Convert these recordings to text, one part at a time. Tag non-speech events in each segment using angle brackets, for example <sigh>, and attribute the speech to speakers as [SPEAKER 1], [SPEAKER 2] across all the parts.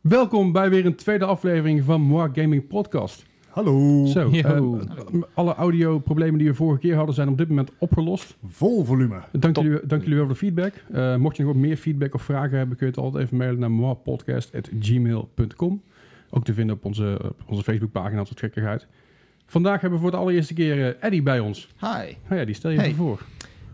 [SPEAKER 1] Welkom bij weer een tweede aflevering van Moa Gaming Podcast.
[SPEAKER 2] Hallo.
[SPEAKER 1] Zo,
[SPEAKER 3] Yo.
[SPEAKER 1] eh, m- alle audioproblemen die we vorige keer hadden zijn op dit moment opgelost.
[SPEAKER 2] Vol volume.
[SPEAKER 1] Dank jullie, dank jullie wel voor de feedback. Eh, mocht je nog wat meer feedback of vragen hebben, kun je het altijd even mailen naar moapodcast.gmail.com. Ook te vinden op onze, op onze Facebookpagina, tot gekkigheid. Vandaag hebben we voor de allereerste keer eh, Eddie bij ons.
[SPEAKER 3] Hi,
[SPEAKER 1] Nou ja, die stel je even
[SPEAKER 3] Hey.
[SPEAKER 1] voor.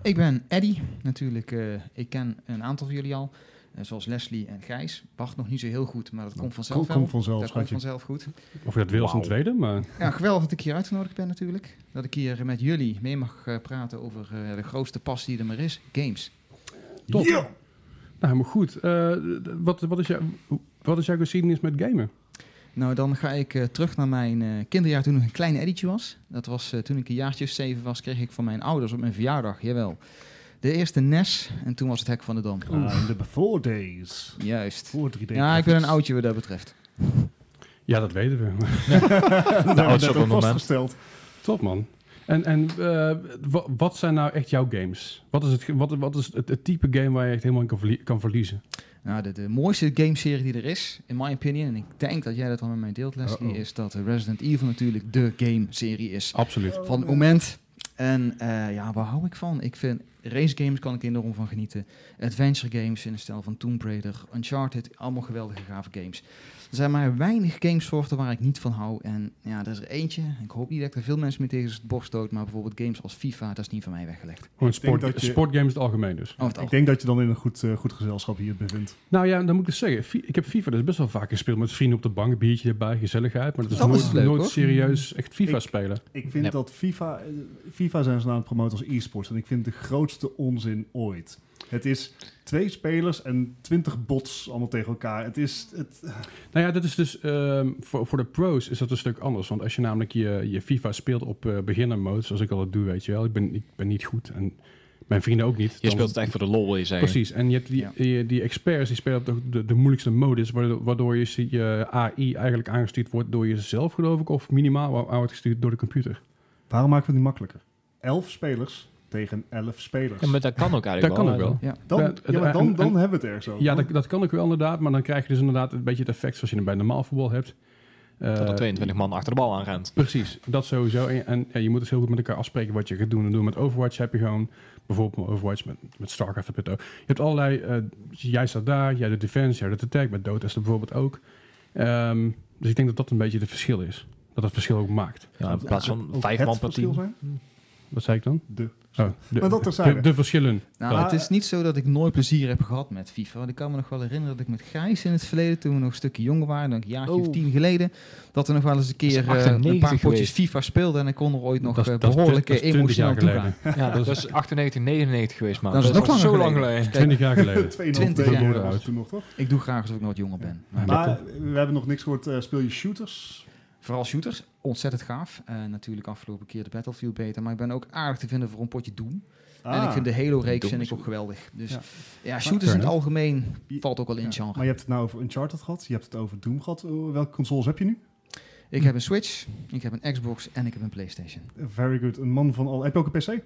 [SPEAKER 3] ik ben Eddy. Natuurlijk, eh, ik ken een aantal van jullie al. eh, zoals Leslie en Gijs. Wacht nog niet zo heel goed, maar dat komt vanzelf wel.
[SPEAKER 2] Komt vanzelf,
[SPEAKER 3] dat komt
[SPEAKER 2] schatje.
[SPEAKER 3] vanzelf goed.
[SPEAKER 1] Of je dat wil is een
[SPEAKER 2] Wauw.
[SPEAKER 1] tweede, maar
[SPEAKER 3] Ja, geweldig dat ik hier uitgenodigd ben natuurlijk. Dat ik hier met jullie mee mag eh, praten over eh, de grootste passie die er maar is. Games.
[SPEAKER 1] top.
[SPEAKER 2] Ja.
[SPEAKER 1] Nou, maar goed. eh, d- d- wat, wat, is jou, wat is jouw geschiedenis met gamen?
[SPEAKER 3] Nou, dan ga ik eh, terug naar mijn eh, kinderjaar toen ik een klein eddietje was. Dat was eh, toen ik een jaartje of zeven was, kreeg ik van mijn ouders op mijn verjaardag, jawel. De eerste NES en toen was het Hek van de Dam.
[SPEAKER 2] Ah, in de before days.
[SPEAKER 3] Juist.
[SPEAKER 2] Voor 3D.
[SPEAKER 3] Ja, ik ben
[SPEAKER 2] <laughs>
[SPEAKER 3] een oudje wat dat betreft.
[SPEAKER 1] Ja, dat weten we.
[SPEAKER 2] dat
[SPEAKER 4] dat
[SPEAKER 2] hebben
[SPEAKER 4] is
[SPEAKER 2] we
[SPEAKER 4] ook
[SPEAKER 2] net ook
[SPEAKER 4] wel normaal.
[SPEAKER 2] vastgesteld.
[SPEAKER 1] Top man. En, en eh, wa- wat zijn nou echt jouw games? Wat is het, ge- wat, wat is het, het type game waar je echt helemaal in kan, verlie- kan verliezen?
[SPEAKER 3] Nou, de, de mooiste gameserie die er is, in my opinion, en ik denk dat jij dat al met mij deelt, Leslie,
[SPEAKER 2] Uh-oh.
[SPEAKER 3] is dat eh, Resident Evil natuurlijk de gameserie is
[SPEAKER 1] Absoluut.
[SPEAKER 3] van
[SPEAKER 2] Eh,
[SPEAKER 3] het moment. En eh, ja, waar hou ik van? Ik vind race games kan ik enorm van genieten. Adventure games in de stijl van Tomb Raider, Uncharted, allemaal geweldige gave games. Er zijn maar weinig gamesoorten waar ik niet van hou. En ja, er is er eentje. Ik hoop niet dat ik er veel mensen mee tegen het borst stoot, maar bijvoorbeeld games als FIFA, dat is niet van mij weggelegd.
[SPEAKER 1] Gewoon
[SPEAKER 2] denk
[SPEAKER 1] sport,
[SPEAKER 2] dat je-
[SPEAKER 1] sportgames in het algemeen dus.
[SPEAKER 3] Over het
[SPEAKER 2] Oh, Ik
[SPEAKER 3] algemeen.
[SPEAKER 2] denk dat je dan in een goed, eh, goed gezelschap hier bevindt.
[SPEAKER 1] Nou ja, dan moet ik dus zeggen. fi- Ik heb FIFA dus best wel vaak gespeeld met vrienden op de bank, biertje erbij, gezelligheid. Maar dat is
[SPEAKER 3] Dat was
[SPEAKER 1] nooit,
[SPEAKER 3] leuk,
[SPEAKER 1] nooit
[SPEAKER 3] hoor.
[SPEAKER 1] serieus echt FIFA
[SPEAKER 2] Ik-
[SPEAKER 1] spelen.
[SPEAKER 2] Ik vind
[SPEAKER 4] Ja.
[SPEAKER 2] dat FIFA... eh, FIFA zijn ze nou aan het promoten als e-sports. En ik vind het de grootste onzin ooit. Het is twee spelers en twintig bots allemaal tegen elkaar. Het is... Het,
[SPEAKER 1] Nou ja, dat is dus ehm, voor, voor de pros is dat een stuk anders. Want als je namelijk je, je FIFA speelt op eh beginner mode, zoals ik altijd doe, weet je wel. Ik ben, ik ben niet goed en mijn vrienden ook niet.
[SPEAKER 4] Je
[SPEAKER 1] Dan-
[SPEAKER 4] speelt het echt voor de lol, wil je zeggen.
[SPEAKER 1] Precies, en je hebt die,
[SPEAKER 3] Ja.
[SPEAKER 1] die, die experts die spelen op de, de, de moeilijkste modus, waardoor, waardoor je zie- je AI eigenlijk aangestuurd wordt door jezelf, geloof ik, of minimaal aan wordt gestuurd door de computer.
[SPEAKER 2] waarom maken we het niet makkelijker? Elf spelers tegen elf spelers.
[SPEAKER 4] Ja, maar dat kan ook eigenlijk
[SPEAKER 1] Dat kan ook wel.
[SPEAKER 2] dan
[SPEAKER 1] Ja,
[SPEAKER 2] ja, maar
[SPEAKER 1] en-
[SPEAKER 2] dan, dan
[SPEAKER 1] en-
[SPEAKER 2] hebben we het ergens over.
[SPEAKER 1] Ja, dat, dat kan ook wel inderdaad, maar dan krijg je dus inderdaad een beetje het effect zoals je hem bij normaal voetbal hebt. Eh,
[SPEAKER 4] Dat er 22 man achter de bal aan rent.
[SPEAKER 1] Precies, dat sowieso. En, en ja, je moet dus heel goed met elkaar afspreken wat je gaat doen. En doen met Overwatch heb je gewoon, bijvoorbeeld met Overwatch, met, met StarCraft heb je het ook. Je hebt allerlei, eh, jij staat daar, jij doet defense, jij doet attack, met Dota is dat bijvoorbeeld ook. Ehm, dus ik denk dat dat een beetje het verschil is. Dat dat verschil ook maakt.
[SPEAKER 4] Ja, in plaats van
[SPEAKER 2] Ook
[SPEAKER 4] 5
[SPEAKER 2] het
[SPEAKER 4] man per
[SPEAKER 2] verschil
[SPEAKER 4] team.
[SPEAKER 2] zijn?
[SPEAKER 1] Wat zei ik dan?
[SPEAKER 2] De
[SPEAKER 1] Oh, de,
[SPEAKER 2] Maar dat terzijde.
[SPEAKER 1] de, de verschillen.
[SPEAKER 3] Nou,
[SPEAKER 2] Ja.
[SPEAKER 3] het is niet zo dat ik nooit plezier heb gehad met FIFA. Want ik kan me nog wel herinneren dat ik met Gijs in het verleden, toen we nog een stukje jonger waren, dan een jaartje of
[SPEAKER 4] Oh.
[SPEAKER 3] tien geleden, dat we nog wel eens een keer
[SPEAKER 4] is
[SPEAKER 3] eh, een
[SPEAKER 4] 98
[SPEAKER 3] paar potjes
[SPEAKER 4] geweest.
[SPEAKER 3] FIFA speelden en ik kon er ooit nog
[SPEAKER 1] Dat is-
[SPEAKER 3] eh,
[SPEAKER 1] dat is twi-
[SPEAKER 3] behoorlijk
[SPEAKER 1] dat is
[SPEAKER 3] eh,
[SPEAKER 1] 20 jaar
[SPEAKER 3] emotioneel toe gaan.
[SPEAKER 1] geleden.
[SPEAKER 4] Ja, dat is 98, 99 geweest, man.
[SPEAKER 3] Dat is nog
[SPEAKER 4] al
[SPEAKER 3] langer
[SPEAKER 4] zo
[SPEAKER 3] geleden.
[SPEAKER 4] lang geleden.
[SPEAKER 1] Twintig jaar
[SPEAKER 2] <laughs>
[SPEAKER 1] geleden.
[SPEAKER 2] 22
[SPEAKER 3] jaar
[SPEAKER 2] jaar
[SPEAKER 1] oud.
[SPEAKER 2] was het toen nog, toch?
[SPEAKER 3] Ik doe graag alsof ik nooit jonger ben.
[SPEAKER 1] Ja.
[SPEAKER 3] Maar
[SPEAKER 2] Maar we hebben nog niks gehoord. eh, speel je shooters?
[SPEAKER 3] Vooral shooters, ontzettend gaaf. En natuurlijk afgelopen keer de Battlefield beter, maar ik ben ook aardig te vinden voor een potje Doom. En ik
[SPEAKER 2] Ah.
[SPEAKER 3] vind de Halo-reeks
[SPEAKER 4] Doom
[SPEAKER 3] vind
[SPEAKER 4] is
[SPEAKER 3] ik ook geweldig. Dus
[SPEAKER 2] Ja.
[SPEAKER 3] ja, shooters in het algemeen
[SPEAKER 2] Je-
[SPEAKER 3] valt ook wel in het
[SPEAKER 2] Ja,
[SPEAKER 3] genre.
[SPEAKER 2] Maar je hebt het nou over Uncharted gehad. Je hebt het over Doom gehad. Eh, Welke consoles heb je nu?
[SPEAKER 3] Ik heb een Switch, ik heb een Xbox en ik heb een Playstation.
[SPEAKER 2] Eh, Very good. Een man van al. Heb je ook een PC?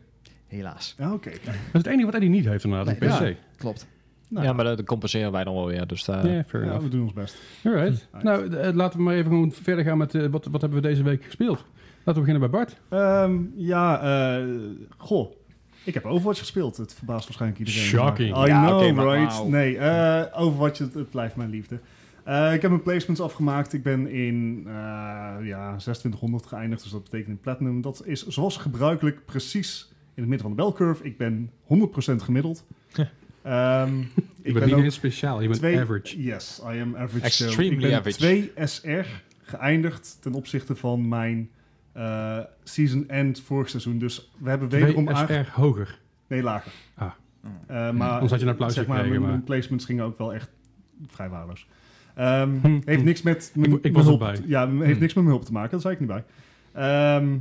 [SPEAKER 3] Helaas.
[SPEAKER 2] Ja, oké.
[SPEAKER 1] Dat is het enige wat Eddie niet heeft inderdaad, een
[SPEAKER 3] Nee,
[SPEAKER 1] PC.
[SPEAKER 2] ja.
[SPEAKER 3] Klopt.
[SPEAKER 2] Nou,
[SPEAKER 4] Ja, maar dat compenseren wij dan wel weer. Dus daar-
[SPEAKER 1] Ja, fair
[SPEAKER 2] ja,
[SPEAKER 1] enough.
[SPEAKER 2] we doen ons best.
[SPEAKER 1] Alright.
[SPEAKER 2] Hm.
[SPEAKER 1] Nou, eh, laten we maar even gewoon verder gaan met eh, wat, wat hebben we deze week gespeeld. Laten we beginnen bij Bart.
[SPEAKER 2] Ehm, ja, eh, goh. Ik heb Overwatch gespeeld. Het verbaast waarschijnlijk iedereen.
[SPEAKER 1] Shocking.
[SPEAKER 2] Maar- I
[SPEAKER 4] Ja,
[SPEAKER 2] know,
[SPEAKER 4] oké, maar
[SPEAKER 2] right?
[SPEAKER 3] wauw.
[SPEAKER 2] Nee, eh Overwatch, het, het blijft mijn liefde. Eh, ik heb mijn placements afgemaakt. Ik ben in eh, ja, 2600 geëindigd, dus dat betekent in platinum. Dat is zoals gebruikelijk precies in het midden van de belcurve. Ik ben 100% gemiddeld.
[SPEAKER 1] <laughs>
[SPEAKER 2] Ehm,
[SPEAKER 1] Je bent niet heel speciaal, je bent
[SPEAKER 2] twee-
[SPEAKER 1] average.
[SPEAKER 2] Yes, I am average.
[SPEAKER 4] Extremely
[SPEAKER 2] so ik ben
[SPEAKER 4] average.
[SPEAKER 2] 2 SR geëindigd ten opzichte van mijn eh, season end vorig seizoen. Dus we hebben wederom
[SPEAKER 1] Twee
[SPEAKER 2] aange-
[SPEAKER 1] SR hoger.
[SPEAKER 2] Nee, lager.
[SPEAKER 1] Ah.
[SPEAKER 2] Eh, maar
[SPEAKER 1] Anders had je een applausje
[SPEAKER 2] zeg maar,
[SPEAKER 1] gekregen,
[SPEAKER 2] mijn,
[SPEAKER 1] maar-
[SPEAKER 2] mijn placements gingen ook wel echt vrij waardeloos. Ehm,
[SPEAKER 1] Hm,
[SPEAKER 2] Heeft
[SPEAKER 1] hm.
[SPEAKER 2] niks met mijn,
[SPEAKER 1] ik
[SPEAKER 2] mijn
[SPEAKER 1] was
[SPEAKER 2] hulp.
[SPEAKER 1] erbij.
[SPEAKER 2] Ja, heeft
[SPEAKER 4] Hm.
[SPEAKER 2] niks met mijn hulp te maken. Dat zei ik niet bij.
[SPEAKER 1] <laughs>
[SPEAKER 2] Ehm,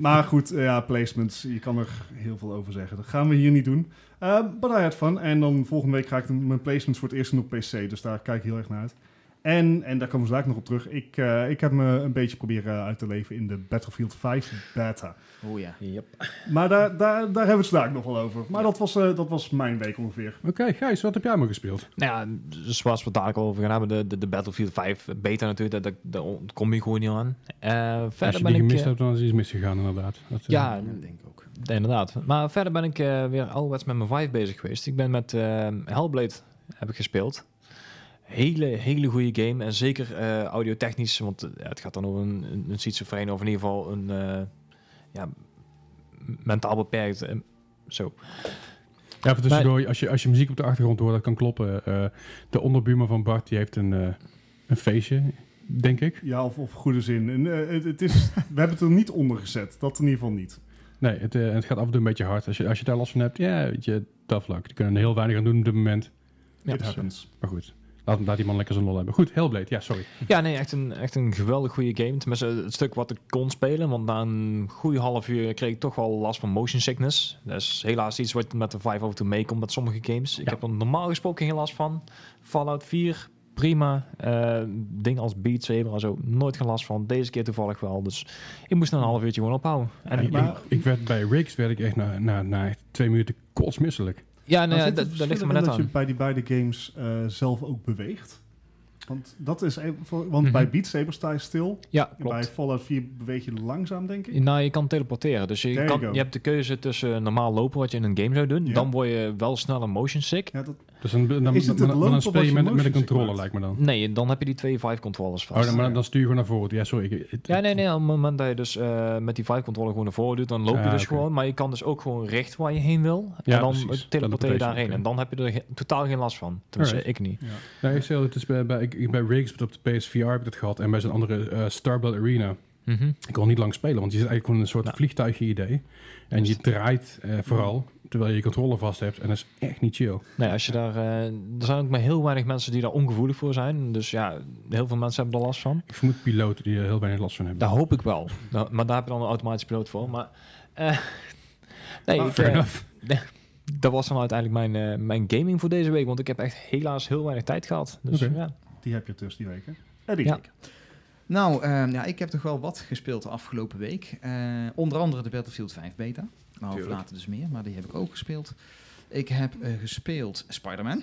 [SPEAKER 2] maar goed, eh, ja, placements. Je kan er heel veel over zeggen. Dat gaan we hier niet doen. Ehm but I had fun. En dan volgende week ga ik de- mijn placements voor het eerst doen op PC. Dus daar kijk ik heel erg naar uit. En, en daar komen we zo later nog op terug, ik, eh, ik heb me een beetje proberen uit te leven in de Battlefield 5 beta.
[SPEAKER 3] Oh ja.
[SPEAKER 4] Yep.
[SPEAKER 2] Maar daar, daar, daar hebben we het vandaag nog wel over. Maar dat was, eh, dat was mijn week ongeveer.
[SPEAKER 1] Oké, Gijs, wat heb jij maar gespeeld?
[SPEAKER 4] Nou ja, zoals we het dadelijk over gaan hebben, de, de, de Battlefield 5 beta natuurlijk, daar, daar ontkom je gewoon niet aan. Eh,
[SPEAKER 1] Als
[SPEAKER 4] verder
[SPEAKER 1] je
[SPEAKER 4] ben
[SPEAKER 1] die
[SPEAKER 4] ik...
[SPEAKER 1] gemist
[SPEAKER 4] eh,
[SPEAKER 1] hebt, dan is iets misgegaan inderdaad. Dat, eh,
[SPEAKER 4] ja,
[SPEAKER 3] Ja, denk ik ook.
[SPEAKER 4] inderdaad. Maar verder ben ik eh, weer alwets met mijn 5 bezig geweest. Ik ben met eh, Hellblade heb ik gespeeld. Hele, hele goede game. En zeker eh, audiotechnisch, want eh, het gaat dan over een, een, een schizofreen, of in ieder geval een eh, ja, mentaal beperkt. eh, zo.
[SPEAKER 1] Ja, even tussendoor, als je, als je muziek op de achtergrond hoort, dat kan kloppen. Eh, de onderbuurman van Bart, die heeft een, eh, een feestje, denk ik.
[SPEAKER 2] Ja, of, of goede zin. En, eh, het, het is, we hebben het er niet onder gezet. Dat in ieder geval niet.
[SPEAKER 1] Nee, het, eh, het gaat af en toe een beetje hard. Als je, als je daar last van hebt, ja, weet je, tough luck. Die kunnen er heel weinig aan doen op dit moment.
[SPEAKER 4] Ja,
[SPEAKER 2] It
[SPEAKER 1] dus,
[SPEAKER 2] happens.
[SPEAKER 1] Maar goed, laat, laat die man lekker zijn lol hebben. Goed, Hellblade, ja, sorry.
[SPEAKER 4] Ja, nee, echt een, echt een geweldig goede game. Tenminste, het stuk wat ik kon spelen. Want na een goede half uur kreeg ik toch wel last van motion sickness. Dat is helaas iets wat met de 5 over toe meekomt met sommige games. Ik
[SPEAKER 1] Ja.
[SPEAKER 4] heb er normaal gesproken geen last van. Fallout 4, prima. Eh ding als Beat Saber en zo, nooit geen last van. Deze keer toevallig wel. Dus ik moest na een half uurtje gewoon ophouden. En,
[SPEAKER 1] ik,
[SPEAKER 4] ja,
[SPEAKER 2] maar-
[SPEAKER 1] ik, ik werd bij Riggs werd ik echt na, na, na twee minuten kotsmisselijk.
[SPEAKER 4] nee,
[SPEAKER 2] Maar Nou, zit
[SPEAKER 4] eh, dat,
[SPEAKER 2] het
[SPEAKER 4] dat ligt
[SPEAKER 2] verschil
[SPEAKER 4] er maar
[SPEAKER 2] in
[SPEAKER 4] net
[SPEAKER 2] dat
[SPEAKER 4] aan.
[SPEAKER 2] je bij die beide games eh, zelf ook beweegt. Want, dat is een, voor- want
[SPEAKER 4] Mhm.
[SPEAKER 2] bij Beat Saber sta je stil.
[SPEAKER 4] Ja,
[SPEAKER 2] En
[SPEAKER 4] klopt.
[SPEAKER 2] bij Fallout 4 beweeg je langzaam, denk ik.
[SPEAKER 4] Nou, je kan teleporteren. Dus je,
[SPEAKER 2] There you
[SPEAKER 4] kan,
[SPEAKER 2] go.
[SPEAKER 4] je hebt de keuze tussen normaal lopen, wat je in een game zou doen.
[SPEAKER 2] Ja.
[SPEAKER 4] Dan word je wel snel een motion sick.
[SPEAKER 2] Ja, dat,
[SPEAKER 1] Dus dan, dan,
[SPEAKER 2] Is het
[SPEAKER 1] dan,
[SPEAKER 2] het
[SPEAKER 1] dan
[SPEAKER 2] lopen
[SPEAKER 1] speel je
[SPEAKER 2] of als
[SPEAKER 1] met,
[SPEAKER 2] je
[SPEAKER 1] met een
[SPEAKER 2] motion
[SPEAKER 1] controller,
[SPEAKER 2] sickness?
[SPEAKER 1] lijkt me dan.
[SPEAKER 4] Nee, dan heb je die twee Vive controllers vast.
[SPEAKER 1] Oh, dan, maar dan- dan stuur je gewoon naar voren. Ja, sorry. Ik, het-
[SPEAKER 4] ja, nee, nee. Op het moment dat je dus eh, met die Vive controller gewoon naar voren doet, dan loop je
[SPEAKER 1] Ah,
[SPEAKER 4] dus
[SPEAKER 1] oké.
[SPEAKER 4] gewoon. Maar je kan dus ook gewoon recht waar je heen wil.
[SPEAKER 1] Ja,
[SPEAKER 4] en dan
[SPEAKER 1] precies.
[SPEAKER 4] teleporteer je
[SPEAKER 1] Teleportation,
[SPEAKER 4] daarheen.
[SPEAKER 1] oké.
[SPEAKER 4] En dan heb je er ge- totaal geen last van. Tenminste,
[SPEAKER 1] Alright.
[SPEAKER 4] ik niet.
[SPEAKER 2] ja.
[SPEAKER 1] Nou, ik, zei, het is bij, bij, ik, ik- bij Riggs heb het op de PSVR heb ik dat gehad en bij zijn andere eh Starbell Arena.
[SPEAKER 4] Mhm.
[SPEAKER 1] Ik kon niet lang spelen, want je zit eigenlijk gewoon in een soort
[SPEAKER 4] Nou.
[SPEAKER 1] vliegtuigje idee. En je draait eh, vooral, terwijl je je controller vast hebt. En dat is echt niet chill.
[SPEAKER 4] Nee, als je daar, eh, er zijn ook maar heel weinig mensen die daar ongevoelig voor zijn. Dus ja, heel veel mensen hebben er last van.
[SPEAKER 1] Ik vermoed piloten die er heel weinig last van hebben.
[SPEAKER 4] Daar hoop ik wel. Nou, maar daar heb je dan een automatische piloot voor. Maar eh, <laughs> nee,
[SPEAKER 2] Ah,
[SPEAKER 4] ik,
[SPEAKER 1] fair
[SPEAKER 4] eh,
[SPEAKER 1] enough.
[SPEAKER 4] <laughs> dat was dan uiteindelijk mijn, eh, mijn gaming voor deze week. Want ik heb echt helaas heel weinig tijd gehad. Dus
[SPEAKER 1] Oké.
[SPEAKER 4] ja.
[SPEAKER 2] Die heb je dus die week, hè? Eddie.
[SPEAKER 4] Ja.
[SPEAKER 3] Nou, ehm, ja, ik heb toch wel wat gespeeld de afgelopen week. Eh, onder andere de Battlefield 5 beta. Maar over
[SPEAKER 4] Tuurlijk.
[SPEAKER 3] later dus meer, maar die heb ik ook gespeeld. Ik heb eh, gespeeld Spider-Man.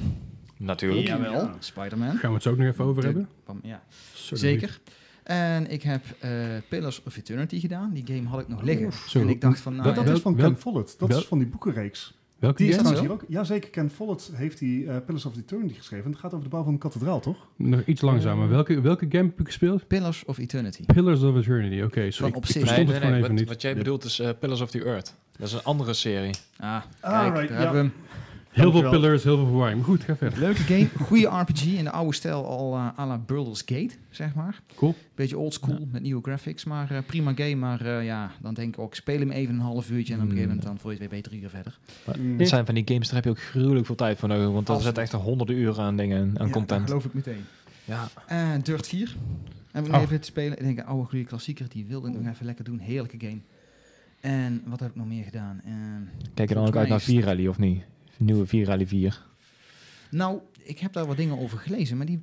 [SPEAKER 4] Natuurlijk.
[SPEAKER 2] Ja.
[SPEAKER 3] Spider-Man.
[SPEAKER 1] Gaan we het zo ook nog even over
[SPEAKER 3] De-
[SPEAKER 1] hebben?
[SPEAKER 3] van- Ja,
[SPEAKER 1] Sorry.
[SPEAKER 3] zeker. En ik heb eh, Pillars of Eternity gedaan. Die game had ik nog liggen.
[SPEAKER 1] Zo.
[SPEAKER 3] En ik dacht van, nou,
[SPEAKER 1] Dat-
[SPEAKER 2] Dat,
[SPEAKER 3] ja,
[SPEAKER 1] Wel-
[SPEAKER 2] is van
[SPEAKER 1] wel-
[SPEAKER 2] Ken Follett. Dat
[SPEAKER 1] wel-
[SPEAKER 2] is van die boekenreeks.
[SPEAKER 1] Welke
[SPEAKER 2] Die is
[SPEAKER 1] game?
[SPEAKER 2] trouwens hier
[SPEAKER 3] zo?
[SPEAKER 2] ook. Jazeker, Ken Follett heeft die eh, Pillars of Eternity geschreven. En het gaat over de bouw van een kathedraal, toch?
[SPEAKER 1] Nog iets langzamer. Welke, welke game heb ik gespeeld?
[SPEAKER 3] Pillars of Eternity.
[SPEAKER 1] Pillars of Eternity. Oké,
[SPEAKER 3] Van
[SPEAKER 1] sorry. Ik,
[SPEAKER 3] op
[SPEAKER 1] ik
[SPEAKER 3] zich.
[SPEAKER 1] verstond het gewoon even
[SPEAKER 4] wat,
[SPEAKER 1] niet.
[SPEAKER 4] wat jij bedoelt is eh, Pillars of the Earth. Dat is een andere serie.
[SPEAKER 3] Ah,
[SPEAKER 2] Alright,
[SPEAKER 3] kijk, daar
[SPEAKER 2] ja.
[SPEAKER 3] hebben we hem.
[SPEAKER 1] Heel veel
[SPEAKER 2] Dankjewel.
[SPEAKER 1] pillars, heel veel verwarring. Maar Goed, ga verder.
[SPEAKER 3] Leuke game, goede RPG in de oude stijl al eh, à la Baldur's Gate, zeg maar.
[SPEAKER 1] Cool.
[SPEAKER 3] Beetje old school met nieuwe graphics, maar eh, prima game. Maar eh, ja, dan denk ik ook, speel hem even een half uurtje en op een gegeven moment dan voor je het weer bij drie uur verder.
[SPEAKER 2] Mm.
[SPEAKER 4] Het zijn van die games, daar heb je ook gruwelijk veel tijd voor nodig. Want daar
[SPEAKER 3] Als-
[SPEAKER 4] zit echt honderden uren aan dingen en
[SPEAKER 3] Ja, dat
[SPEAKER 4] content.
[SPEAKER 3] geloof ik meteen.
[SPEAKER 4] Ja.
[SPEAKER 3] Eh, Dirt 4, heb ik nog
[SPEAKER 1] Oh.
[SPEAKER 3] even te spelen. Ik denk, een oude goede klassieker, die wilde ik nog even lekker doen. Heerlijke game. En wat heb ik nog meer gedaan? Eh,
[SPEAKER 4] Kijk je dan ook
[SPEAKER 3] Volgens
[SPEAKER 4] uit
[SPEAKER 3] mij
[SPEAKER 4] naar
[SPEAKER 3] is het-
[SPEAKER 4] V-Rally of niet? Nieuwe V-Rally 4.
[SPEAKER 3] nou, ik heb daar wat dingen over gelezen, maar die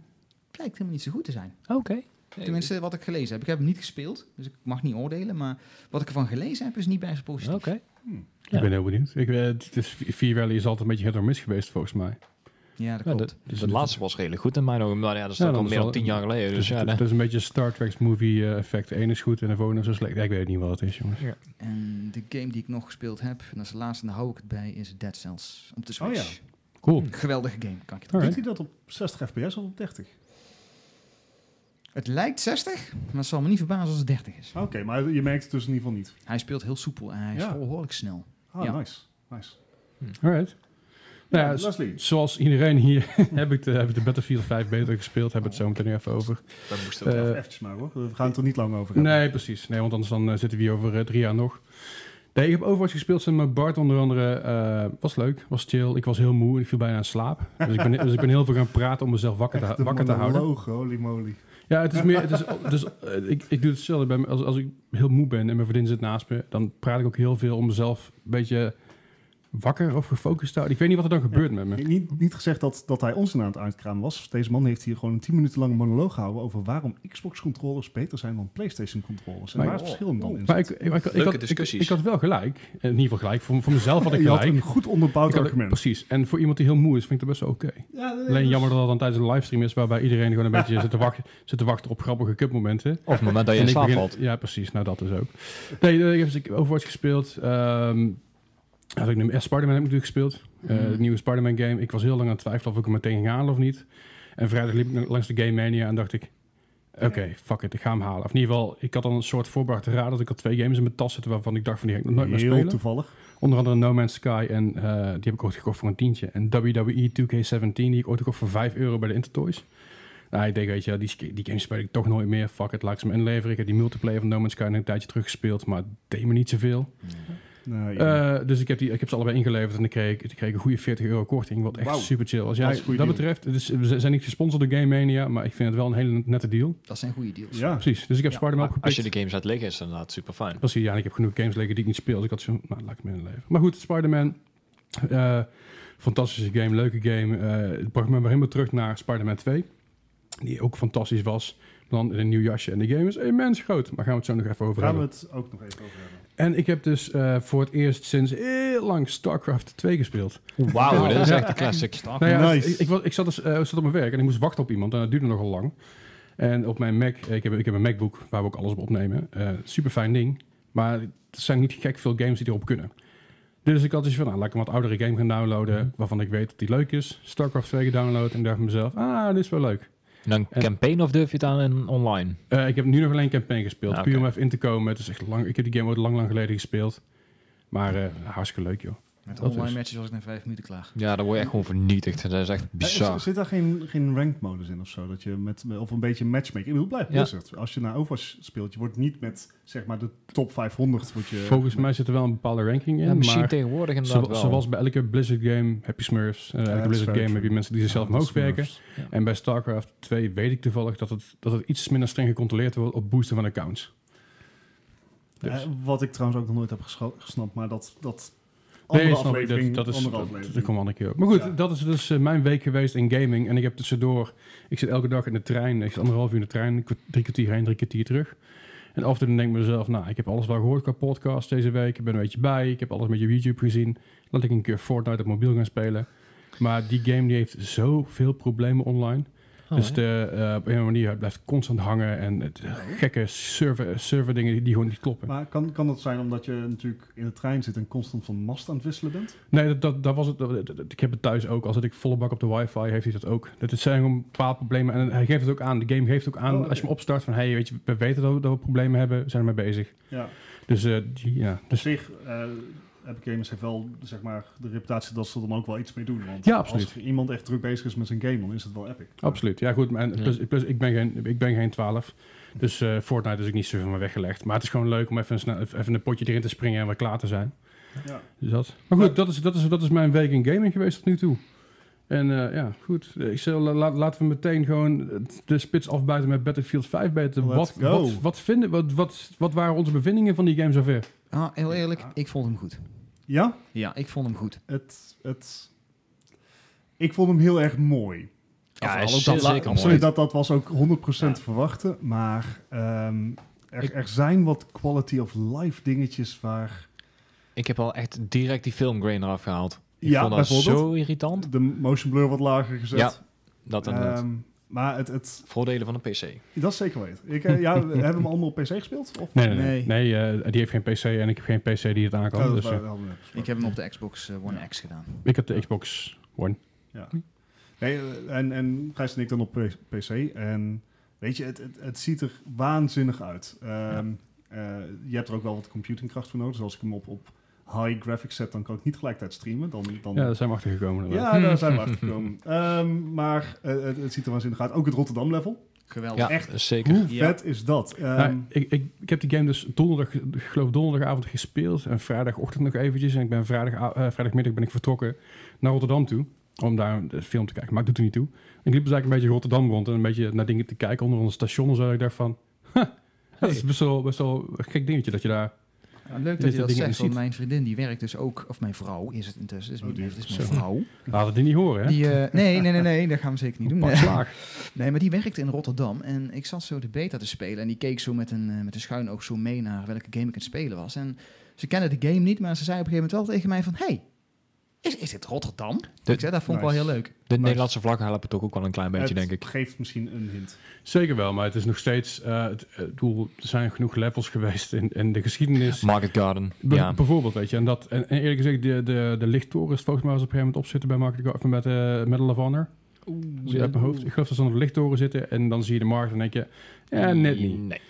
[SPEAKER 3] blijkt helemaal niet zo goed te zijn.
[SPEAKER 4] Oké.
[SPEAKER 3] Tenminste, wat ik gelezen heb. Ik heb hem niet gespeeld, dus ik mag niet oordelen. Maar wat ik ervan gelezen heb, is niet bij zijn positief.
[SPEAKER 4] Oké.
[SPEAKER 1] Dus
[SPEAKER 4] Ja.
[SPEAKER 1] Ik ben heel benieuwd. Ik, eh, het is, V-Rally is altijd een beetje hit or miss geweest, volgens mij.
[SPEAKER 3] Ja, dat
[SPEAKER 4] Ja,
[SPEAKER 3] klopt.
[SPEAKER 4] de, de laatste was redelijk goed in mijn ogen. Maar ja, dat is
[SPEAKER 1] Ja,
[SPEAKER 4] toch
[SPEAKER 1] dan
[SPEAKER 4] al
[SPEAKER 1] is
[SPEAKER 4] meer dan
[SPEAKER 1] wel-
[SPEAKER 4] tien jaar geleden. Dus
[SPEAKER 1] Dus
[SPEAKER 4] ja,
[SPEAKER 1] het,
[SPEAKER 4] nee.
[SPEAKER 1] het is een beetje Star Trek's movie eh, effect. De ene is goed en de volgende is zo slecht. Ja, ik weet niet wat het is, jongens.
[SPEAKER 3] En de game die ik nog gespeeld heb, en dat is de laatste, en daar hou ik het bij, is Dead Cells op de
[SPEAKER 2] Oh ja.
[SPEAKER 3] Switch.
[SPEAKER 1] Cool.
[SPEAKER 3] Geweldige game, kan ik je
[SPEAKER 2] Doet
[SPEAKER 1] Alright.
[SPEAKER 2] hij dat op 60 fps of op 30?
[SPEAKER 3] Het lijkt 60, maar het zal me niet verbazen als het 30 is.
[SPEAKER 2] Oké, maar je merkt het dus in ieder geval niet.
[SPEAKER 3] Hij speelt heel soepel en hij is
[SPEAKER 2] Oh. Ja.
[SPEAKER 3] behoorlijk snel.
[SPEAKER 2] Ah,
[SPEAKER 3] Ja.
[SPEAKER 2] nice. nice.
[SPEAKER 1] Alright. Nou ja, s-
[SPEAKER 2] Leslie.
[SPEAKER 1] zoals iedereen hier <laughs> heb, ik de, heb ik de Battlefield 5 beter gespeeld. Hebben we het zo meteen even over.
[SPEAKER 4] Dat moest
[SPEAKER 1] ook. Eh,
[SPEAKER 2] eventjes maar hoor. We gaan het er niet lang over hebben.
[SPEAKER 1] Nee, precies. Nee, want anders dan eh, zitten we hier over eh, drie jaar nog. Nee, ik heb Overwatch gespeeld samen met Bart onder andere. Eh, was leuk, was chill. Ik was heel moe en ik viel bijna in slaap. Dus ik ben, dus ik ben heel veel gaan praten om mezelf wakker te,
[SPEAKER 2] Echt
[SPEAKER 1] hou-
[SPEAKER 2] een
[SPEAKER 1] wakker te houden.
[SPEAKER 2] monoloog, holy moly.
[SPEAKER 1] Ja, het is meer. Het is, het is- eh, ik, ik doe hetzelfde bij me. Als, als ik heel moe ben en mijn vriendin zit naast me, dan praat ik ook heel veel om mezelf een beetje wakker of gefocust houden. Ik weet niet wat er dan gebeurt met me.
[SPEAKER 2] Niet, niet gezegd dat, dat hij ons aan het uitkramen was. Deze man heeft hier gewoon een 10 minuten lang monoloog gehouden over waarom Xbox-controllers beter zijn dan PlayStation-controllers. En
[SPEAKER 1] Maar-
[SPEAKER 2] waar het verschil hem dan in
[SPEAKER 1] Maar
[SPEAKER 2] zit.
[SPEAKER 1] ik, ik, ik, ik
[SPEAKER 5] Leuke
[SPEAKER 1] had, ik,
[SPEAKER 5] discussies.
[SPEAKER 1] ik had wel gelijk. In ieder geval gelijk. Voor, voor mezelf had ik
[SPEAKER 2] <laughs> Je had
[SPEAKER 1] gelijk.
[SPEAKER 2] een goed onderbouwd
[SPEAKER 1] Ik had-
[SPEAKER 2] argument.
[SPEAKER 1] precies. En voor iemand die heel moe is, vind ik dat best wel oké.
[SPEAKER 2] Ja, nee,
[SPEAKER 1] Alleen
[SPEAKER 2] dus-
[SPEAKER 1] jammer dat dat dan tijdens een livestream is waarbij iedereen gewoon een beetje zit te wachten, zit te wachten op grappige cupmomenten.
[SPEAKER 4] Of het moment dat je
[SPEAKER 1] <laughs> En
[SPEAKER 4] in
[SPEAKER 1] ik
[SPEAKER 4] slaap
[SPEAKER 1] begin-
[SPEAKER 4] valt.
[SPEAKER 1] Ja, precies. Nou, dat is ook. Nee, eh, ik heb dus Overwatch gespeeld. Ehm had ik nu, eh, Spider-Man heb ik natuurlijk gespeeld. Eh,
[SPEAKER 3] Mhm.
[SPEAKER 1] Het nieuwe Spider-Man game. Ik was heel lang aan het twijfelen of ik hem meteen ging halen of niet. En vrijdag liep ik nog langs de Game Mania en dacht ik... Oké, fuck it, ik ga hem halen. Of in ieder geval, ik had al een soort voorbrachte raad dat ik al twee games in mijn tas zitten waarvan ik dacht van die ga ik nog nooit meer
[SPEAKER 2] Heel
[SPEAKER 1] spelen.
[SPEAKER 2] toevallig.
[SPEAKER 1] Onder andere No Man's Sky en eh, die heb ik ooit gekocht voor een tientje. En E WWE 2K17 die ik ooit gekocht voor 5 euro bij de Intertoys. Nou, ik denk, weet je, die, die games speel ik toch nooit meer. Fuck it, laat ik ze me inleveren. Ik heb die multiplayer van No Man's Sky een tijdje teruggespeeld, maar het deed me niet zoveel.
[SPEAKER 2] Nou, ja.
[SPEAKER 1] Eh, dus ik heb, die, ik heb ze allebei ingeleverd en ik kreeg, ik kreeg een goede 40 euro korting, wat echt
[SPEAKER 2] Wauw.
[SPEAKER 1] super chill. Als
[SPEAKER 2] Dat
[SPEAKER 1] jij
[SPEAKER 2] is een
[SPEAKER 1] dat,
[SPEAKER 2] goede deal.
[SPEAKER 1] betreft, het is, we zijn niet gesponsord door Game Mania, maar ik vind het wel een hele nette deal.
[SPEAKER 3] Dat zijn goede deals.
[SPEAKER 2] ja.
[SPEAKER 1] Precies, dus ik heb
[SPEAKER 3] Ja,
[SPEAKER 1] Spider-Man opgepikt.
[SPEAKER 4] Als je de games uit liggen, is het inderdaad super fijn.
[SPEAKER 1] Precies, ja, en ik heb genoeg games liggen die ik niet speel. Dus ik had zo, nou, laat ik hem inleven. Maar goed, Spider-Man. eh, fantastische game, leuke game. Eh, het bracht me weer helemaal terug naar Spider-Man 2. Die ook fantastisch was. Dan in een nieuw jasje. En de game is immens groot. Maar gaan we het zo nog even over
[SPEAKER 2] Gaan we
[SPEAKER 1] hebben.
[SPEAKER 2] het ook nog even over hebben.
[SPEAKER 1] En ik heb dus eh, voor het eerst sinds heel lang StarCraft 2 gespeeld.
[SPEAKER 4] Wauw, dit is
[SPEAKER 1] Ja.
[SPEAKER 4] echt een classic.
[SPEAKER 1] Nou ja,
[SPEAKER 2] Nice.
[SPEAKER 1] ik, ik, was- ik zat, dus, eh, ik zat op mijn werk en ik moest wachten op iemand. En dat duurde nogal lang. En op mijn Mac, eh, ik heb, ik heb een MacBook waar we ook alles op opnemen. super fijn ding. Maar er zijn niet gek veel games die erop kunnen. Dus ik had dus van, nou, laat ik een wat oudere game gaan downloaden. Waarvan ik weet dat die leuk is. StarCraft 2 gedownload. En ik dacht mezelf, ah, dit is wel leuk.
[SPEAKER 4] En dan
[SPEAKER 1] En-
[SPEAKER 4] campaign of durf je het aan in online?
[SPEAKER 1] Eh, ik heb nu nog alleen campaign gespeeld.
[SPEAKER 4] Ah,
[SPEAKER 1] Puur
[SPEAKER 4] oké.
[SPEAKER 1] om even in te komen. Het is echt lang, ik heb die game ooit lang, lang geleden gespeeld. Maar eh, hartstikke leuk, joh.
[SPEAKER 3] Met
[SPEAKER 1] Dat
[SPEAKER 3] online
[SPEAKER 1] is-
[SPEAKER 3] matches was ik na vijf minuten klaar.
[SPEAKER 4] Ja, dan word je echt gewoon vernietigd. Dat is echt
[SPEAKER 2] Eh,
[SPEAKER 4] bizar.
[SPEAKER 2] is- Zit daar geen, geen ranked modus in of zo? Dat je met, of een beetje matchmaking. Ik bedoel, blijf
[SPEAKER 4] Ja.
[SPEAKER 2] Blizzard. Als je naar Overwatch speelt, je wordt niet met zeg maar de top 500. Wordt je,
[SPEAKER 1] Volgens mij zit er wel een bepaalde ranking in.
[SPEAKER 4] Ja, misschien
[SPEAKER 1] maar
[SPEAKER 4] tegenwoordig
[SPEAKER 1] Zo-
[SPEAKER 4] inderdaad wel.
[SPEAKER 1] Zoals bij elke Blizzard game heb je Smurfs. en elke
[SPEAKER 2] dat is
[SPEAKER 1] Blizzard
[SPEAKER 2] very
[SPEAKER 1] game heb je
[SPEAKER 2] true.
[SPEAKER 1] mensen die zichzelf
[SPEAKER 2] Ja,
[SPEAKER 1] omhoog
[SPEAKER 2] dat is
[SPEAKER 1] werken.
[SPEAKER 2] nerfs.
[SPEAKER 1] En bij StarCraft 2 weet ik toevallig dat het, dat het iets minder streng gecontroleerd wordt op boosten van accounts. Dus.
[SPEAKER 2] Eh, wat ik trouwens ook nog nooit heb gescho- gesnapt, maar dat, dat andere
[SPEAKER 1] Nee, snap ik.
[SPEAKER 2] aflevering...
[SPEAKER 1] dat, dat is
[SPEAKER 2] andere
[SPEAKER 1] dat, dat,
[SPEAKER 2] aflevering.
[SPEAKER 1] komt wel een keer op. Maar goed,
[SPEAKER 2] Ja.
[SPEAKER 1] dat is dus eh, mijn week geweest in gaming. En ik heb tussendoor, ik zit elke dag in de trein, ik zit anderhalf uur in de trein, kwa- drie kwartier heen, drie kwartier terug. En af en toe denk ik mezelf, nou, ik heb alles wel gehoord qua podcast deze week. Ik ben een beetje bij, ik heb alles met je YouTube gezien. Laat ik een keer Fortnite op mobiel gaan spelen. Maar die game die heeft zoveel problemen online.
[SPEAKER 4] Oh,
[SPEAKER 1] dus
[SPEAKER 4] hè?
[SPEAKER 1] de, eh, op een manier het blijft constant hangen en het,
[SPEAKER 2] Oh,
[SPEAKER 1] gekke server, server dingen die, die gewoon niet kloppen.
[SPEAKER 2] Maar kan, kan dat zijn omdat je natuurlijk in de trein zit en constant van mast aan het wisselen bent?
[SPEAKER 1] Nee, dat, dat, dat was het. dat- dat- ik heb het thuis ook. Al zit ik volle bak op de wifi, heeft hij dat ook. Dat het zijn gewoon bepaalde problemen. En hij geeft het ook aan. De game geeft ook aan.
[SPEAKER 2] Oh, oké.
[SPEAKER 1] Als je hem opstart van, hey, weet je, we weten dat we, dat we problemen hebben. We zijn ermee bezig.
[SPEAKER 2] Ja.
[SPEAKER 1] Dus eh, die- ja.
[SPEAKER 2] Dus
[SPEAKER 1] Dus,
[SPEAKER 2] zich, eh Epic Games heeft wel zeg maar, de reputatie dat ze er dan ook wel iets mee doen. Want
[SPEAKER 1] Ja, absoluut.
[SPEAKER 2] als er iemand echt druk bezig is met zijn game, dan is het wel Epic.
[SPEAKER 1] absoluut. Ja, goed. maar en
[SPEAKER 4] Ja.
[SPEAKER 1] plus, plus ik, ben geen, ik ben geen 12. Dus eh, Fortnite is ook niet zo van me weggelegd. Maar het is gewoon leuk om even, snel, even een potje erin te springen en weer klaar te zijn.
[SPEAKER 2] Ja.
[SPEAKER 1] Dus dat. Maar goed, dat is, dat, is, dat is mijn week in gaming geweest tot nu toe. En eh, ja, goed. Ik zal, la- laten we meteen gewoon de spits afbuiten met Battlefield 5 beter.
[SPEAKER 2] Let's
[SPEAKER 1] Wat,
[SPEAKER 2] go.
[SPEAKER 1] wat, wat, vinden, wat, wat, wat waren onze bevindingen van die game zover?
[SPEAKER 3] Ah, heel eerlijk,
[SPEAKER 2] Ja.
[SPEAKER 3] ik vond hem goed.
[SPEAKER 2] ja,
[SPEAKER 3] Ja, ik vond hem goed.
[SPEAKER 2] het, het... Ik vond hem heel erg mooi.
[SPEAKER 4] Ja, hij
[SPEAKER 3] Of
[SPEAKER 4] is
[SPEAKER 3] al ook
[SPEAKER 4] zeer
[SPEAKER 3] dat la-
[SPEAKER 4] zeker
[SPEAKER 2] Sorry,
[SPEAKER 4] mooi.
[SPEAKER 2] dat, dat was ook 100% te verwachten. Maar ehm, er,
[SPEAKER 4] Ik-
[SPEAKER 2] er zijn wat quality of life dingetjes waar...
[SPEAKER 4] Ik heb al echt direct die filmgrain eraf gehaald. Ik
[SPEAKER 2] Ja,
[SPEAKER 4] vond dat
[SPEAKER 2] bijvoorbeeld.
[SPEAKER 4] zo irritant.
[SPEAKER 2] De motion blur wat lager gezet.
[SPEAKER 4] Ja, Dat inderdaad.
[SPEAKER 2] Ehm, maar het, het,
[SPEAKER 4] Voordelen van een PC.
[SPEAKER 2] dat zeker weten. Ik, eh, ja, we hebben hem allemaal op PC gespeeld? Of?
[SPEAKER 1] Nee, nee, nee.
[SPEAKER 3] Nee.
[SPEAKER 1] Nee, eh, die heeft geen PC en ik heb geen PC die het aan kan.
[SPEAKER 2] Oh, dat
[SPEAKER 1] dus,
[SPEAKER 2] waren-
[SPEAKER 1] eh,
[SPEAKER 2] hadden we net besproken.
[SPEAKER 3] Ik heb hem op de Xbox eh, One X gedaan.
[SPEAKER 1] ik heb de Xbox One.
[SPEAKER 2] Ja. Nee, eh, en, en Gijs en ik dan op P- PC. En weet je, het, het, het ziet er waanzinnig uit. Ehm, eh, je hebt er ook wel wat computingkracht voor nodig. Dus als ik hem op, op high graphics zet, dan kan ik niet gelijkertijd streamen. Dan, dan,
[SPEAKER 1] Ja, daar zijn we achter gekomen.
[SPEAKER 2] Ja,
[SPEAKER 4] <laughs>
[SPEAKER 2] daar zijn we achter gekomen. Ehm, maar eh, het, het ziet er waanzinnig uit. Ook het Rotterdam level.
[SPEAKER 3] Geweldig.
[SPEAKER 4] Ja,
[SPEAKER 2] echt.
[SPEAKER 4] zeker.
[SPEAKER 2] Hoe
[SPEAKER 3] Ja.
[SPEAKER 2] vet is dat? Ehm,
[SPEAKER 1] Nou, ik, ik, ik heb die game dus donderdag, ik geloof donderdagavond gespeeld en vrijdagochtend nog eventjes. En ik ben vrijdag, eh, vrijdagmiddag ben ik vertrokken naar Rotterdam toe om daar een eh, film te kijken. Maar ik doet er niet toe. En ik liep dus eigenlijk een beetje Rotterdam rond en een beetje naar dingen te <laughs> kijken onder ons station en zo. En ik dacht van, huh, dat is best wel, best wel een gek dingetje dat je daar
[SPEAKER 3] Nou, leuk dat
[SPEAKER 1] dat
[SPEAKER 3] je dat
[SPEAKER 1] dingen
[SPEAKER 3] zegt, want
[SPEAKER 1] ziet.
[SPEAKER 3] mijn vriendin die werkt dus ook, of mijn vrouw is het intussen, is
[SPEAKER 2] Oh,
[SPEAKER 3] niet
[SPEAKER 2] dear.
[SPEAKER 3] meer, het is mijn
[SPEAKER 1] Zo.
[SPEAKER 3] vrouw.
[SPEAKER 1] Laat het die niet horen, hè?
[SPEAKER 3] Die, eh, nee, nee, nee, nee, dat gaan we zeker niet doen.
[SPEAKER 1] Een pak
[SPEAKER 3] Nee.
[SPEAKER 1] slaag.
[SPEAKER 3] Nee, maar die werkte in Rotterdam en ik zat zo de beta te spelen en die keek zo met een, eh, met een schuin oog zo mee naar welke game ik aan het spelen was. En ze kende de game niet, maar ze zei op een gegeven moment wel tegen mij van, hey, is, is dit Rotterdam?
[SPEAKER 4] Dit-
[SPEAKER 3] ik zei, dat vond ik
[SPEAKER 2] Nice.
[SPEAKER 3] wel heel leuk.
[SPEAKER 4] De Nederlandse vlag helpt het ook, ook wel een klein beetje,
[SPEAKER 2] Het
[SPEAKER 4] denk ik.
[SPEAKER 2] geeft misschien een hint.
[SPEAKER 1] Zeker wel, maar het is nog steeds... eh, het, eh, ik bedoel, er zijn genoeg levels geweest in, in de geschiedenis.
[SPEAKER 4] Market Garden,
[SPEAKER 1] Be-
[SPEAKER 4] ja.
[SPEAKER 1] Bijvoorbeeld, weet je. En, dat, en, en eerlijk gezegd, de, de, de lichttoren is volgens mij als op een gegeven moment opzitten bij Market Garden, met eh Medal of Honor. Als ik uit mijn hoofd. Ik geloof dat ze onder de lichttoren zitten en dan zie je de markt en denk je, ja, net niet.
[SPEAKER 4] Nee.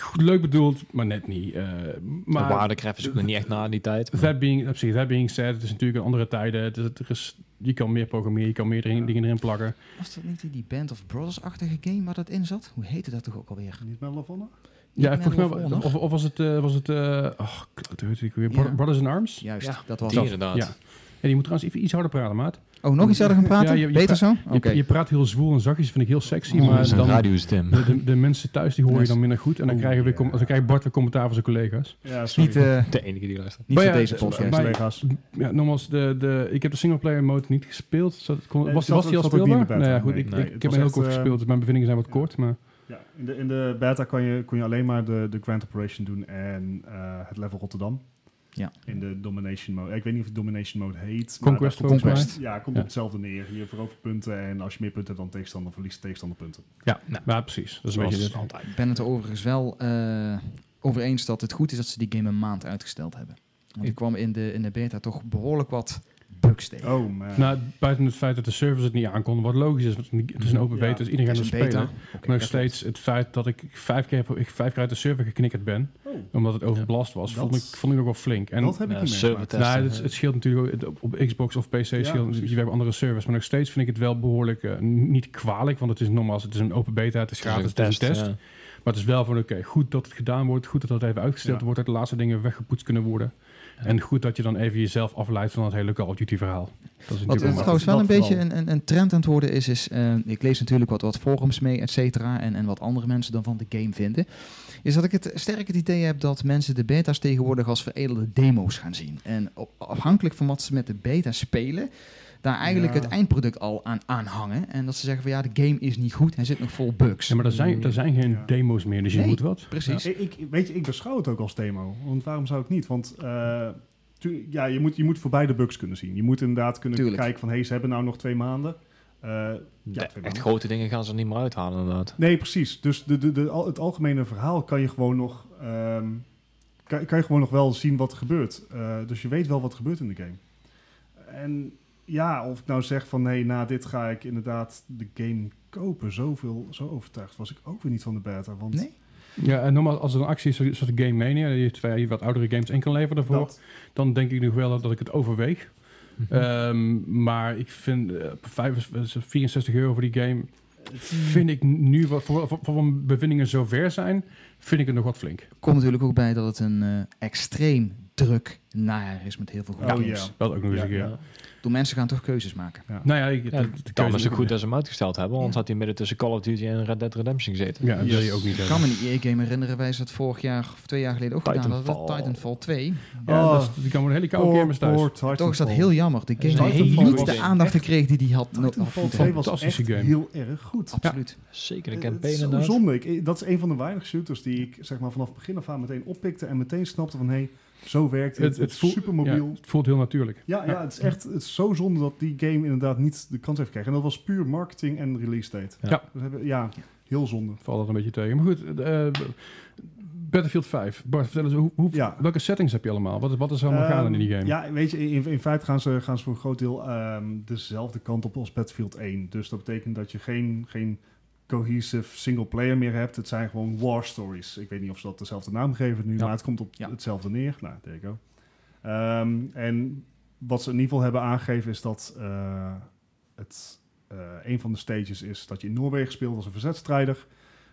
[SPEAKER 1] Goed, Leuk bedoeld, maar net niet. Eh,
[SPEAKER 4] Maar, de
[SPEAKER 1] maar
[SPEAKER 4] waardekref is ook nog niet echt na in die tijd. maar-
[SPEAKER 1] that being, op zich, that being said, het is natuurlijk een andere tijden. Het is, het is- je kan meer programmeren, je kan meer erin-
[SPEAKER 2] Ja.
[SPEAKER 1] dingen erin plakken.
[SPEAKER 3] Was dat niet die, die Band of Brothers-achtige game waar dat in zat? Hoe heette dat toch ook alweer?
[SPEAKER 2] Niet met Lavonna?
[SPEAKER 3] Niet
[SPEAKER 1] Ja, volgens mij,
[SPEAKER 3] Medal of
[SPEAKER 1] wa-
[SPEAKER 3] Honor?
[SPEAKER 1] of, of was het, eh, was het eh, oh, klote, hoe heet ik weer?
[SPEAKER 3] Ja.
[SPEAKER 1] Brothers in Arms?
[SPEAKER 3] Juist,
[SPEAKER 4] Ja,
[SPEAKER 3] dat was
[SPEAKER 4] Die
[SPEAKER 3] het.
[SPEAKER 4] inderdaad.
[SPEAKER 1] Ja. En je moet trouwens even iets harder praten, maat.
[SPEAKER 3] Oh, nog iets verder gaan praten?
[SPEAKER 1] Ja, je- je
[SPEAKER 3] Beter zo?
[SPEAKER 1] Je,
[SPEAKER 3] Oké.
[SPEAKER 1] je praat heel zwoel en zachtjes, vind ik heel sexy,
[SPEAKER 3] Oh,
[SPEAKER 1] maar
[SPEAKER 4] Zijn
[SPEAKER 1] dan...
[SPEAKER 4] radiostem.
[SPEAKER 1] De, de, de mensen thuis die hoor je
[SPEAKER 3] Yes.
[SPEAKER 1] dan minder goed. En dan,
[SPEAKER 2] Oeh,
[SPEAKER 1] krijgen we, com-
[SPEAKER 2] Oh, ja.
[SPEAKER 1] dan krijgt Bart weer commentaar van zijn collega's.
[SPEAKER 2] Ja, sorry.
[SPEAKER 3] Niet, eh,
[SPEAKER 4] <laughs> De enige die luistert.
[SPEAKER 3] niet
[SPEAKER 1] Maar
[SPEAKER 3] voor
[SPEAKER 1] ja,
[SPEAKER 3] deze
[SPEAKER 1] eh,
[SPEAKER 3] podcast.
[SPEAKER 1] maar-
[SPEAKER 2] collega's.
[SPEAKER 1] Ja, nogmaals, de, de, ik heb de singleplayer mode niet gespeeld. Zat- kon-
[SPEAKER 2] Nee,
[SPEAKER 1] was,
[SPEAKER 2] zat-
[SPEAKER 1] was die al
[SPEAKER 2] zat ook niet in de
[SPEAKER 1] speelbaar?
[SPEAKER 2] beta.
[SPEAKER 1] Nou ja, goed,
[SPEAKER 2] Nee,
[SPEAKER 1] ik,
[SPEAKER 4] nee,
[SPEAKER 1] ik,
[SPEAKER 2] het
[SPEAKER 1] ik heb hem
[SPEAKER 2] was
[SPEAKER 1] heel
[SPEAKER 2] echt,
[SPEAKER 1] kort
[SPEAKER 2] eh,
[SPEAKER 1] gespeeld, dus mijn bevindingen zijn wat
[SPEAKER 2] ja.
[SPEAKER 1] kort. Maar
[SPEAKER 2] Ja, in, de, in de beta kon je, kon je alleen maar de, de Grand Operation doen en eh, het level Rotterdam.
[SPEAKER 3] Ja.
[SPEAKER 2] In de Domination Mode. Ik weet niet of het Domination Mode heet. maar
[SPEAKER 1] Conquest
[SPEAKER 2] daar
[SPEAKER 1] volgens mij.
[SPEAKER 3] Conquest.
[SPEAKER 2] komt- Ja, komt
[SPEAKER 1] Ja.
[SPEAKER 2] op hetzelfde neer. Je verovert punten en als je meer punten hebt dan tegenstander, verliest de tegenstander punten.
[SPEAKER 1] Ja, ja, precies. Dat is een beetje het.
[SPEAKER 4] altijd.
[SPEAKER 3] Ik ben het er overigens wel eh, over eens dat het goed is dat ze die game een maand uitgesteld hebben. Want ik kwam in de, in de beta toch behoorlijk wat bugs tegen.
[SPEAKER 2] Oh man.
[SPEAKER 1] Nou, buiten het feit dat de servers het niet aankonden, wat logisch is, want het is een open
[SPEAKER 2] Ja.
[SPEAKER 1] beta, dus iedereen gaat
[SPEAKER 3] Het
[SPEAKER 1] het
[SPEAKER 3] is een
[SPEAKER 1] spelen.
[SPEAKER 3] beta.
[SPEAKER 1] maar nog steeds het feit dat ik vijf keer, heb- ik vijf keer uit de server geknikkerd ben,
[SPEAKER 2] Oh,
[SPEAKER 1] omdat het overbelast was,
[SPEAKER 2] Dat-
[SPEAKER 1] vond, ik, vond ik ook wel flink. En
[SPEAKER 2] dat heb ik
[SPEAKER 4] Ja,
[SPEAKER 2] niet meegemaakt.
[SPEAKER 4] server
[SPEAKER 1] Nou,
[SPEAKER 4] testen.
[SPEAKER 1] het, het scheelt natuurlijk ook- op, op Xbox of PC scheelt natuurlijk,
[SPEAKER 2] precies.
[SPEAKER 1] je werkt op andere servers, maar nog steeds vind ik het wel behoorlijk eh, niet kwalijk, want het is normaal, het is een open beta, het is gratis, het is een test,
[SPEAKER 4] ja.
[SPEAKER 1] maar het is wel van oké, goed dat het gedaan wordt, goed dat dat even uitgesteld
[SPEAKER 2] Ja.
[SPEAKER 1] wordt, dat de laatste dingen weggepoetst kunnen worden, en goed dat je dan even jezelf afleidt van dat hele Call of Duty verhaal. Dat is
[SPEAKER 3] Wat
[SPEAKER 1] natuurlijk
[SPEAKER 3] eh,
[SPEAKER 1] wel
[SPEAKER 2] dat-
[SPEAKER 3] trouwens wel
[SPEAKER 2] dat
[SPEAKER 3] een beetje
[SPEAKER 2] vooral.
[SPEAKER 3] een, een, een trend aan het worden is, is eh, ik lees natuurlijk wat, wat forums mee, et cetera, en, en wat andere mensen dan van de game vinden, is dat ik het sterk het idee heb dat mensen de beta's tegenwoordig als veredelde demo's gaan zien. En op- afhankelijk van wat ze met de beta spelen, daar eigenlijk
[SPEAKER 2] Ja.
[SPEAKER 3] het eindproduct al aan aanhangen. En dat ze zeggen van ja, de game is niet goed, hij zit nog vol bugs.
[SPEAKER 1] Ja, maar er zijn, er zijn geen
[SPEAKER 2] Ja.
[SPEAKER 1] demo's meer, dus je
[SPEAKER 3] Nee.
[SPEAKER 1] moet wat.
[SPEAKER 3] Precies.
[SPEAKER 2] Ik, ik- weet je, ik beschouw het ook als demo. Want waarom zou ik niet? Want eh, tu- ja, je, moet, je moet voorbij de bugs kunnen zien. Je moet inderdaad kunnen
[SPEAKER 3] Tuurlijk.
[SPEAKER 2] kijken van... hé, hey, ze hebben nou nog twee maanden. Eh, ja,
[SPEAKER 4] De
[SPEAKER 2] twee
[SPEAKER 4] echt
[SPEAKER 2] maanden.
[SPEAKER 4] grote dingen gaan ze er niet meer uithalen, inderdaad.
[SPEAKER 2] Nee, precies. Dus de, de, de, al- het algemene verhaal kan je gewoon nog... ehm, kan, kan je gewoon nog wel zien wat er gebeurt. Eh, dus je weet wel wat er gebeurt in de game. En ja, of ik nou zeg van... hé, hey, na dit ga ik inderdaad de game kopen. Zoveel, zo overtuigd was ik ook weer niet van de beta. Want
[SPEAKER 3] Nee?
[SPEAKER 1] Ja, en normaal als er een actie is zoals zoals de Game Mania, die twee wat oudere games in kan leveren daarvoor,
[SPEAKER 2] dat,
[SPEAKER 1] dan denk ik nog wel dat, dat ik het overweeg. Ehm, maar ik vind eh, vijf- eh, 64 euro voor die game. Vind ik nu, wat- voor, voor, voor mijn bevindingen zover zijn, vind ik het nog wat flink.
[SPEAKER 3] Komt natuurlijk ook bij dat het een eh, extreem druk najaar is met heel veel goede
[SPEAKER 2] Oh,
[SPEAKER 3] games.
[SPEAKER 2] ja.
[SPEAKER 1] Dat ook nog eens
[SPEAKER 2] Ja,
[SPEAKER 1] een keer.
[SPEAKER 2] ja.
[SPEAKER 3] Door mensen gaan toch keuzes maken.
[SPEAKER 1] Nou ja, ik,
[SPEAKER 4] Ja,
[SPEAKER 1] dat- dat
[SPEAKER 4] daarom
[SPEAKER 1] keuze-
[SPEAKER 4] is het goed dat ze hem uitgesteld hebben, want anders had hij midden tussen Call of Duty en Red Dead Redemption gezeten.
[SPEAKER 1] Ja, dat wil je ook niet
[SPEAKER 3] Ik
[SPEAKER 1] hebben.
[SPEAKER 3] kan me niet EA-game herinneren, wij ze dat vorig jaar of twee jaar geleden ook gedaan hadden. Dat
[SPEAKER 4] Titanfall.
[SPEAKER 3] Titanfall 2.
[SPEAKER 1] Ja,
[SPEAKER 2] Oh.
[SPEAKER 1] dat, is- die kan worden een hele koude kermis thuis.
[SPEAKER 3] Toch is dat heel jammer. De game
[SPEAKER 2] Titanfall
[SPEAKER 3] heeft niet
[SPEAKER 2] was
[SPEAKER 3] de
[SPEAKER 2] echt-
[SPEAKER 3] aandacht gekregen die die had. no- had
[SPEAKER 2] Titanfall
[SPEAKER 3] moeten
[SPEAKER 2] 2
[SPEAKER 3] hebben.
[SPEAKER 2] was
[SPEAKER 1] Fantastische
[SPEAKER 2] echt
[SPEAKER 1] game.
[SPEAKER 2] heel erg goed.
[SPEAKER 3] Absoluut.
[SPEAKER 4] Zeker,
[SPEAKER 2] Eh,
[SPEAKER 4] een
[SPEAKER 2] het
[SPEAKER 4] campaign
[SPEAKER 2] is zo
[SPEAKER 4] inderdaad.
[SPEAKER 2] zonde. Ik, eh, dat is een van de weinige shooters die ik zeg maar, vanaf begin af aan meteen oppikte en meteen snapte van... hé, hey, zo werkt het.
[SPEAKER 1] Het-
[SPEAKER 2] Het,
[SPEAKER 1] het
[SPEAKER 2] is
[SPEAKER 1] voelt-
[SPEAKER 2] supermobiel.
[SPEAKER 1] Ja, het voelt heel natuurlijk.
[SPEAKER 2] Ja, ja, het is echt het is zo zonde dat die game inderdaad niet de kans heeft gekregen. En dat was puur marketing en release date.
[SPEAKER 4] Ja.
[SPEAKER 1] Ja.
[SPEAKER 2] We hebben, ja heel zonde.
[SPEAKER 1] Valt dat een beetje tegen. Maar goed, eh, Battlefield 5. Bart, vertel eens, hoe, hoe-
[SPEAKER 2] Ja.
[SPEAKER 1] welke settings heb je allemaal? Wat, wat is er allemaal gaande in die
[SPEAKER 2] Ehm,
[SPEAKER 1] game?
[SPEAKER 2] Ja, weet je, in, in feite gaan ze, gaan ze voor een groot deel ehm, dezelfde kant op als Battlefield 1. Dus dat betekent dat je geen, geen cohesive single player meer hebt. Het zijn gewoon war stories. Ik weet niet of ze dat dezelfde naam geven nu,
[SPEAKER 1] Ja.
[SPEAKER 2] maar het komt op
[SPEAKER 3] Ja.
[SPEAKER 2] hetzelfde neer. Nou, there you go. Ehm, en wat ze in ieder geval hebben aangegeven is dat eh, het, eh, een van de stages is dat je in Noorwegen speelt als een verzetstrijder.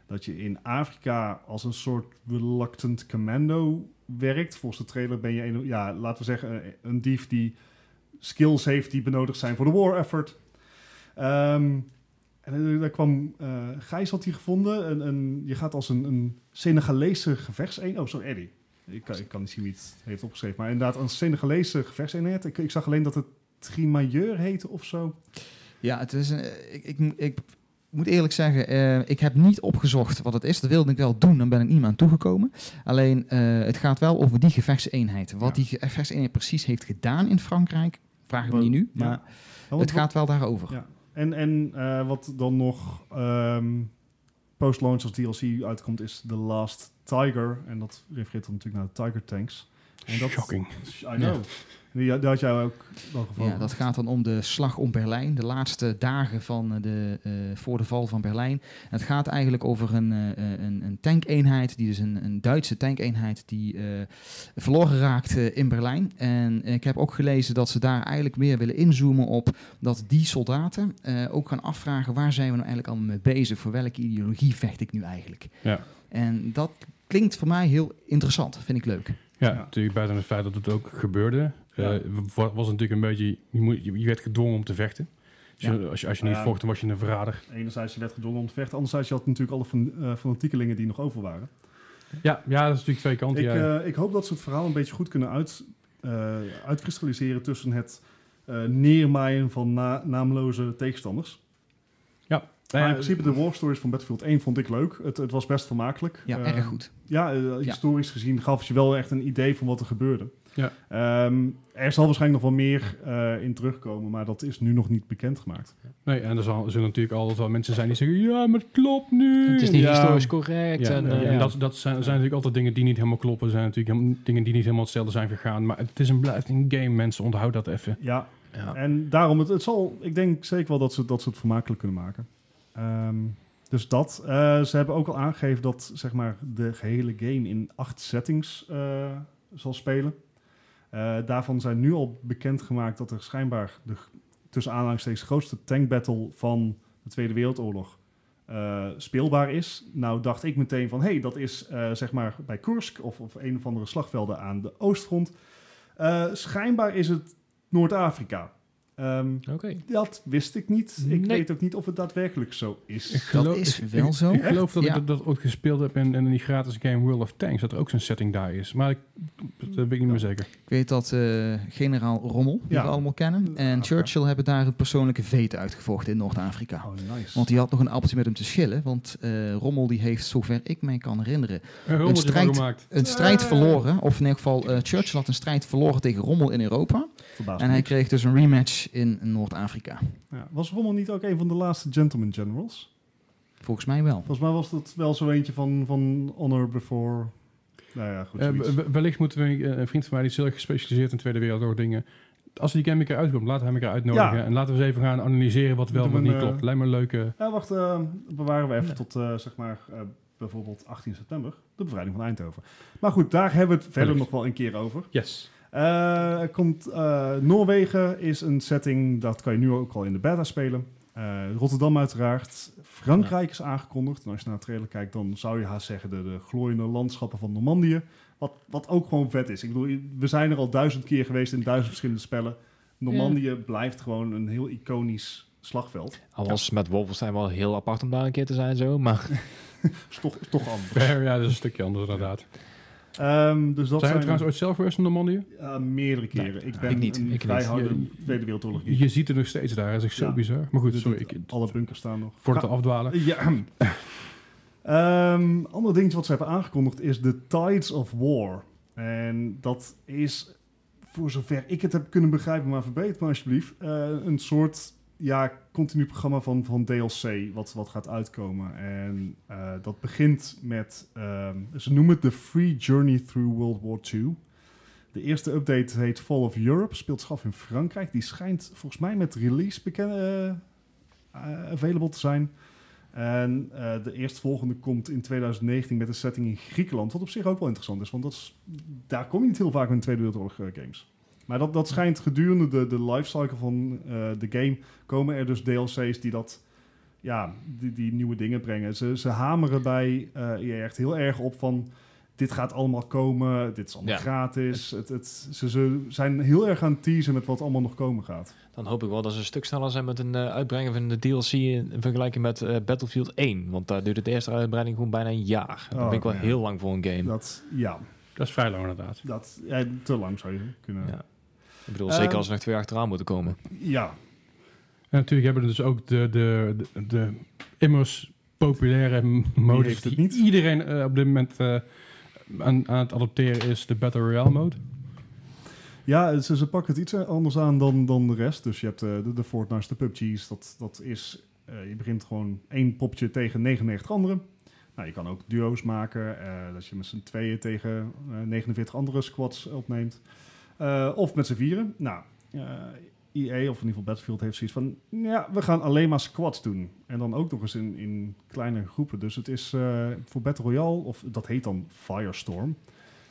[SPEAKER 2] Dat je in Afrika als een soort reluctant commando werkt. Volgens de trailer ben je, een, ja, laten we zeggen, een, een dief die skills heeft die benodigd zijn voor de war effort. Ehm, en eh, daar kwam eh Gijs had die gevonden. Een, een, je gaat als een, een Senegalese gevechtseenheid. Oh, sorry, Eddie. Ik kan, ik kan niet zien wie het heeft opgeschreven. Maar inderdaad, een Senegalese gevechtseenheid. Ik, ik zag alleen dat het Trimailleur heette of zo.
[SPEAKER 3] Ja, het is een, eh, ik, ik, mo- ik moet eerlijk zeggen, eh, ik heb niet opgezocht wat het is. Dat wilde ik wel doen, dan ben ik niet meer aan toegekomen. Alleen, eh, het gaat wel over die gevechtseenheid. Wat
[SPEAKER 2] Ja.
[SPEAKER 3] die gevechtseenheid precies heeft gedaan in Frankrijk, vraag ik me niet nu.
[SPEAKER 2] Ja.
[SPEAKER 3] Maar
[SPEAKER 2] Nou,
[SPEAKER 3] het
[SPEAKER 2] wat-
[SPEAKER 3] gaat wel daarover.
[SPEAKER 2] Ja. En, en eh, wat dan nog ehm, post-launch als DLC uitkomt, is The Last Tiger. En dat refereert dan natuurlijk naar de Tiger Tanks. En dat,
[SPEAKER 1] Shocking.
[SPEAKER 2] I know. En die, daar had jij ook wel gevallen.
[SPEAKER 3] Ja, dat gaat dan om de slag om Berlijn, de laatste dagen van eh, de, eh, voor de val van Berlijn. En het gaat eigenlijk over een, eh, eh, een, een tankeenheid, die dus een, een Duitse tankeenheid die eh, verloren raakt eh, in Berlijn. En ik heb ook gelezen dat ze daar eigenlijk meer willen inzoomen op dat die soldaten eh, ook gaan afvragen waar zijn we nou eigenlijk allemaal mee bezig, voor welke ideologie vecht ik nu eigenlijk.
[SPEAKER 1] Ja.
[SPEAKER 3] En dat klinkt voor mij heel interessant, vind ik leuk.
[SPEAKER 1] Ja,
[SPEAKER 2] Ja.
[SPEAKER 1] natuurlijk buiten het feit dat het ook gebeurde. eh,
[SPEAKER 2] Ja.
[SPEAKER 1] wa- was natuurlijk een beetje... Je, moet, je je werd gedwongen om te vechten. Dus
[SPEAKER 3] Ja.
[SPEAKER 1] je- als, je, als je niet
[SPEAKER 2] Ja.
[SPEAKER 1] vocht, dan was je een verrader.
[SPEAKER 2] Enerzijds, je werd gedwongen om te vechten. Anderzijds, je had natuurlijk alle fan, eh, fanatiekelingen die nog over waren.
[SPEAKER 1] Ja, ja dat is natuurlijk twee kanten.
[SPEAKER 2] Ik,
[SPEAKER 1] ja.
[SPEAKER 2] eh, ik hoop dat ze het verhaal een beetje goed kunnen uit, eh, uitkristalliseren tussen het eh, neermaaien van na- naamloze tegenstanders.
[SPEAKER 1] Nou
[SPEAKER 2] maar
[SPEAKER 1] ja,
[SPEAKER 2] in principe, de war stories van Battlefield 1 vond ik leuk. Het, het was best vermakelijk.
[SPEAKER 3] Ja,
[SPEAKER 2] Eh,
[SPEAKER 3] erg goed.
[SPEAKER 2] Ja, eh, historisch gezien gaf het je wel echt een idee van wat er gebeurde.
[SPEAKER 1] Ja.
[SPEAKER 2] Ehm, er zal waarschijnlijk nog wel meer eh, in terugkomen, maar dat is nu nog niet bekendgemaakt.
[SPEAKER 1] Nee, en er zal- zullen natuurlijk altijd wel mensen zijn die zeggen... Ja, maar het klopt nu.
[SPEAKER 4] Het is niet
[SPEAKER 1] Ja.
[SPEAKER 4] historisch correct.
[SPEAKER 1] Ja,
[SPEAKER 4] en, eh,
[SPEAKER 1] en dat, dat zijn, zijn natuurlijk altijd dingen die niet helemaal kloppen. zijn natuurlijk helemaal- dingen die niet helemaal hetzelfde zijn gegaan. Maar het is een blijft een game, mensen. Onthoud dat even.
[SPEAKER 2] Ja,
[SPEAKER 4] ja.
[SPEAKER 2] en daarom, het, het zal, ik denk zeker wel dat ze, dat ze het vermakelijk kunnen maken. Ehm, dus dat. Eh, ze hebben ook al aangegeven dat zeg maar, de gehele game in acht settings eh, zal spelen. Eh, daarvan zijn nu al bekendgemaakt dat er schijnbaar de g- tussen aanhalingstekens grootste tankbattle van de Tweede Wereldoorlog eh, speelbaar is. Nou dacht ik meteen van, hé, hey, dat is eh, zeg maar bij Kursk of, of een of andere slagvelden aan de oostfront. Eh, schijnbaar is het Noord-Afrika. Ehm,
[SPEAKER 4] Oké.
[SPEAKER 2] dat wist ik niet. Ik
[SPEAKER 4] Nee.
[SPEAKER 2] weet ook niet of het daadwerkelijk zo is.
[SPEAKER 3] Dat is wel
[SPEAKER 1] ik,
[SPEAKER 3] zo.
[SPEAKER 1] Ik geloof dat
[SPEAKER 3] Ja.
[SPEAKER 1] ik dat, dat ooit gespeeld heb in, in die gratis game World of Tanks. Dat er ook zo'n setting daar is. Maar ik, dat weet ik niet meer zeker.
[SPEAKER 3] Ik weet dat eh, generaal Rommel, die
[SPEAKER 2] Ja.
[SPEAKER 3] we allemaal kennen, en
[SPEAKER 2] Ja.
[SPEAKER 3] Churchill hebben daar een persoonlijke veete uitgevochten in Noord-Afrika.
[SPEAKER 2] Oh, nice.
[SPEAKER 3] Want die had nog een appeltje met hem te schillen, want eh, Rommel die heeft, zover ik mij kan herinneren,
[SPEAKER 1] Een rommeltje
[SPEAKER 3] strijd.
[SPEAKER 1] van gemaakt.
[SPEAKER 3] een strijd
[SPEAKER 2] Eh.
[SPEAKER 3] verloren. Of in ieder geval, eh, Churchill had een strijd verloren tegen Rommel in Europa.
[SPEAKER 2] Verbaast
[SPEAKER 3] En
[SPEAKER 2] me
[SPEAKER 3] hij
[SPEAKER 2] niks.
[SPEAKER 3] kreeg dus een rematch in Noord-Afrika.
[SPEAKER 2] Ja, was Rommel niet ook een van de laatste gentleman generals?
[SPEAKER 3] Volgens mij wel.
[SPEAKER 2] Volgens mij was dat wel zo eentje van, van honor before... Nou ja, goed,
[SPEAKER 1] Eh,
[SPEAKER 2] zoiets.
[SPEAKER 1] we- wellicht moeten we eh, een vriend van mij die is heel erg gespecialiseerd in Tweede Wereldoorlog dingen. Als die game een keer uitkomt, laten we hem een keer uitnodigen.
[SPEAKER 2] Ja.
[SPEAKER 1] En laten we eens even gaan analyseren wat wel en
[SPEAKER 2] Doen
[SPEAKER 1] wat
[SPEAKER 2] we
[SPEAKER 1] niet
[SPEAKER 2] een,
[SPEAKER 1] klopt.
[SPEAKER 2] eh,
[SPEAKER 1] Lijkt me een leuke...
[SPEAKER 2] Ja, wacht, eh, bewaren we even tot, eh, zeg maar, eh, bijvoorbeeld 18 september. De bevrijding van Eindhoven. Maar goed, daar hebben we het verder
[SPEAKER 1] Wellicht.
[SPEAKER 2] nog wel een keer over.
[SPEAKER 1] Yes.
[SPEAKER 2] Eh, er komt, eh, Noorwegen is een setting, dat kan je nu ook al in de beta spelen. Eh, Rotterdam uiteraard. Frankrijk is aangekondigd. En als je naar de trailer kijkt, dan zou je haast zeggen de, de glooiende landschappen van Normandië. Wat, wat ook gewoon vet is. Ik bedoel, we zijn er al duizend keer geweest in duizend verschillende spellen. Normandië blijft gewoon een heel iconisch slagveld.
[SPEAKER 4] Al was met Wolfenstein wel heel apart om daar een keer te zijn, zo. Maar <laughs>
[SPEAKER 2] Is toch, is toch anders.
[SPEAKER 1] Fair, ja, dat is een stukje anders inderdaad.
[SPEAKER 2] Ehm, dus
[SPEAKER 1] zijn
[SPEAKER 2] dat
[SPEAKER 1] we
[SPEAKER 2] zijn
[SPEAKER 1] trouwens ooit zelf geweest in Normandië?
[SPEAKER 2] eh, meerdere keren. ik ben
[SPEAKER 4] ik niet.
[SPEAKER 2] een
[SPEAKER 4] Ik niet.
[SPEAKER 2] keiharde
[SPEAKER 1] Je-
[SPEAKER 2] Tweede Wereldoorlog. geek.
[SPEAKER 1] Je ziet het nog steeds daar. Dat is echt zo
[SPEAKER 2] Ja.
[SPEAKER 1] bizar. Maar goed, sorry. Ik,
[SPEAKER 2] Alle bunkers staan nog.
[SPEAKER 1] voor het afdwalen.
[SPEAKER 2] Ja. Ehm ander dingetje wat ze hebben aangekondigd is de Tides of War. En dat is, voor zover ik het heb kunnen begrijpen, maar verbeter me alsjeblieft, eh, een soort ja, continu programma van, van DLC wat, wat gaat uitkomen. En eh, dat begint met, ehm, ze noemen het de Free Journey Through World War II. De eerste update heet Fall of Europe, speelt zich af in Frankrijk. Die schijnt volgens mij met release bekend, eh, eh, available te zijn. En eh, de eerstvolgende komt in 2019 met een setting in Griekenland. Wat op zich ook wel interessant is, want dat is, daar kom je niet heel vaak in Tweede Wereldoorlog eh, games. Maar dat, dat schijnt gedurende de, de lifecycle van eh, de game komen er dus DLC's die dat. Ja, die, die nieuwe dingen brengen. Ze, ze hameren bij eh EA echt heel erg op van... dit gaat allemaal komen, dit is allemaal
[SPEAKER 4] Ja.
[SPEAKER 2] gratis. Het, het, ze, ze zijn heel erg aan het teasen met wat allemaal nog komen gaat.
[SPEAKER 4] dan hoop ik wel dat ze een stuk sneller zijn met een eh, uitbrengen van de DLC in vergelijking met eh, Battlefield 1. Want daar duurde de eerste uitbreiding gewoon bijna een jaar. Daar
[SPEAKER 2] Oh,
[SPEAKER 4] ben ik wel
[SPEAKER 2] ja.
[SPEAKER 4] heel lang voor een game.
[SPEAKER 2] Dat, ja.
[SPEAKER 1] Dat is vrij lang inderdaad.
[SPEAKER 2] Dat, ja, te lang zou je kunnen. Ja.
[SPEAKER 4] Ja. Ik bedoel,
[SPEAKER 2] Eh,
[SPEAKER 4] zeker als er nog twee achteraan moeten komen.
[SPEAKER 1] En natuurlijk hebben we dus ook de, de, de, de immers populaire m- modus
[SPEAKER 2] heeft het
[SPEAKER 1] die
[SPEAKER 2] niet?
[SPEAKER 1] iedereen eh, op dit moment eh, aan, aan het adopteren is, de Battle Royale mode.
[SPEAKER 2] Ja, ze, ze pakken het iets anders aan dan, dan de rest. Dus je hebt eh, de, de Fortnite's, de PUBG's. Dat, dat is, eh, je begint gewoon één popje tegen 99 anderen. Nou, je kan ook duo's maken. eh, dat je met z'n tweeën tegen eh, 49 andere squads opneemt. Eh, of met z'n vieren. Nou, IE EA of in ieder geval Battlefield heeft zoiets van... Ja, we gaan alleen maar squads doen. En dan ook nog eens in, in kleinere groepen. Dus het is eh, voor Battle Royale, of dat heet dan Firestorm...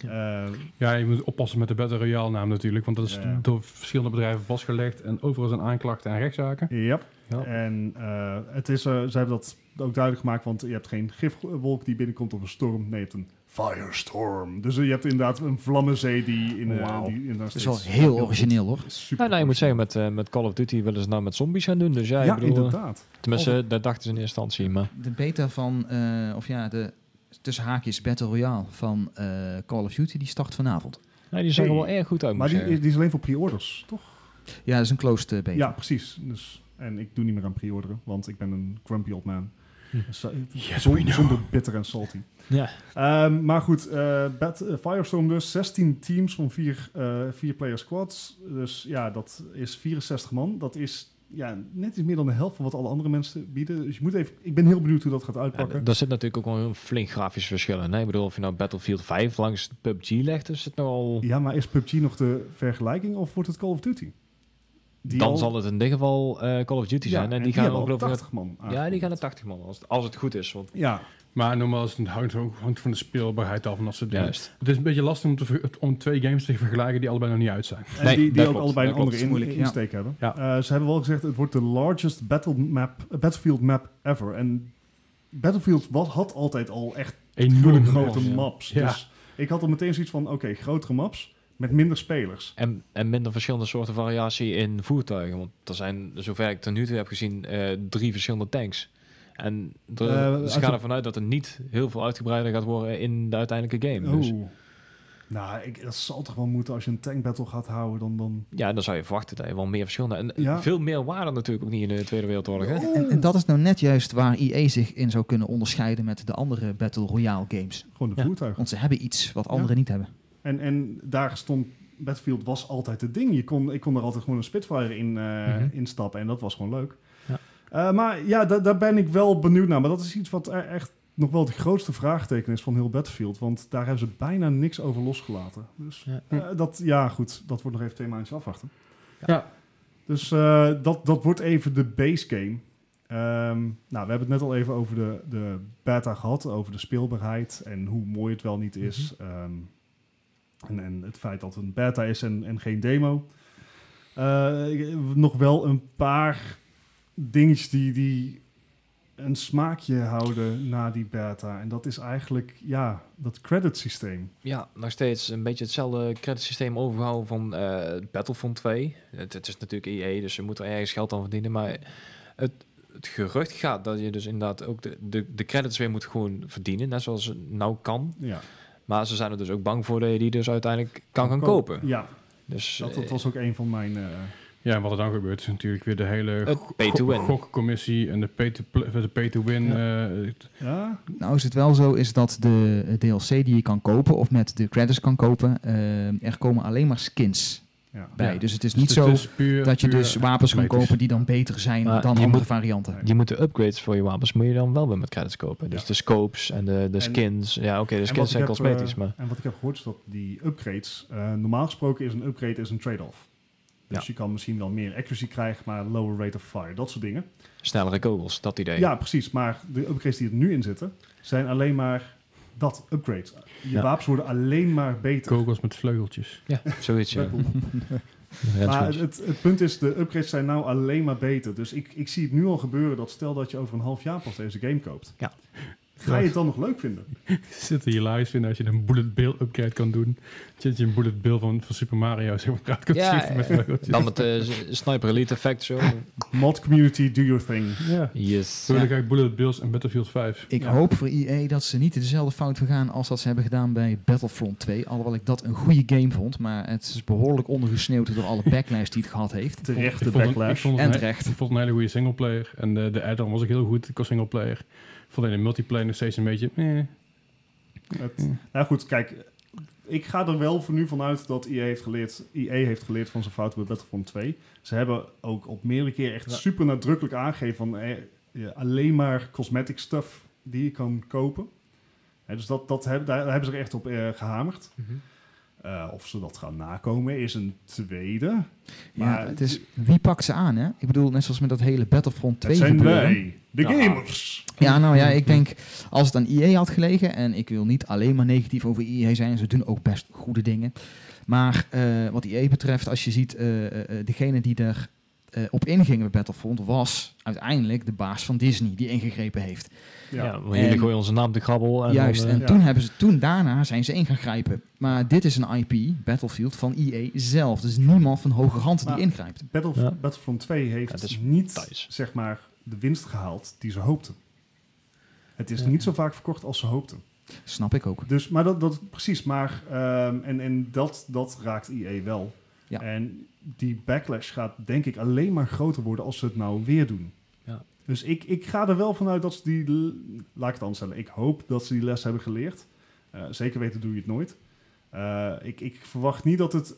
[SPEAKER 2] eh,
[SPEAKER 1] Ja, je moet oppassen met de Battle Royale naam natuurlijk, want dat is
[SPEAKER 2] Ja.
[SPEAKER 1] door verschillende bedrijven vastgelegd en overal zijn aanklachten en rechtszaken.
[SPEAKER 2] Ja.
[SPEAKER 4] Ja.
[SPEAKER 2] En eh, het is, eh, ze hebben dat ook duidelijk gemaakt, want je hebt geen gifwolk die binnenkomt of een storm. Nee, je hebt een firestorm. Dus eh, je hebt inderdaad een vlammenzee die in de...
[SPEAKER 4] Wauw.
[SPEAKER 2] die in dat
[SPEAKER 3] Dat is wel heel origineel hoor.
[SPEAKER 2] Super
[SPEAKER 4] Nou, nou, je moet zeggen, met, eh, met Call of Duty willen ze nou met zombies gaan doen. Dus ja,
[SPEAKER 2] Ja,
[SPEAKER 4] ik bedoel, eh,
[SPEAKER 2] inderdaad.
[SPEAKER 4] tenminste, dat dachten ze in eerste instantie. Maar
[SPEAKER 3] De beta van, eh, of ja, de tussen haakjes Battle Royale van eh, Call of Duty, die start vanavond.
[SPEAKER 4] nee, die zag er
[SPEAKER 2] Hey.
[SPEAKER 4] wel erg goed uit,
[SPEAKER 2] Maar
[SPEAKER 4] moet eh, ik
[SPEAKER 2] die,
[SPEAKER 4] zeggen.
[SPEAKER 2] die is alleen voor pre-orders, toch?
[SPEAKER 3] Ja, dat is een closed eh, beta.
[SPEAKER 2] Ja, precies. Dus, en ik doe niet meer aan pre-orderen, want ik ben een grumpy old man.
[SPEAKER 4] Hm.
[SPEAKER 2] Zo-
[SPEAKER 1] Yes,
[SPEAKER 2] zon-
[SPEAKER 1] we know.
[SPEAKER 2] zonder bitter en salty.
[SPEAKER 4] nou. Ja.
[SPEAKER 2] Ehm, maar goed, eh, Bat- eh, Firestorm dus. 16 teams van vier, eh vier player squads. Dus ja, dat is 64 man. Dat is ja, net iets meer dan de helft van wat alle andere mensen bieden. Dus je moet even... Ik ben heel benieuwd hoe dat gaat
[SPEAKER 4] Ja,
[SPEAKER 2] uitpakken.
[SPEAKER 4] d- daar zit natuurlijk ook wel een flink grafisch verschil in. Hè? Ik bedoel, of je nou Battlefield 5 langs PUBG legt, is het nou nogal...
[SPEAKER 2] Ja, maar is PUBG nog de vergelijking of wordt het Call of Duty? Die
[SPEAKER 4] dan
[SPEAKER 2] al-
[SPEAKER 4] zal het in dit geval eh, Call of Duty
[SPEAKER 2] Ja,
[SPEAKER 4] zijn. En, die, gaan
[SPEAKER 2] hebben
[SPEAKER 4] ook
[SPEAKER 2] al
[SPEAKER 4] geloof ik
[SPEAKER 2] 80 man
[SPEAKER 4] naar- Ja, die gaan naar 80 man, als, het- als het goed is. Want,
[SPEAKER 2] Ja,
[SPEAKER 1] Maar normaal is het, hangt, ook- hangt van de speelbaarheid af en dat soort dingen.
[SPEAKER 4] juist.
[SPEAKER 1] Het is een beetje lastig om, te ver- om twee games te vergelijken die allebei nog niet uit zijn.
[SPEAKER 2] En
[SPEAKER 4] Nee,
[SPEAKER 2] die, die
[SPEAKER 4] dat
[SPEAKER 2] ook
[SPEAKER 4] klopt,
[SPEAKER 2] allebei een
[SPEAKER 4] dat klopt.
[SPEAKER 2] andere in,
[SPEAKER 3] Moeilijk, ja.
[SPEAKER 2] insteek hebben.
[SPEAKER 1] Ja.
[SPEAKER 2] Eh, ze hebben wel gezegd, het wordt de largest battle map, eh, battlefield map ever. En Battlefield was, had altijd al echt
[SPEAKER 1] Enorm
[SPEAKER 2] grote
[SPEAKER 1] groot.
[SPEAKER 4] ja.
[SPEAKER 2] maps.
[SPEAKER 1] Ja.
[SPEAKER 2] Dus ik had al meteen zoiets van, oké, grotere maps met minder spelers.
[SPEAKER 4] En, en minder verschillende soorten variatie in voertuigen. Want er zijn, zover ik tot nu toe heb gezien, eh, drie verschillende tanks. En er,
[SPEAKER 2] Eh, uit
[SPEAKER 4] ze gaan
[SPEAKER 2] de-
[SPEAKER 4] ervan uit dat er niet heel veel uitgebreider gaat worden in de uiteindelijke game. Dus
[SPEAKER 2] Oeh. Nou, ik, dat zal toch wel moeten als je een tankbattle gaat houden dan... dan...
[SPEAKER 4] ja, dan zou je verwachten dat je wel meer verschillende... En
[SPEAKER 2] Ja.
[SPEAKER 4] veel meer waren natuurlijk ook niet in de Tweede Wereldoorlog. Hè?
[SPEAKER 3] En, en dat is nou net juist waar EA zich in zou kunnen onderscheiden met de andere Battle Royale games.
[SPEAKER 2] Gewoon de
[SPEAKER 4] Ja.
[SPEAKER 2] voertuigen.
[SPEAKER 3] Want ze hebben iets wat anderen niet hebben.
[SPEAKER 2] En, en daar stond... Battlefield was altijd het ding. Je kon, ik kon er altijd gewoon een Spitfire in eh,
[SPEAKER 4] Mhm.
[SPEAKER 2] instappen. En dat was gewoon leuk.
[SPEAKER 4] Ja.
[SPEAKER 2] Eh, maar ja, da- daar ben ik wel benieuwd naar. Maar dat is iets wat e- echt nog wel het grootste vraagteken is van heel Battlefield. Want daar hebben ze bijna niks over losgelaten. Dus
[SPEAKER 4] Ja.
[SPEAKER 2] eh, dat, ja, goed. Dat wordt nog even twee maandjes afwachten.
[SPEAKER 1] Ja.
[SPEAKER 2] Dus eh, dat, dat wordt even de base game. Ehm, nou, we hebben het net al even over de, de beta gehad, over de speelbaarheid en hoe mooi het wel niet is. Ehm, en, en het feit dat het een beta is en, en geen demo. Eh, ik- nog wel een paar dingetjes die, die een smaakje houden na die beta. En dat is eigenlijk, ja, dat credit systeem.
[SPEAKER 4] Ja, nog steeds een beetje hetzelfde creditsysteem overgehouden van eh, Battlefront 2. Het, het is natuurlijk EA, dus ze moeten er ergens geld aan verdienen. Maar het, het gerucht gaat dat je dus inderdaad ook de, de, de credits weer moet gewoon verdienen. Net zoals het nou kan.
[SPEAKER 2] Ja,
[SPEAKER 4] Maar ze zijn er dus ook bang voor dat je die dus uiteindelijk kan gaan kopen.
[SPEAKER 2] Ja,
[SPEAKER 4] Dus
[SPEAKER 2] dat, dat
[SPEAKER 4] eh,
[SPEAKER 2] was ook een van mijn... eh,
[SPEAKER 1] Ja, en wat er dan gebeurt is natuurlijk weer de hele
[SPEAKER 4] Het
[SPEAKER 1] go-
[SPEAKER 4] Oh, pay to
[SPEAKER 1] go-
[SPEAKER 4] win.
[SPEAKER 1] gokcommissie en de pay to, pl- de pay to win. eh, het-
[SPEAKER 2] ja,
[SPEAKER 3] Nou is het wel zo is dat de eh, DLC die je kan kopen of met de credits kan kopen, eh, er komen alleen maar skins
[SPEAKER 2] ja.
[SPEAKER 3] bij.
[SPEAKER 1] Ja.
[SPEAKER 3] Dus het is niet
[SPEAKER 1] het
[SPEAKER 3] zo
[SPEAKER 1] is puur-
[SPEAKER 3] dat je
[SPEAKER 1] puur
[SPEAKER 3] dus wapens kan
[SPEAKER 1] cosmetisch.
[SPEAKER 3] kopen die dan beter zijn
[SPEAKER 4] Maar
[SPEAKER 3] dan
[SPEAKER 4] je
[SPEAKER 3] andere
[SPEAKER 4] moet-
[SPEAKER 3] varianten.
[SPEAKER 2] Nee.
[SPEAKER 4] je moet de upgrades voor je wapens moet je dan wel weer met credits kopen. Dus
[SPEAKER 2] Ja.
[SPEAKER 4] de scopes en de, de
[SPEAKER 2] En-
[SPEAKER 4] skins. ja, oké, de
[SPEAKER 2] En wat
[SPEAKER 4] skins zijn
[SPEAKER 2] ik heb,
[SPEAKER 4] cosmetisch,
[SPEAKER 2] eh,
[SPEAKER 4] maar...
[SPEAKER 2] En wat ik heb gehoord is dat die upgrades... eh, normaal gesproken is een upgrade is een trade-off. Dus
[SPEAKER 4] Ja.
[SPEAKER 2] je kan misschien wel meer accuracy krijgen, maar lower rate of fire, dat soort dingen.
[SPEAKER 4] Snellere kogels, dat idee.
[SPEAKER 2] Ja, precies. Maar de upgrades die er nu in zitten, zijn alleen maar dat, upgrades. Je
[SPEAKER 4] Ja.
[SPEAKER 2] wapens worden alleen maar beter.
[SPEAKER 1] Kogels met vleugeltjes. <laughs>
[SPEAKER 4] Ja, zoiets. ja. <laughs>
[SPEAKER 2] Dat bedoel-
[SPEAKER 4] Ja, dat is
[SPEAKER 2] maar eh,
[SPEAKER 4] goed.
[SPEAKER 2] het, het punt is, de upgrades zijn nou alleen maar beter. Dus ik, ik zie het nu al gebeuren dat stel dat je over een half jaar pas deze game koopt.
[SPEAKER 4] Ja.
[SPEAKER 2] Ga je het dan nog leuk vinden?
[SPEAKER 1] zit er hilarisch vinden als je een bullet bill upgrade kan doen. Dat je een bullet bill van, van Super Mario zeg maar eruit kan
[SPEAKER 4] Ja, eh,
[SPEAKER 1] schieten met vleugeltjes.
[SPEAKER 4] Dan met de Sniper Elite Effect zo.
[SPEAKER 2] Mod community, do your thing.
[SPEAKER 1] Ja.
[SPEAKER 4] Yes.
[SPEAKER 1] Zo wil ik eigenlijk bullet bills en Battlefield 5.
[SPEAKER 3] Ik
[SPEAKER 2] Ja.
[SPEAKER 3] hoop voor EA dat ze niet in dezelfde fout gaan als dat ze hebben gedaan bij Battlefront 2. Alhoewel ik dat een goede game vond, maar het is behoorlijk ondergesneeuwd door alle backlash die het gehad
[SPEAKER 2] <laughs>
[SPEAKER 3] heeft.
[SPEAKER 1] Ik
[SPEAKER 2] Terechte
[SPEAKER 1] vond het- ik
[SPEAKER 2] backlash.
[SPEAKER 1] vond het
[SPEAKER 3] En
[SPEAKER 1] een he-
[SPEAKER 3] terecht.
[SPEAKER 1] Ik vond het een hele goede singleplayer. En de, de add-on was ook heel goed qua singleplayer. Ik vond alleen de multiplayer nog steeds een beetje... Eh.
[SPEAKER 2] Het- nou goed, kijk. Ik ga er wel voor nu vanuit dat EA heeft geleerd, EA heeft geleerd van zijn fouten bij Battlefront 2. Ze hebben ook op meerdere keer echt
[SPEAKER 1] Ja.
[SPEAKER 2] super nadrukkelijk aangegeven van eh, ja, alleen maar cosmetic stuff die je kan kopen. Hè, dus dat, dat hebben, daar, daar hebben ze er echt op eh, gehamerd. Eh, of ze dat gaan nakomen is een tweede. Maar
[SPEAKER 3] ja, het is, wie pakt ze aan, hè? Ik bedoel, net zoals met dat hele Battlefront 2
[SPEAKER 2] Het zijn
[SPEAKER 3] gebeuren.
[SPEAKER 2] wij, de
[SPEAKER 4] Ja.
[SPEAKER 2] gamers.
[SPEAKER 3] Ja, nou ja, ik denk als het aan EA had gelegen, en ik wil niet alleen maar negatief over EA zijn, ze doen ook best goede dingen. Maar eh, wat EA betreft, als je ziet, eh, eh, eh, degene die daar eh, op inging bij Battlefront was uiteindelijk de baas van Disney die ingegrepen heeft.
[SPEAKER 4] Ja,
[SPEAKER 2] Ja.
[SPEAKER 4] want jullie
[SPEAKER 3] En-
[SPEAKER 4] gooien onze naam op de grabbel. En
[SPEAKER 3] Juist,
[SPEAKER 4] dan,
[SPEAKER 3] en
[SPEAKER 4] eh,
[SPEAKER 3] toen, hebben ze, toen daarna zijn ze in gaan grijpen. Maar dit is een IP, Battlefield, van EA zelf. Dus niemand van hoge hand die
[SPEAKER 2] Maar-
[SPEAKER 3] ingrijpt.
[SPEAKER 2] Battlef-
[SPEAKER 4] Ja.
[SPEAKER 2] Battlefront 2
[SPEAKER 4] Ja,
[SPEAKER 2] heeft
[SPEAKER 4] het is
[SPEAKER 2] niet
[SPEAKER 4] thuis.
[SPEAKER 2] zeg maar, de winst gehaald die ze hoopten. Het is
[SPEAKER 4] Ja.
[SPEAKER 2] niet zo vaak verkocht als ze hoopten.
[SPEAKER 3] Snap ik ook.
[SPEAKER 2] Dus, maar dat, dat precies, maar ehm, en, en dat, dat raakt EA wel.
[SPEAKER 3] Ja.
[SPEAKER 2] En die backlash gaat denk ik alleen maar groter worden als ze het nou weer doen.
[SPEAKER 4] Ja.
[SPEAKER 2] Dus ik, ik ga er wel vanuit dat ze die, l- laat ik het anders stellen, ik hoop dat ze die les hebben geleerd. Eh, zeker weten doe je het nooit. Eh, ik, ik verwacht niet dat het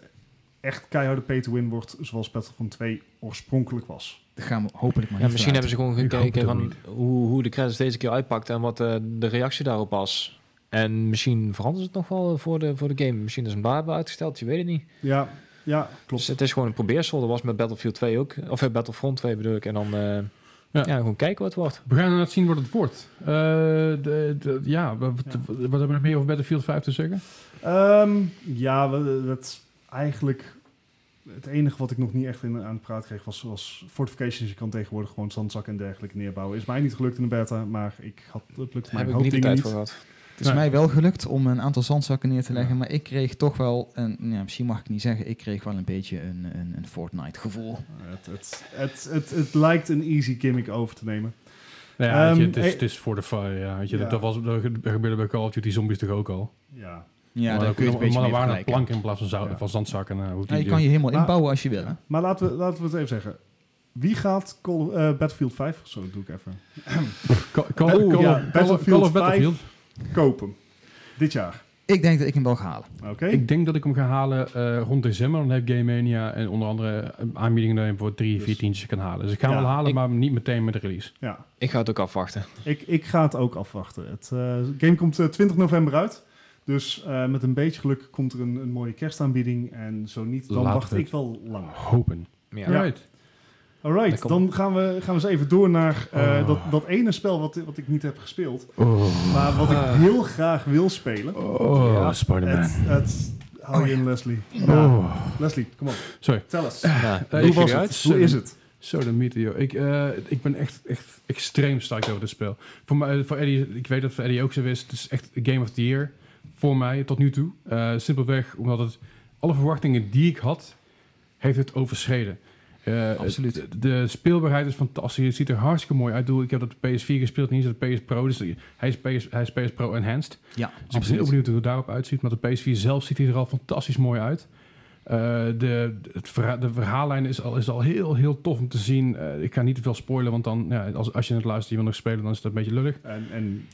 [SPEAKER 2] echt keiharde pay-to-win wordt zoals Battlefront 2 oorspronkelijk was.
[SPEAKER 3] Dat gaan we hopelijk maar
[SPEAKER 4] ja,
[SPEAKER 3] niet
[SPEAKER 4] misschien hebben
[SPEAKER 3] verlaten.
[SPEAKER 4] ze gewoon
[SPEAKER 1] Ik hoop
[SPEAKER 4] gekeken
[SPEAKER 1] het ook
[SPEAKER 4] van hoe, hoe de credits deze keer uitpakt en wat eh, de reactie daarop was. En misschien verandert het nog wel voor de, voor de game. Misschien is een baar uitgesteld, je weet het niet.
[SPEAKER 2] Ja, ja klopt.
[SPEAKER 4] Dus het is gewoon een probeersel. Dat was met Battlefield 2 ook. Of eh, Battlefront 2 bedoel ik. En dan eh, ja. gewoon kijken wat het wordt.
[SPEAKER 1] We gaan inderdaad zien wat het wordt. Eh, de, de- ja, wat, wat hebben we nog meer over Battlefield 5 te zeggen?
[SPEAKER 2] Ehm, ja, we- dat is eigenlijk het enige wat ik nog niet echt in, aan het praat kreeg was, was fortifications. Je kan tegenwoordig gewoon zandzakken en dergelijke neerbouwen. Is mij niet gelukt in de beta, maar ik had, het lukt
[SPEAKER 4] Daar
[SPEAKER 2] mij
[SPEAKER 4] heb
[SPEAKER 2] een
[SPEAKER 4] ik
[SPEAKER 2] hoop
[SPEAKER 4] niet de
[SPEAKER 2] dingen
[SPEAKER 4] tijd
[SPEAKER 2] niet.
[SPEAKER 4] voor gehad.
[SPEAKER 3] Het is
[SPEAKER 1] Nee.
[SPEAKER 3] mij wel gelukt om een aantal zandzakken neer te leggen,
[SPEAKER 1] Ja.
[SPEAKER 3] maar ik kreeg toch wel, een, ja, misschien mag ik niet zeggen, ik kreeg wel een beetje een, een, een Fortnite gevoel.
[SPEAKER 2] Het, het, het, het, het lijkt een easy gimmick over te nemen.
[SPEAKER 1] Nou ja, weet je,
[SPEAKER 2] Ehm,
[SPEAKER 1] het, is,
[SPEAKER 2] eh,
[SPEAKER 1] het is voor de fire. Ja, weet je,
[SPEAKER 2] Ja.
[SPEAKER 1] Dat, dat was, dat gebeurde bij Call of Duty Zombies toch ook al.
[SPEAKER 2] Ja.
[SPEAKER 3] Ja,
[SPEAKER 1] maar
[SPEAKER 3] daar
[SPEAKER 1] ook-
[SPEAKER 3] kun je het een
[SPEAKER 1] maar
[SPEAKER 3] beetje
[SPEAKER 1] er waren er
[SPEAKER 3] mee vergelijken.
[SPEAKER 1] planken in plaats van, zou-
[SPEAKER 2] Ja.
[SPEAKER 1] van zandzakken. Nou, hoe
[SPEAKER 3] Ja, je
[SPEAKER 1] die-
[SPEAKER 3] kan je helemaal
[SPEAKER 2] Maar-
[SPEAKER 3] inbouwen als je wil. hè.
[SPEAKER 2] Maar laten we, laten we het even zeggen. Wie gaat Call, eh, Battlefield 5, zo doe ik even,
[SPEAKER 1] Call, Call- Call-
[SPEAKER 2] Oh, ja,
[SPEAKER 1] Call- Call of
[SPEAKER 2] Battlefield
[SPEAKER 1] Battlefield.
[SPEAKER 2] kopen? Dit jaar,
[SPEAKER 3] Ik denk dat ik hem wel ga halen.
[SPEAKER 2] oké?
[SPEAKER 1] Ik denk dat ik hem ga halen eh, rond december. Dan heb Game Mania en onder andere eh, aanbiedingen dat je hem voor 3,
[SPEAKER 2] Dus-
[SPEAKER 1] 4 tientjes kan halen. Dus ik ga
[SPEAKER 2] Ja,
[SPEAKER 1] hem wel halen,
[SPEAKER 4] ik-
[SPEAKER 1] maar niet meteen met de release.
[SPEAKER 2] Ja,
[SPEAKER 4] Ik ga het ook afwachten.
[SPEAKER 2] Ik, ik ga het ook afwachten. Het eh, game komt eh, 20 november uit. Dus eh, met een beetje geluk komt er een, een mooie kerstaanbieding. En zo niet, dan
[SPEAKER 1] Laten
[SPEAKER 2] wacht
[SPEAKER 1] we-
[SPEAKER 2] ik wel langer.
[SPEAKER 1] Hopen.
[SPEAKER 4] Ja.
[SPEAKER 1] Ja.
[SPEAKER 2] Alright,
[SPEAKER 4] Lekker.
[SPEAKER 2] dan gaan we, gaan we eens even door naar eh,
[SPEAKER 1] Oh.
[SPEAKER 2] dat, dat ene spel wat, wat ik niet heb gespeeld.
[SPEAKER 1] Oh,
[SPEAKER 2] Maar wat ik heel graag wil spelen.
[SPEAKER 1] oh
[SPEAKER 4] Ja.
[SPEAKER 1] Spider-Man.
[SPEAKER 2] Het, het, hou je in, Leslie. Ja.
[SPEAKER 1] Oh.
[SPEAKER 2] Leslie, kom op.
[SPEAKER 1] Sorry.
[SPEAKER 2] Tel eens.
[SPEAKER 4] Ja.
[SPEAKER 1] Eh,
[SPEAKER 2] Hoe
[SPEAKER 1] ik-
[SPEAKER 2] was
[SPEAKER 1] ja,
[SPEAKER 2] het?
[SPEAKER 1] is,
[SPEAKER 2] Hoe
[SPEAKER 1] eh,
[SPEAKER 2] is het?
[SPEAKER 1] Zo, de mythe, joh. Ik, eh, ik ben echt, echt extreem stoked over dit spel. Voor, mij, eh, voor Eddie, ik weet dat voor Eddie ook zo is. Het is echt Game of the Year voor mij tot nu toe. Eh, simpelweg omdat het alle verwachtingen die ik had, heeft het overschreden. Eh,
[SPEAKER 3] Absoluut.
[SPEAKER 1] het- De, speelbaarheid is fantastisch. Het ziet er hartstikke mooi uit. Ik bedoel, Ik heb dat op PS4 gespeeld, niet eens op PS Pro. Dus hij is PS, hij is PS Pro Enhanced.
[SPEAKER 3] Ja,
[SPEAKER 1] Dus ik ben heel benieuwd hoe het daarop uitziet. Maar de PS4 zelf ziet hij er al fantastisch mooi uit. Eh, de, het verha- de verhaallijn is al, is al heel, heel tof om te zien. Eh, ik ga niet te veel spoilen, want dan, ja, als, als je het luistert en je wil nog spelen, dan is dat een beetje lullig.
[SPEAKER 2] En, en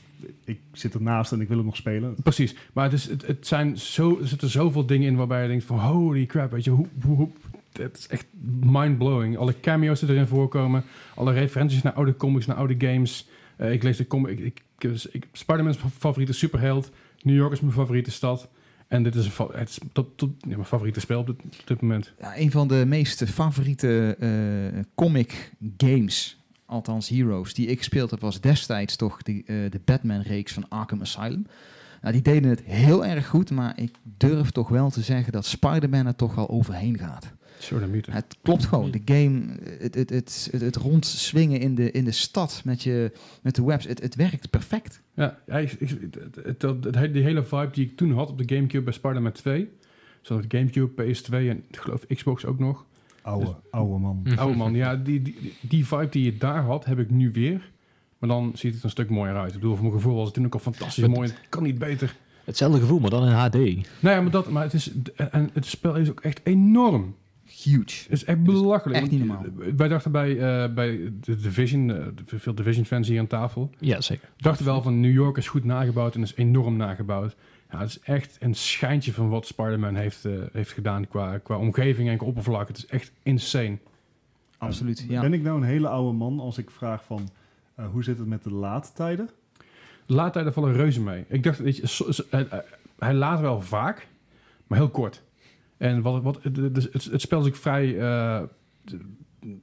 [SPEAKER 2] ik zit ernaast en ik wil hem nog spelen.
[SPEAKER 1] Precies. Maar het is, het, het zijn zo, er zitten zoveel dingen in waarbij je denkt van holy crap, weet je, hoe, hoe, hoe- het is echt mind-blowing. Alle cameo's die erin voorkomen, alle referenties naar oude comics, naar oude games. Eh, ik lees de comic, ik, ik, ik- ik- Spider-Man is mijn favoriete superheld, New York is mijn favoriete stad. En dit is, een fa- het is tot, tot, ja, mijn favoriete spel op dit, op dit moment.
[SPEAKER 3] Ja, een van de meest favoriete eh, comic games, althans heroes, die ik gespeeld heb, was destijds toch de, eh, de Batman-reeks van Arkham Asylum. Nou, die deden het heel erg goed, maar ik durf toch wel te zeggen dat Spider-Man er toch wel overheen gaat.
[SPEAKER 1] Zo de mute.
[SPEAKER 3] Het klopt gewoon. De game, het, het, het, het, het rondswingen in de, in de stad met, je, met de webs, het, het werkt perfect.
[SPEAKER 1] Ja, hij is, is- het- het- dat- het he- die hele vibe die ik toen had op de Gamecube bij Spider-Man 2. Zoals de Gamecube, PS2 en ik geloof Xbox ook nog. Dus-
[SPEAKER 2] Oude, oude man.
[SPEAKER 1] <laughs> Oude Oh, man, ja, die, die, die vibe die je daar had, heb ik nu weer. Maar dan ziet het een stuk mooier uit. Ik bedoel, voor mijn gevoel was het toen ook al fantastisch
[SPEAKER 4] Met-
[SPEAKER 1] mooi. Het kan niet beter.
[SPEAKER 4] Hetzelfde gevoel, maar dan in HD.
[SPEAKER 1] Nou ja, maar, dat, maar het, is, en het spel is ook echt enorm.
[SPEAKER 3] Huge.
[SPEAKER 1] Het is echt belachelijk.
[SPEAKER 3] echt niet
[SPEAKER 1] Want,
[SPEAKER 3] normaal.
[SPEAKER 1] eh, Wij dachten bij, eh, bij de Division, eh, de- veel Division-fans hier aan tafel,
[SPEAKER 4] Ja, zeker.
[SPEAKER 1] dachten wel van New York is goed nagebouwd en is enorm nagebouwd. Ja, het is echt een schijntje van wat Spider-Man heeft, eh, heeft gedaan qua, qua omgeving en qua oppervlak. Het is echt insane.
[SPEAKER 3] Absoluut. Ja.
[SPEAKER 2] Ben ik nou een hele oude man als ik vraag van... eh, hoe zit het met de laadtijden?
[SPEAKER 1] Laat hij er vallen reuze mee. Ik dacht, weet je, so- so- hij, hij laat wel vaak, maar heel kort. En wat, wat, het, het, het- het spel is ook vrij... eh, er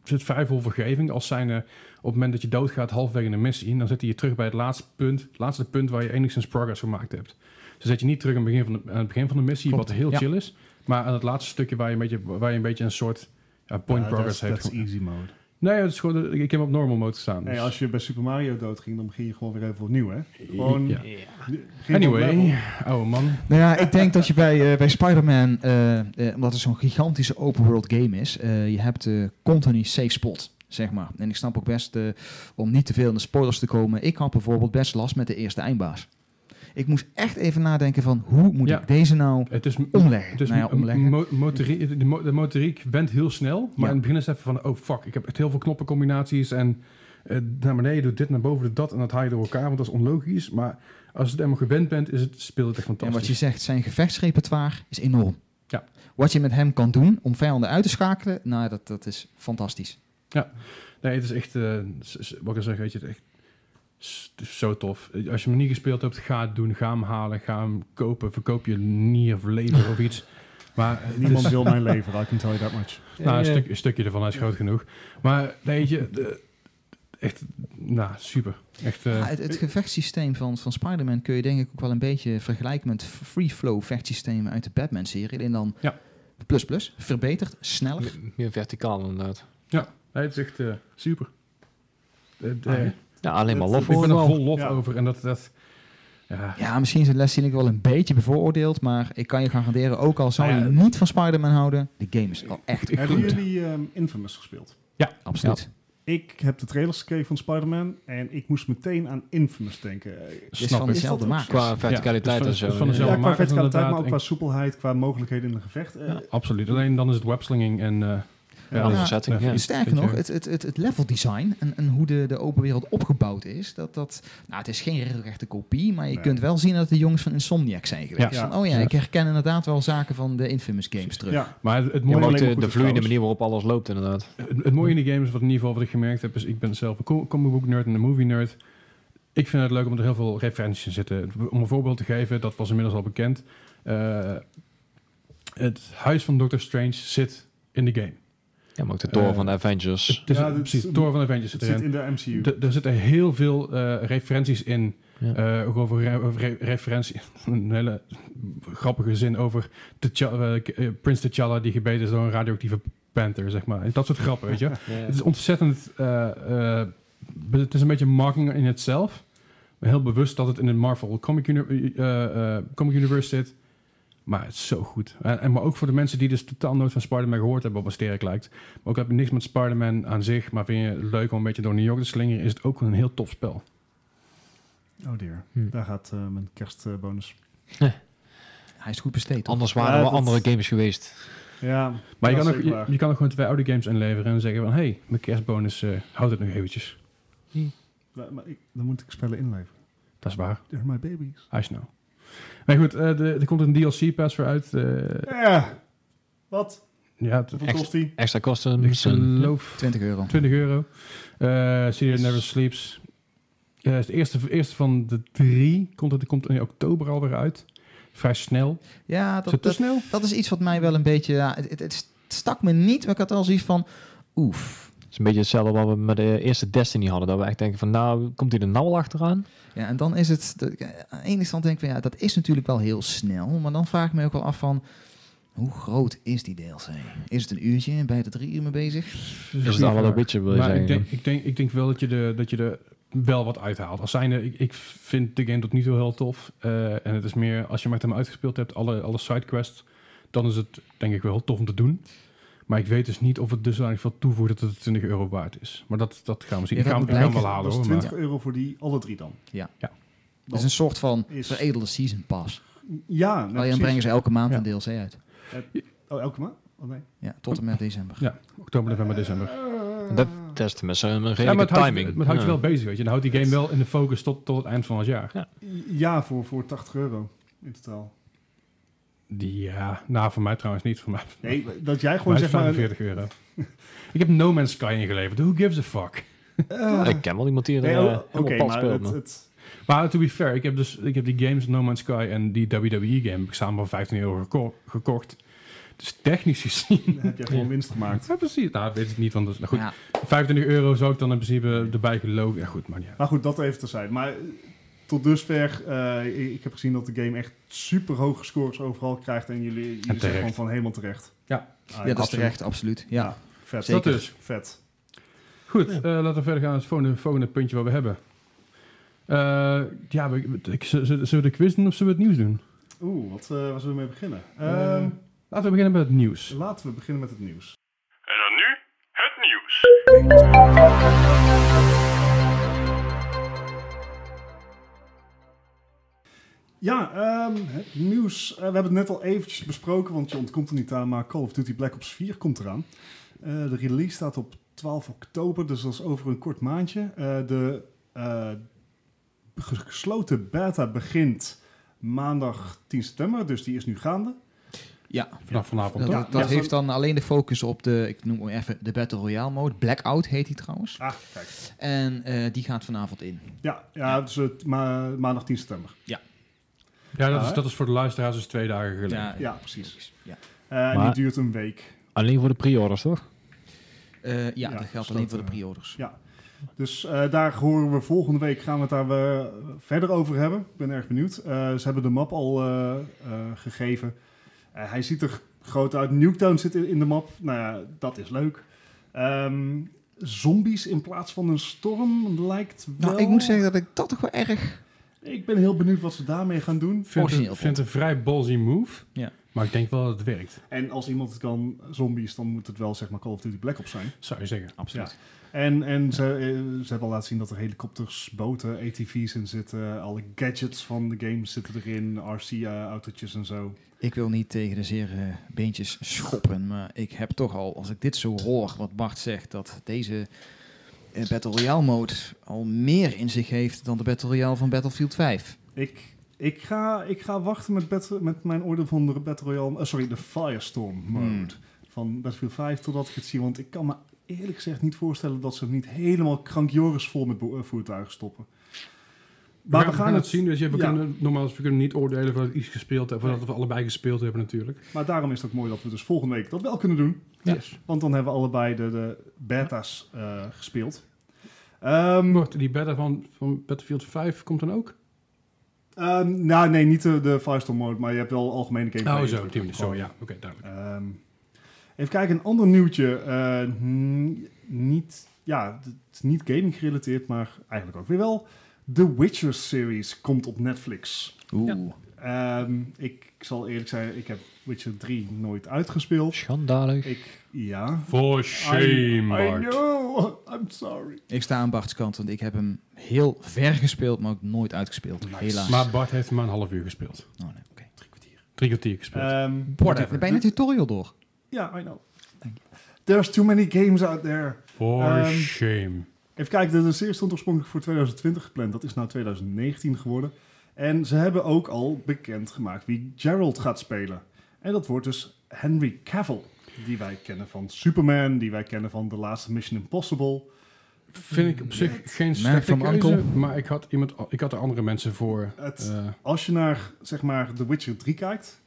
[SPEAKER 1] zit vrij veel vergeving. Als zijn op het moment dat je doodgaat halfweg in een missie... dan zet hij je terug bij het laatste punt, het laatste punt waar je enigszins progress gemaakt hebt. Dus zet je niet terug aan het begin van de, aan het begin van de missie,
[SPEAKER 3] Klopt,
[SPEAKER 1] wat heel
[SPEAKER 3] ja.
[SPEAKER 1] chill is. Maar aan het laatste stukje waar je een beetje, waar je een, beetje een soort ja, point
[SPEAKER 2] Ja,
[SPEAKER 1] progress
[SPEAKER 2] dat is-
[SPEAKER 1] heeft.
[SPEAKER 2] Dat is easy mode.
[SPEAKER 1] Nee, het is gewoon, ik heb hem op normal mode staan.
[SPEAKER 2] Hey,
[SPEAKER 1] dus-
[SPEAKER 2] als je bij Super Mario doodging, dan begin je gewoon weer even opnieuw, hè? Gewoon...
[SPEAKER 1] Ja.
[SPEAKER 2] begin van het level.
[SPEAKER 1] <laughs> Anyway, oh man.
[SPEAKER 3] Nou ja, ik denk dat je bij, eh, bij Spider-Man, eh, eh, omdat het zo'n gigantische open world game is, eh, je hebt eh, continu safe spot, zeg maar. En ik snap ook best eh, om niet te veel in de spoilers te komen. Ik had bijvoorbeeld best last met de eerste eindbaas. Ik moest echt even nadenken van hoe moet
[SPEAKER 1] Ja. Dus
[SPEAKER 3] ik deze nou
[SPEAKER 1] Het is
[SPEAKER 3] omleggen?
[SPEAKER 1] Het is
[SPEAKER 3] nou ja,
[SPEAKER 1] een
[SPEAKER 3] omleggen.
[SPEAKER 1] mo- motorie- de, mo- de motoriek went heel snel, maar
[SPEAKER 3] Ja.
[SPEAKER 1] in het begin is het even van, oh fuck, ik heb echt heel veel knoppencombinaties en eh, naar beneden doet dit, naar boven doet dat en dat haal je door elkaar, want dat is onlogisch. Maar als je het helemaal gewend bent, is het, speelt het echt
[SPEAKER 3] En wat
[SPEAKER 1] fantastisch.
[SPEAKER 3] je zegt, zijn gevechtsrepertoire is enorm.
[SPEAKER 1] Ja.
[SPEAKER 3] Wat je met hem kan doen om vijanden uit te schakelen, nou, dat, dat is fantastisch.
[SPEAKER 1] nee, het is echt, eh, s- s- wat ik al zeg, weet je, het, is echt, s- het is zo tof. Eh, Als je hem niet gespeeld hebt, ga het doen, ga hem halen, ga hem kopen, verkoop je nier of lever of iets. Maar eh, het is-
[SPEAKER 2] Niemand wil mijn leven, I can tell you that
[SPEAKER 1] <laughs>
[SPEAKER 2] much.
[SPEAKER 1] Nou, een,
[SPEAKER 4] Eh,
[SPEAKER 1] stuk- een stukje ervan is groot genoeg. Maar weet je, de- echt, nou, super. Echt, eh,
[SPEAKER 3] Ja, Ah, het, het gevechtssysteem van, van Spider-Man kun je denk ik ook wel een beetje vergelijken met free flow vechtsystemen uit de Batman-serie. En dan
[SPEAKER 1] Ja.
[SPEAKER 3] plus plus, verbeterd, sneller.
[SPEAKER 4] meer- Meer verticaal inderdaad.
[SPEAKER 1] nee, het is echt eh, super. Het,
[SPEAKER 4] Ah,
[SPEAKER 1] eh,
[SPEAKER 4] ja.
[SPEAKER 1] ik
[SPEAKER 4] Ja, alleen maar
[SPEAKER 2] Het-
[SPEAKER 4] lof
[SPEAKER 2] ik
[SPEAKER 4] voor
[SPEAKER 1] ben er
[SPEAKER 4] wel.
[SPEAKER 1] vol lof
[SPEAKER 2] Ja.
[SPEAKER 1] over. En dat, dat ja,
[SPEAKER 3] Ja, misschien is de les die ik wel een beetje bevooroordeeld, maar ik kan je garanderen, ook al zou
[SPEAKER 1] Nou
[SPEAKER 3] je
[SPEAKER 1] ja,
[SPEAKER 3] niet van Spider-Man houden, de game is wel echt
[SPEAKER 2] Hebben
[SPEAKER 3] goed.
[SPEAKER 2] jullie ehm, Infamous gespeeld?
[SPEAKER 3] Absoluut.
[SPEAKER 2] Ik heb de trailers gekeken van Spider-Man en ik moest meteen aan Infamous denken. Eh,
[SPEAKER 3] Het is
[SPEAKER 1] snap
[SPEAKER 3] van
[SPEAKER 1] ik.
[SPEAKER 3] dezelfde
[SPEAKER 2] Is dat
[SPEAKER 3] maak.
[SPEAKER 2] ook
[SPEAKER 4] Qua verticaliteit
[SPEAKER 1] Ja,
[SPEAKER 4] en
[SPEAKER 1] dus van-
[SPEAKER 4] zo.
[SPEAKER 1] dus van
[SPEAKER 4] ja.
[SPEAKER 1] dezelfde-
[SPEAKER 2] Ja,
[SPEAKER 1] zelf
[SPEAKER 2] qua
[SPEAKER 1] maken,
[SPEAKER 2] verticaliteit, maar ook qua
[SPEAKER 1] inderdaad.
[SPEAKER 2] soepelheid, qua mogelijkheden in een gevecht. Eh,
[SPEAKER 1] ja, absoluut. Alleen dan is het webslinging en... eh,
[SPEAKER 4] Ja,
[SPEAKER 1] ja,
[SPEAKER 4] andere setting,
[SPEAKER 1] ja.
[SPEAKER 4] ja.
[SPEAKER 3] Sterker
[SPEAKER 1] Weet je-
[SPEAKER 3] nog, het, het, het, het level design en, en hoe de, de open wereld opgebouwd is, dat, dat, nou, het is geen regelrechte kopie, maar je
[SPEAKER 2] Nee.
[SPEAKER 3] kunt wel zien dat het de jongens van Insomniac zijn geweest.
[SPEAKER 2] Ja.
[SPEAKER 3] Van, oh ja,
[SPEAKER 1] Ja.
[SPEAKER 3] ik herken inderdaad wel zaken van de Infamous games terug.
[SPEAKER 2] ja.
[SPEAKER 1] maar het, het
[SPEAKER 4] Ja,
[SPEAKER 1] mooie,
[SPEAKER 4] maar ook
[SPEAKER 2] alleen
[SPEAKER 4] de,
[SPEAKER 2] maar
[SPEAKER 4] de
[SPEAKER 2] goed
[SPEAKER 4] vloeiende
[SPEAKER 2] trouwens.
[SPEAKER 4] manier waarop alles loopt inderdaad.
[SPEAKER 1] het, het mooie in de games, wat in ieder geval wat ik gemerkt heb, is ik ben zelf een co- comic book nerd en een movie nerd. Ik vind het leuk omdat er heel veel referenties in zitten. Om een voorbeeld te geven, dat was inmiddels al bekend. eh, het huis van Doctor Strange zit in de game.
[SPEAKER 4] Ja, maar ook de toren
[SPEAKER 1] Eh,
[SPEAKER 4] van de Avengers.
[SPEAKER 1] Het is
[SPEAKER 2] Ja,
[SPEAKER 1] een-
[SPEAKER 2] dit is
[SPEAKER 1] precies,
[SPEAKER 2] een-
[SPEAKER 1] Thor van Avengers zit
[SPEAKER 2] Het zit
[SPEAKER 1] erin.
[SPEAKER 2] in de MCU.
[SPEAKER 1] D- Er zitten heel veel eh, referenties in.
[SPEAKER 4] Ja.
[SPEAKER 1] Eh, ook over re- over re- referentie. <laughs> Een hele grappige zin over T'Challa, eh, K- eh, Prins T'Challa die gebeten is door een radioactieve panther, zeg maar. Dat soort grappen, weet je. Het is ontzettend... eh, eh, be- het is een beetje marking in itself. Maar heel bewust dat het in een Marvel comic, uni- eh, eh, comic universe zit. Maar het is zo goed. En, en maar ook voor de mensen die dus totaal nooit van Spider-Man gehoord hebben, wat wel sterk lijkt. Maar ook heb je niks met Spider-Man aan zich, maar vind je het leuk om een beetje door New York te slingeren, is het ook een heel tof spel.
[SPEAKER 2] Oh dear,
[SPEAKER 4] Hm.
[SPEAKER 2] daar gaat eh, mijn kerstbonus.
[SPEAKER 3] Hij is goed besteed. hoor.
[SPEAKER 4] Anders
[SPEAKER 2] Ja,
[SPEAKER 4] waren er
[SPEAKER 2] dat-
[SPEAKER 4] wel andere games geweest.
[SPEAKER 2] ja,
[SPEAKER 1] Maar je
[SPEAKER 2] dat
[SPEAKER 1] kan,
[SPEAKER 2] is
[SPEAKER 1] ook,
[SPEAKER 2] zeker waar.
[SPEAKER 1] je, je kan ook gewoon twee oude games inleveren en zeggen van... hé, hey, mijn kerstbonus, eh houd het nog eventjes.
[SPEAKER 2] Ja, maar ik- dan moet ik spellen inleveren.
[SPEAKER 1] Dat is waar,
[SPEAKER 2] They're my babies.
[SPEAKER 1] I know. Maar goed, eh, de, er komt een DLC-pass voor uit. eh,
[SPEAKER 2] Ja, wat?
[SPEAKER 1] ja, het-
[SPEAKER 2] Hoeveel
[SPEAKER 4] echt-
[SPEAKER 2] kost die?
[SPEAKER 4] Extra kosten.
[SPEAKER 1] ik
[SPEAKER 4] misschien.
[SPEAKER 1] geloof
[SPEAKER 3] 20 euro.
[SPEAKER 1] 20 euro. Eh Studio Never Sleeps. Eh, het eerste, eerste van de drie komt, het, komt in oktober alweer uit. Vrij snel.
[SPEAKER 3] Ja,
[SPEAKER 1] Is het
[SPEAKER 3] dat,
[SPEAKER 1] te
[SPEAKER 3] dat,
[SPEAKER 1] snel?
[SPEAKER 3] dat is iets wat mij wel een beetje... Ja, het, het, het stak me niet, maar ik had al zoiets van... Oef,
[SPEAKER 4] is een beetje hetzelfde wat we met de eerste Destiny hadden. Dat we echt denken van, nou, komt hij er nou al achteraan?
[SPEAKER 3] Ja, en dan is het, dat ik, eh, aan de ene kant denk ik van ja, dat is natuurlijk wel heel snel, maar dan vraag ik me ook wel af van, hoe groot is die DLC? Is het een uurtje en ben je er drie uur mee bezig?
[SPEAKER 4] Is het al wel een beetje, wil je
[SPEAKER 1] Maar
[SPEAKER 4] zeggen.
[SPEAKER 1] ik denk, ik, denk, ik denk wel dat je, de, dat je er wel wat uithaalt. Als zijnde, ik, ik vind de game tot nu toe heel tof. eh, en het is meer, als je met hem uitgespeeld hebt, alle, alle sidequests, dan is het denk ik wel heel tof om te doen. Maar ik weet dus niet of het dusdanig veel toevoegt dat het 20 euro waard is. Maar dat, dat gaan we zien.
[SPEAKER 3] Ja,
[SPEAKER 1] ik ga
[SPEAKER 3] dat
[SPEAKER 1] hem, ik ga hem
[SPEAKER 3] blijkt.
[SPEAKER 1] wel halen
[SPEAKER 2] dat is
[SPEAKER 1] hoor.
[SPEAKER 2] 20
[SPEAKER 1] Maar,
[SPEAKER 2] euro voor die alle drie dan.
[SPEAKER 3] Dat is een soort van
[SPEAKER 2] Is-
[SPEAKER 3] veredelde season pass.
[SPEAKER 2] Ja, nou,
[SPEAKER 3] Alleen Oh, dan
[SPEAKER 2] precies.
[SPEAKER 3] brengen ze elke maand
[SPEAKER 1] Ja.
[SPEAKER 3] een DLC uit.
[SPEAKER 2] Oh, elke maand? Oh, nee.
[SPEAKER 3] Ja, tot en met december.
[SPEAKER 1] ja, oktober, november, december.
[SPEAKER 2] Ah.
[SPEAKER 4] Dat testen met zo'n redelijke
[SPEAKER 1] Ja, maar het houdt,
[SPEAKER 4] timing.
[SPEAKER 1] je- het houdt je
[SPEAKER 4] Ja.
[SPEAKER 1] wel bezig, weet je. Dan houdt die game wel in de focus tot, tot het eind van het jaar.
[SPEAKER 2] Ja, voor, voor 80 euro in totaal.
[SPEAKER 1] Ja, nou, voor mij trouwens niet. Voor mij,
[SPEAKER 2] Nee, dat jij
[SPEAKER 1] voor
[SPEAKER 2] gewoon
[SPEAKER 1] mij is
[SPEAKER 2] zeg maar... een-
[SPEAKER 1] 45 euro. <laughs> ik heb No Man's Sky ingeleverd. Who gives a fuck?
[SPEAKER 2] Eh,
[SPEAKER 4] Ik ken wel iemand die er
[SPEAKER 2] nee,
[SPEAKER 4] eh,
[SPEAKER 2] oh,
[SPEAKER 4] helemaal
[SPEAKER 2] Oké,
[SPEAKER 4] pad
[SPEAKER 2] maar
[SPEAKER 4] speelt.
[SPEAKER 2] het...
[SPEAKER 4] man.
[SPEAKER 2] het-
[SPEAKER 1] Maar to be fair, ik heb dus ik heb die games No Man's Sky en die WWE game heb ik samen voor 15 euro geko- gekocht. Dus technisch <laughs> gezien.
[SPEAKER 2] Dan heb jij gewoon winst
[SPEAKER 1] <laughs>
[SPEAKER 2] gemaakt.
[SPEAKER 1] Ja, precies. Nou, dat weet ik niet. Want dat is, nou goed,
[SPEAKER 3] Ja,
[SPEAKER 1] 25 euro zou ik dan in principe erbij gelogen. Ja, goed, maar ja.
[SPEAKER 2] Maar goed, dat even terzijde. Maar eh, tot dusver, eh, ik- ik heb gezien dat de game echt super hoge scores overal krijgt. En jullie, jullie zijn
[SPEAKER 1] terecht.
[SPEAKER 2] gewoon van helemaal terecht.
[SPEAKER 1] Ja.
[SPEAKER 2] Ah,
[SPEAKER 3] ja dat is terecht, absoluut. Ja.
[SPEAKER 2] Vet.
[SPEAKER 1] Dat
[SPEAKER 3] Zeker.
[SPEAKER 1] is.
[SPEAKER 2] Vet.
[SPEAKER 1] Goed, eh, laten we verder gaan naar het volgende, volgende puntje wat we hebben. Eh, ja, we, we- ik- z- z- zullen we de quiz doen of zullen we het nieuws doen?
[SPEAKER 2] Oeh, wat, eh waar zullen we mee beginnen?
[SPEAKER 1] Eh,
[SPEAKER 2] Ehm,
[SPEAKER 1] Laten we beginnen met het nieuws.
[SPEAKER 2] laten we beginnen met het nieuws.
[SPEAKER 5] En dan nu het nieuws.
[SPEAKER 2] Ja, ehm, het nieuws. Eh, we hebben het net al eventjes besproken, want je ontkomt er niet aan. Maar Call of Duty Black Ops 4 komt eraan. Eh, de release staat op 12 oktober, dus dat is over een kort maandje. Eh, de eh, gesloten beta begint maandag 10 september, dus die is nu gaande.
[SPEAKER 3] ja.
[SPEAKER 1] Vanaf vanavond.
[SPEAKER 3] Dat,
[SPEAKER 1] toch?
[SPEAKER 3] dat- dat
[SPEAKER 2] Ja.
[SPEAKER 3] heeft dan alleen de focus op de, ik noem hem even, de Battle Royale mode. Blackout heet die trouwens.
[SPEAKER 2] Ah, kijk.
[SPEAKER 3] En eh, die gaat vanavond in.
[SPEAKER 2] Ja, ja dus het ma- maandag 10 september.
[SPEAKER 1] Ja, dat is,
[SPEAKER 2] Ah.
[SPEAKER 1] dat is voor de luisteraars dus twee dagen geleden.
[SPEAKER 2] Ja, precies.
[SPEAKER 3] Ja.
[SPEAKER 2] Eh, en
[SPEAKER 4] Maar-
[SPEAKER 2] die duurt een week.
[SPEAKER 4] Alleen voor de pre-orders, toch?
[SPEAKER 3] Eh, ja,
[SPEAKER 2] Ja,
[SPEAKER 3] dat geldt
[SPEAKER 2] gesloten,
[SPEAKER 3] alleen voor de
[SPEAKER 2] eh,
[SPEAKER 3] pre-orders.
[SPEAKER 2] Dus eh, daar horen we volgende week, gaan we het daar eh, verder over hebben. Ik ben erg benieuwd. Eh, ze hebben de map al eh, eh, gegeven. Eh, hij ziet er groot uit. Nuketown zit in, in de map. Nou ja, dat is leuk. Ehm, zombies in plaats van een storm lijkt wel...
[SPEAKER 3] Nou, ik moet zeggen dat ik dat toch wel erg...
[SPEAKER 2] Ik ben heel benieuwd wat ze daarmee gaan doen.
[SPEAKER 1] Vind het-
[SPEAKER 3] Origineel
[SPEAKER 1] vind het een vrij ballsy move.
[SPEAKER 3] Ja.
[SPEAKER 1] Maar ik denk wel dat het werkt,
[SPEAKER 2] En als iemand het kan, zombies, dan moet het wel zeg maar Call of Duty Black Ops zijn.
[SPEAKER 1] zou je zeggen.
[SPEAKER 3] Absoluut.
[SPEAKER 2] En, en ze, eh, ze hebben al laten zien dat er helikopters, boten, ATV's in zitten. Alle gadgets van de game zitten erin. RC-autootjes en zo.
[SPEAKER 3] Ik wil niet tegen de zere beentjes schoppen, maar ik heb toch al, als ik dit zo hoor, wat Bart zegt, dat deze eh, Battle Royale mode al meer in zich heeft dan de Battle Royale van Battlefield 5.
[SPEAKER 2] Ik, ik, ga, ik ga wachten met, Battle- met mijn orde van de Battle Royale... eh, sorry, de Firestorm mode
[SPEAKER 3] Hmm.
[SPEAKER 2] van Battlefield 5 totdat ik het zie. Want ik kan me eerlijk gezegd niet voorstellen dat ze hem niet helemaal krankjoris vol met bo- eh, voertuigen stoppen.
[SPEAKER 1] Maar we gaan, het zien. Dus je, we
[SPEAKER 2] ja.
[SPEAKER 1] kunnen, normaal we kunnen niet oordelen voordat we iets gespeeld hebben, voordat we allebei gespeeld hebben natuurlijk.
[SPEAKER 2] Maar daarom is het ook mooi dat we dus volgende week dat wel kunnen doen.
[SPEAKER 1] Ja.
[SPEAKER 2] Want dan hebben we allebei de, de beta's eh, gespeeld. Ehm,
[SPEAKER 1] Wordt die beta van, van Battlefield 5 komt dan ook?
[SPEAKER 2] ehm, nou, nee, niet de, de Firestorm mode, maar je hebt wel algemene gameplay.
[SPEAKER 1] Oh zo, op die manier. Zo ja, oké, duidelijk.
[SPEAKER 2] Ehm, even kijken, een ander nieuwtje. Eh, n- niet, ja, d- het is niet gaming gerelateerd, maar eigenlijk ook weer wel. The Witcher series komt op Netflix.
[SPEAKER 3] Oeh.
[SPEAKER 2] Ehm, ik zal eerlijk zijn, ik heb Witcher 3 nooit uitgespeeld.
[SPEAKER 4] Schandalig.
[SPEAKER 2] Ik, ja.
[SPEAKER 1] For
[SPEAKER 2] I,
[SPEAKER 1] shame,
[SPEAKER 2] I
[SPEAKER 1] Mark.
[SPEAKER 2] know, <laughs> I'm sorry.
[SPEAKER 3] Ik sta aan Bart's kant, want ik heb hem heel ver gespeeld, maar ook nooit uitgespeeld.
[SPEAKER 4] Ah,
[SPEAKER 3] Helaas.
[SPEAKER 1] Maar Bart heeft maar een half uur gespeeld.
[SPEAKER 3] Oh, nee, oké.
[SPEAKER 1] Drie kwartier gespeeld.
[SPEAKER 2] Ehm,
[SPEAKER 3] Dan ben je een tutorial door.
[SPEAKER 2] Ja, I know. There's too many games out there.
[SPEAKER 1] For
[SPEAKER 2] ehm,
[SPEAKER 1] shame.
[SPEAKER 2] Even kijken, de, de serie stond oorspronkelijk voor 2020 gepland. Dat is nou 2019 geworden. En ze hebben ook al bekendgemaakt wie Gerald gaat spelen. En dat wordt dus Henry Cavill. Die wij kennen van Superman, die wij kennen van de laatste Mission Impossible.
[SPEAKER 1] Vind
[SPEAKER 4] Mm.
[SPEAKER 1] ik op zich geen
[SPEAKER 3] van
[SPEAKER 1] slechte
[SPEAKER 3] mijn
[SPEAKER 1] keuze,
[SPEAKER 3] onkel.
[SPEAKER 1] maar ik had, iemand, ik had er andere mensen voor.
[SPEAKER 2] Het-
[SPEAKER 1] eh,
[SPEAKER 2] Als je naar, zeg maar, The Witcher 3 kijkt,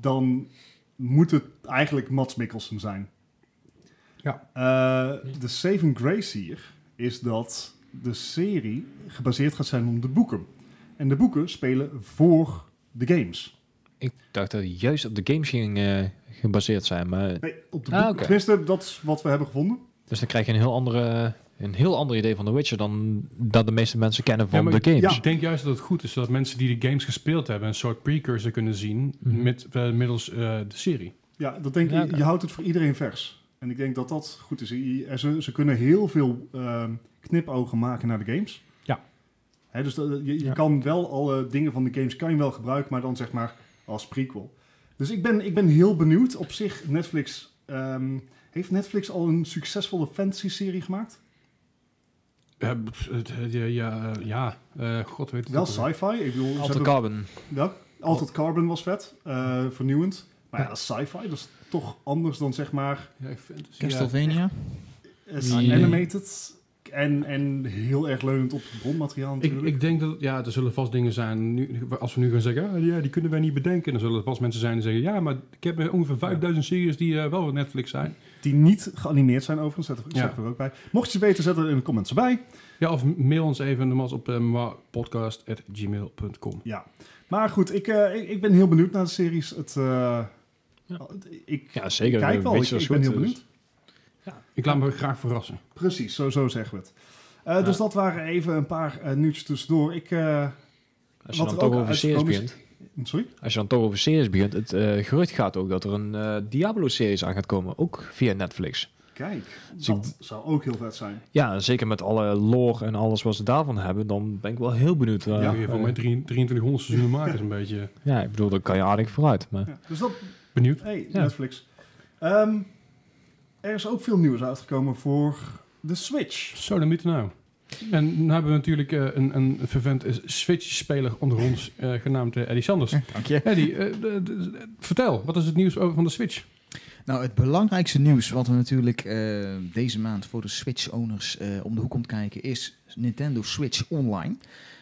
[SPEAKER 2] dan moet het eigenlijk Mats Mikkelsen zijn.
[SPEAKER 1] Ja.
[SPEAKER 2] Eh, de saving grace hier is dat de serie gebaseerd gaat zijn op de boeken. En de boeken spelen voor de games.
[SPEAKER 4] Ik dacht dat die juist op de games ging eh, gebaseerd zijn, maar
[SPEAKER 2] Nee, op
[SPEAKER 4] Ah,
[SPEAKER 2] de boeken.
[SPEAKER 4] oké.
[SPEAKER 2] Tenminste, dat is wat we hebben gevonden.
[SPEAKER 4] dus dan krijg je een heel andere, een heel ander idee van The Witcher dan dat de meeste mensen kennen van
[SPEAKER 1] Ja, maar-
[SPEAKER 4] de games.
[SPEAKER 1] Ik denk juist dat het goed is dat mensen die de games gespeeld hebben een soort precursor kunnen zien
[SPEAKER 4] Mhm.
[SPEAKER 1] met, eh, middels eh, de serie.
[SPEAKER 2] Ja, dat denk ik.
[SPEAKER 4] Ja, oké.
[SPEAKER 2] Je houdt het voor iedereen vers. En ik denk dat dat goed is. Je- er- Ze, ze kunnen heel veel ehm, knipogen maken naar de games.
[SPEAKER 1] Ja.
[SPEAKER 2] Hè, dus dat- je, je
[SPEAKER 1] Ja.
[SPEAKER 2] kan wel alle dingen van de games kan je wel gebruiken, maar dan zeg maar als prequel. Dus ik ben, ik ben heel benieuwd. Op zich, Netflix... ehm, heeft Netflix al een succesvolle fantasy-serie gemaakt?
[SPEAKER 1] Eh, pff, het- het- ja, ja, eh, ja. Eh, god weet het
[SPEAKER 2] Wel
[SPEAKER 1] ook alweer.
[SPEAKER 2] sci-fi. Ik bedoel, ze
[SPEAKER 4] Alter
[SPEAKER 2] hebben-
[SPEAKER 4] Carbon.
[SPEAKER 2] Ja, Altered Carbon was vet. eh, vernieuwend. Maar ja,
[SPEAKER 1] Ja.
[SPEAKER 2] dat is sci-fi. Dat is toch anders dan zeg maar...
[SPEAKER 1] Ja, ik vind het- ja.
[SPEAKER 3] Castlevania.
[SPEAKER 2] is
[SPEAKER 4] Die-
[SPEAKER 2] animated en, en heel erg leunend op het bronmateriaal
[SPEAKER 1] Ik,
[SPEAKER 2] natuurlijk.
[SPEAKER 1] ik denk dat, ja, er zullen vast dingen zijn, nu, als we nu gaan zeggen, "Ah, ja, die kunnen wij niet bedenken, dan zullen er vast mensen zijn die zeggen, ja, maar ik heb eh, ongeveer 5000 series die eh, wel op Netflix zijn.
[SPEAKER 2] Die niet geanimeerd zijn overigens, zet,
[SPEAKER 1] Ja.
[SPEAKER 2] zet er ook bij. Mocht je het weten, zet er in de comments bij.
[SPEAKER 1] Ja, of mail ons even nogmaals op uh, podcast.gmail.com.
[SPEAKER 2] Ja. Maar goed, ik, eh, ik, ik ben heel benieuwd naar de series. Het, eh,
[SPEAKER 4] Ja. eh,
[SPEAKER 2] Ik
[SPEAKER 4] Ja, zeker.
[SPEAKER 2] kijk wel, ik,
[SPEAKER 4] Witcher is
[SPEAKER 2] ik ben
[SPEAKER 4] goed,
[SPEAKER 2] heel
[SPEAKER 4] dus-
[SPEAKER 2] benieuwd.
[SPEAKER 1] Ik laat me graag verrassen.
[SPEAKER 2] Precies, zo, zo zeggen we het. Eh,
[SPEAKER 4] Ja.
[SPEAKER 2] Dus dat waren even een paar eh, nieuwtjes tussendoor. Ik, eh,
[SPEAKER 4] Als je
[SPEAKER 2] Wat
[SPEAKER 4] dan
[SPEAKER 2] er ook
[SPEAKER 4] toch over series
[SPEAKER 2] uitgekomen is-
[SPEAKER 4] begint.
[SPEAKER 2] sorry?
[SPEAKER 4] Als je dan toch over series begint, het eh, gerucht gaat ook dat er een eh, Diablo-series aan gaat komen, ook via Netflix.
[SPEAKER 2] Kijk,
[SPEAKER 4] Dus ik-
[SPEAKER 2] dat zou ook heel vet zijn.
[SPEAKER 4] Ja, en zeker met alle lore en alles wat ze daarvan hebben, dan ben ik wel heel benieuwd. eh,
[SPEAKER 1] Ja,
[SPEAKER 4] eh,
[SPEAKER 1] voor mij 3- 2300 seizoenen maken is een beetje
[SPEAKER 4] ja, ik bedoel, daar kan je aardig vooruit. Maar
[SPEAKER 2] Ja. Dus dat,
[SPEAKER 1] benieuwd.
[SPEAKER 2] hey,
[SPEAKER 4] Ja.
[SPEAKER 2] Netflix. Ehm, er is ook veel nieuws uitgekomen voor de Switch.
[SPEAKER 1] Zo, dan moeten nou. En dan hebben we natuurlijk eh, een, een vervent Switch-speler onder ons, eh, genaamd eh, Eddie Sanders.
[SPEAKER 3] Dank je.
[SPEAKER 1] Eddie, eh, d- d- d- vertel, wat is het nieuws over van de Switch?
[SPEAKER 3] Nou, het belangrijkste nieuws wat er natuurlijk eh, deze maand voor de Switch-owners eh, om de hoek komt kijken is Nintendo Switch Online.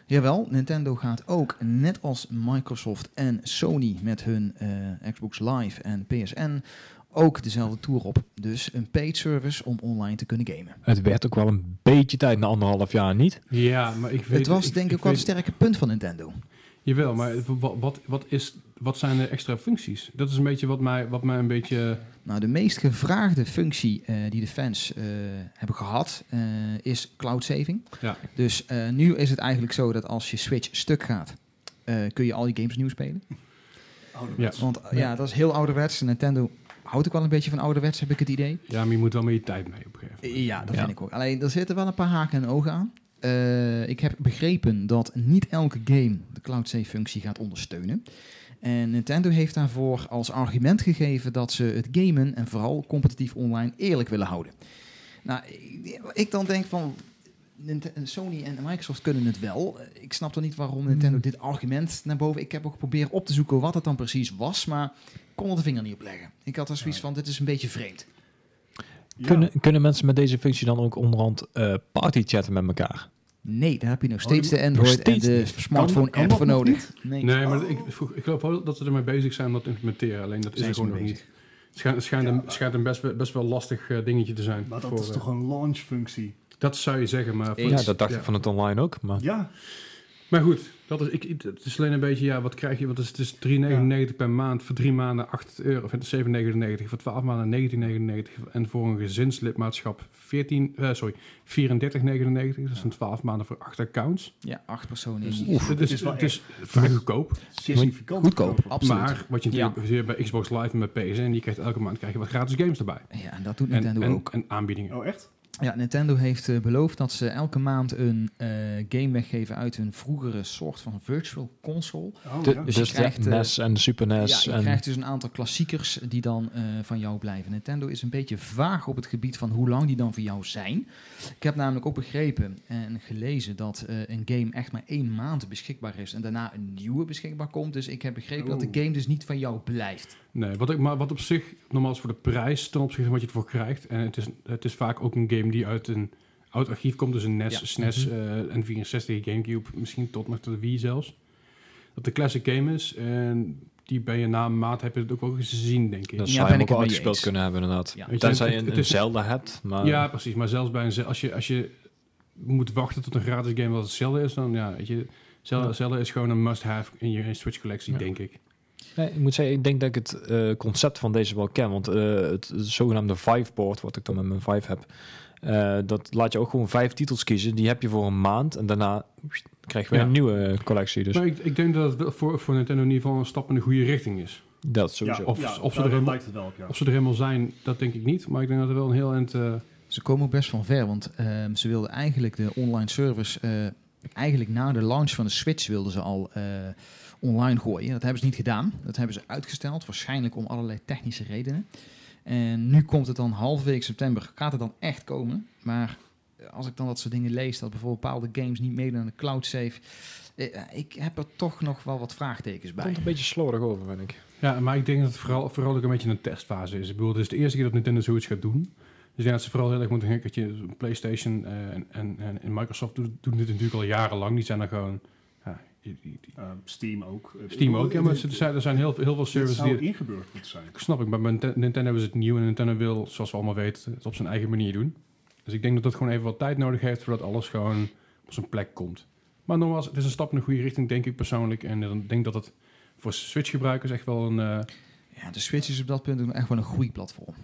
[SPEAKER 3] Jawel, Nintendo gaat ook, net als Microsoft en Sony met hun eh, Xbox Live en PSN, ook dezelfde tour op. Dus een paid service om online te kunnen gamen.
[SPEAKER 4] het werd ook wel een beetje tijd na anderhalf jaar, niet?
[SPEAKER 1] Ja, maar ik weet...
[SPEAKER 3] het was denk ik, wel het
[SPEAKER 1] weet-
[SPEAKER 3] sterke punt van Nintendo.
[SPEAKER 1] Jawel, maar wa- wa- wat, wat, is, wat zijn de extra functies? Dat is een beetje wat mij, wat mij een beetje...
[SPEAKER 3] Nou, de meest gevraagde functie eh, die de fans eh, hebben gehad eh, is cloud saving.
[SPEAKER 1] Ja.
[SPEAKER 3] Dus eh, nu is het eigenlijk zo dat als je Switch stuk gaat, eh, kun je al die games nieuw spelen.
[SPEAKER 4] Oh,
[SPEAKER 1] Ja.
[SPEAKER 3] Want eh,
[SPEAKER 1] Ja.
[SPEAKER 3] ja, dat is heel ouderwets. Nintendo houdt ook wel een beetje van ouderwets, heb ik het idee.
[SPEAKER 1] ja, maar je moet wel met je tijd mee op een gegeven moment.
[SPEAKER 3] Ja, dat
[SPEAKER 4] Ja.
[SPEAKER 3] vind ik ook. Alleen, er zitten wel een paar haken en ogen aan. Eh, ik heb begrepen dat niet elke game de cloud save functie gaat ondersteunen. En Nintendo heeft daarvoor als argument gegeven dat ze het gamen en vooral competitief online eerlijk willen houden. Nou, ik- ik dan denk van Nint- Sony en Microsoft kunnen het wel. Ik snap dan niet waarom Nintendo dit argument naar boven. Ik heb ook geprobeerd op te zoeken wat het dan precies was, maar kon er de vinger niet op leggen. Ik had er zoiets van: dit is een beetje vreemd.
[SPEAKER 2] Ja.
[SPEAKER 4] Kunnen, kunnen mensen met deze functie dan ook onderhand eh party chatten met elkaar?
[SPEAKER 3] Nee, daar heb je nog steeds
[SPEAKER 2] Oh,
[SPEAKER 3] de Android
[SPEAKER 4] steeds
[SPEAKER 3] en de
[SPEAKER 4] niet.
[SPEAKER 3] smartphone
[SPEAKER 2] Kan- kan
[SPEAKER 3] app
[SPEAKER 2] dat
[SPEAKER 3] voor
[SPEAKER 2] nog
[SPEAKER 3] nodig. Nee.
[SPEAKER 1] Nee,
[SPEAKER 2] Oh.
[SPEAKER 1] maar ik, vroeg- ik geloof wel dat ze ermee bezig zijn om dat te implementeren. Alleen dat is
[SPEAKER 3] Zijn
[SPEAKER 1] er
[SPEAKER 3] ze
[SPEAKER 1] gewoon nog
[SPEAKER 3] mee
[SPEAKER 1] niet. Het schijnt, het schijnt, een, het schijnt een best, wel- best wel lastig eh, dingetje te zijn.
[SPEAKER 2] Maar dat
[SPEAKER 1] voor,
[SPEAKER 2] is
[SPEAKER 1] eh,
[SPEAKER 2] toch een launchfunctie?
[SPEAKER 1] dat zou je zeggen, maar... voor-
[SPEAKER 4] Ja, dat dacht
[SPEAKER 1] Ja.
[SPEAKER 4] ik van het online ook. Maar
[SPEAKER 2] Ja,
[SPEAKER 1] Maar goed, dat is, ik, ik- het is alleen een beetje, ja, wat krijg je? Want het is, het is 3,99 per maand, voor drie maanden 8 euro, of het is 7,99, voor 12 maanden 19,99 en voor een gezinslidmaatschap 14, eh, sorry, 34,99. Dat zijn 12 maanden voor acht accounts.
[SPEAKER 3] Ja, acht personen.
[SPEAKER 1] Dus
[SPEAKER 3] is
[SPEAKER 1] het is,
[SPEAKER 2] is wel
[SPEAKER 1] het is vrij goedkoop.
[SPEAKER 2] significant.
[SPEAKER 3] Goedkoop,
[SPEAKER 2] goedkoper.
[SPEAKER 3] absoluut.
[SPEAKER 1] Maar wat je natuurlijk weer bij Xbox Live en bij PSN, je krijgt elke maand krijg je wat gratis games erbij.
[SPEAKER 3] ja, en dat doet
[SPEAKER 1] En,
[SPEAKER 3] Nintendo
[SPEAKER 1] en-
[SPEAKER 3] ook.
[SPEAKER 1] en aanbiedingen.
[SPEAKER 2] Oh, echt?
[SPEAKER 3] Ja, Nintendo heeft eh, beloofd dat ze elke maand een eh, game weggeven uit hun vroegere soort van virtual console.
[SPEAKER 2] Oh,
[SPEAKER 4] de,
[SPEAKER 2] ja.
[SPEAKER 4] dus
[SPEAKER 3] je
[SPEAKER 4] de
[SPEAKER 3] krijgt, eh,
[SPEAKER 4] NES en de Super NES.
[SPEAKER 3] ja, je
[SPEAKER 4] en,
[SPEAKER 3] krijgt dus een aantal klassiekers die dan eh, van jou blijven. Nintendo is een beetje vaag op het gebied van hoe lang die dan voor jou zijn. Ik heb namelijk ook begrepen en gelezen dat eh, een game echt maar één maand beschikbaar is en daarna een nieuwe beschikbaar komt. Dus ik heb begrepen dat
[SPEAKER 2] Oh.
[SPEAKER 3] de game dus niet van jou blijft.
[SPEAKER 1] Nee, wat, ik, maar wat op zich, normaal is voor de prijs ten opzichte van wat je ervoor krijgt. En het is, het is vaak ook een game die uit een oud archief komt. Dus een NES,
[SPEAKER 3] Ja.
[SPEAKER 1] SNES, en N64, Gamecube, misschien tot nog tot de Wii zelfs. Dat de classic game is. En die ben je na een maand heb je het ook wel gezien, denk ik.
[SPEAKER 4] Dat
[SPEAKER 3] Ja,
[SPEAKER 4] zou
[SPEAKER 3] ben
[SPEAKER 4] je
[SPEAKER 3] ik
[SPEAKER 4] hem ook wel
[SPEAKER 3] het mee
[SPEAKER 4] uitgespeeld
[SPEAKER 3] eens.
[SPEAKER 4] kunnen hebben, inderdaad.
[SPEAKER 3] Ja.
[SPEAKER 1] Weet je,
[SPEAKER 4] Tenzij
[SPEAKER 1] het-
[SPEAKER 4] je een,
[SPEAKER 1] het
[SPEAKER 4] een
[SPEAKER 1] is-
[SPEAKER 4] Zelda hebt, maar...
[SPEAKER 1] ja, precies. Maar zelfs bij een Ze- als je, als je moet wachten tot een gratis game wat hetzelfde is, dan ja, weet je, Zelda,
[SPEAKER 4] Ja.
[SPEAKER 1] Zelda is gewoon een must-have in je Switch collectie,
[SPEAKER 4] Ja.
[SPEAKER 1] denk ik.
[SPEAKER 4] Nee, ik moet zeggen, ik denk dat ik het eh, concept van deze wel ken. Want eh, het zogenaamde Vive-board, wat ik dan met mijn Vive heb... eh, dat laat je ook gewoon vijf titels kiezen. Die heb je voor een maand. En daarna pst, krijg je weer
[SPEAKER 1] Ja.
[SPEAKER 4] een nieuwe eh, collectie. Dus
[SPEAKER 1] Maar ik, ik denk dat het wel voor, voor Nintendo in ieder geval een stap in de goede richting is.
[SPEAKER 4] dat sowieso.
[SPEAKER 1] of- of ze
[SPEAKER 2] daar-
[SPEAKER 1] er
[SPEAKER 2] daar
[SPEAKER 1] helemaal-
[SPEAKER 2] lijkt het wel op, ja.
[SPEAKER 1] Of ze er helemaal zijn, dat denk ik niet. Maar ik denk dat er wel een heel eind... eh,
[SPEAKER 3] Ze komen ook best van ver, want ehm, ze wilden eigenlijk de online service... eh, eigenlijk na de launch van de Switch wilden ze al eh, online gooien. Dat hebben ze niet gedaan. Dat hebben ze uitgesteld, waarschijnlijk om allerlei technische redenen. En nu komt het dan halverwege september. Gaat het dan echt komen? Maar eh, als ik dan dat soort dingen lees, dat bijvoorbeeld bepaalde games niet meedoen aan de cloud save... eh, ik heb er toch nog wel wat vraagtekens bij.
[SPEAKER 4] Komt een beetje slordig over, vind ik.
[SPEAKER 1] Ja, maar ik denk dat het vooral, vooral ook een beetje een testfase is. Ik bedoel, dit is de eerste keer dat Nintendo zoiets gaat doen. Dus ik denk dat ze vooral heel erg moeten denken dat je PlayStation eh, en, en, en- en Microsoft doen, doen dit natuurlijk al jarenlang. Die zijn er gewoon... Ja, die- die- die-
[SPEAKER 2] Eh, Steam ook.
[SPEAKER 1] Steam ook, ja, maar ze- er
[SPEAKER 2] zijn
[SPEAKER 1] zijn, er zijn heel, heel veel
[SPEAKER 2] services
[SPEAKER 1] services
[SPEAKER 2] zou
[SPEAKER 1] die...
[SPEAKER 2] ingebeurd moeten zijn.
[SPEAKER 1] Snap ik, maar bij Ninte- Nintendo is het nieuw en Nintendo wil, zoals we allemaal weten, het op zijn eigen manier doen. Dus ik denk dat dat gewoon even wat tijd nodig heeft voordat alles gewoon op zijn plek komt. Maar nogmaals, het is een stap in de goede richting, denk ik persoonlijk. En dan denk dat het voor Switch-gebruikers echt wel een... eh,
[SPEAKER 3] Ja, de Switch is op dat punt ook echt wel een groeiplatform.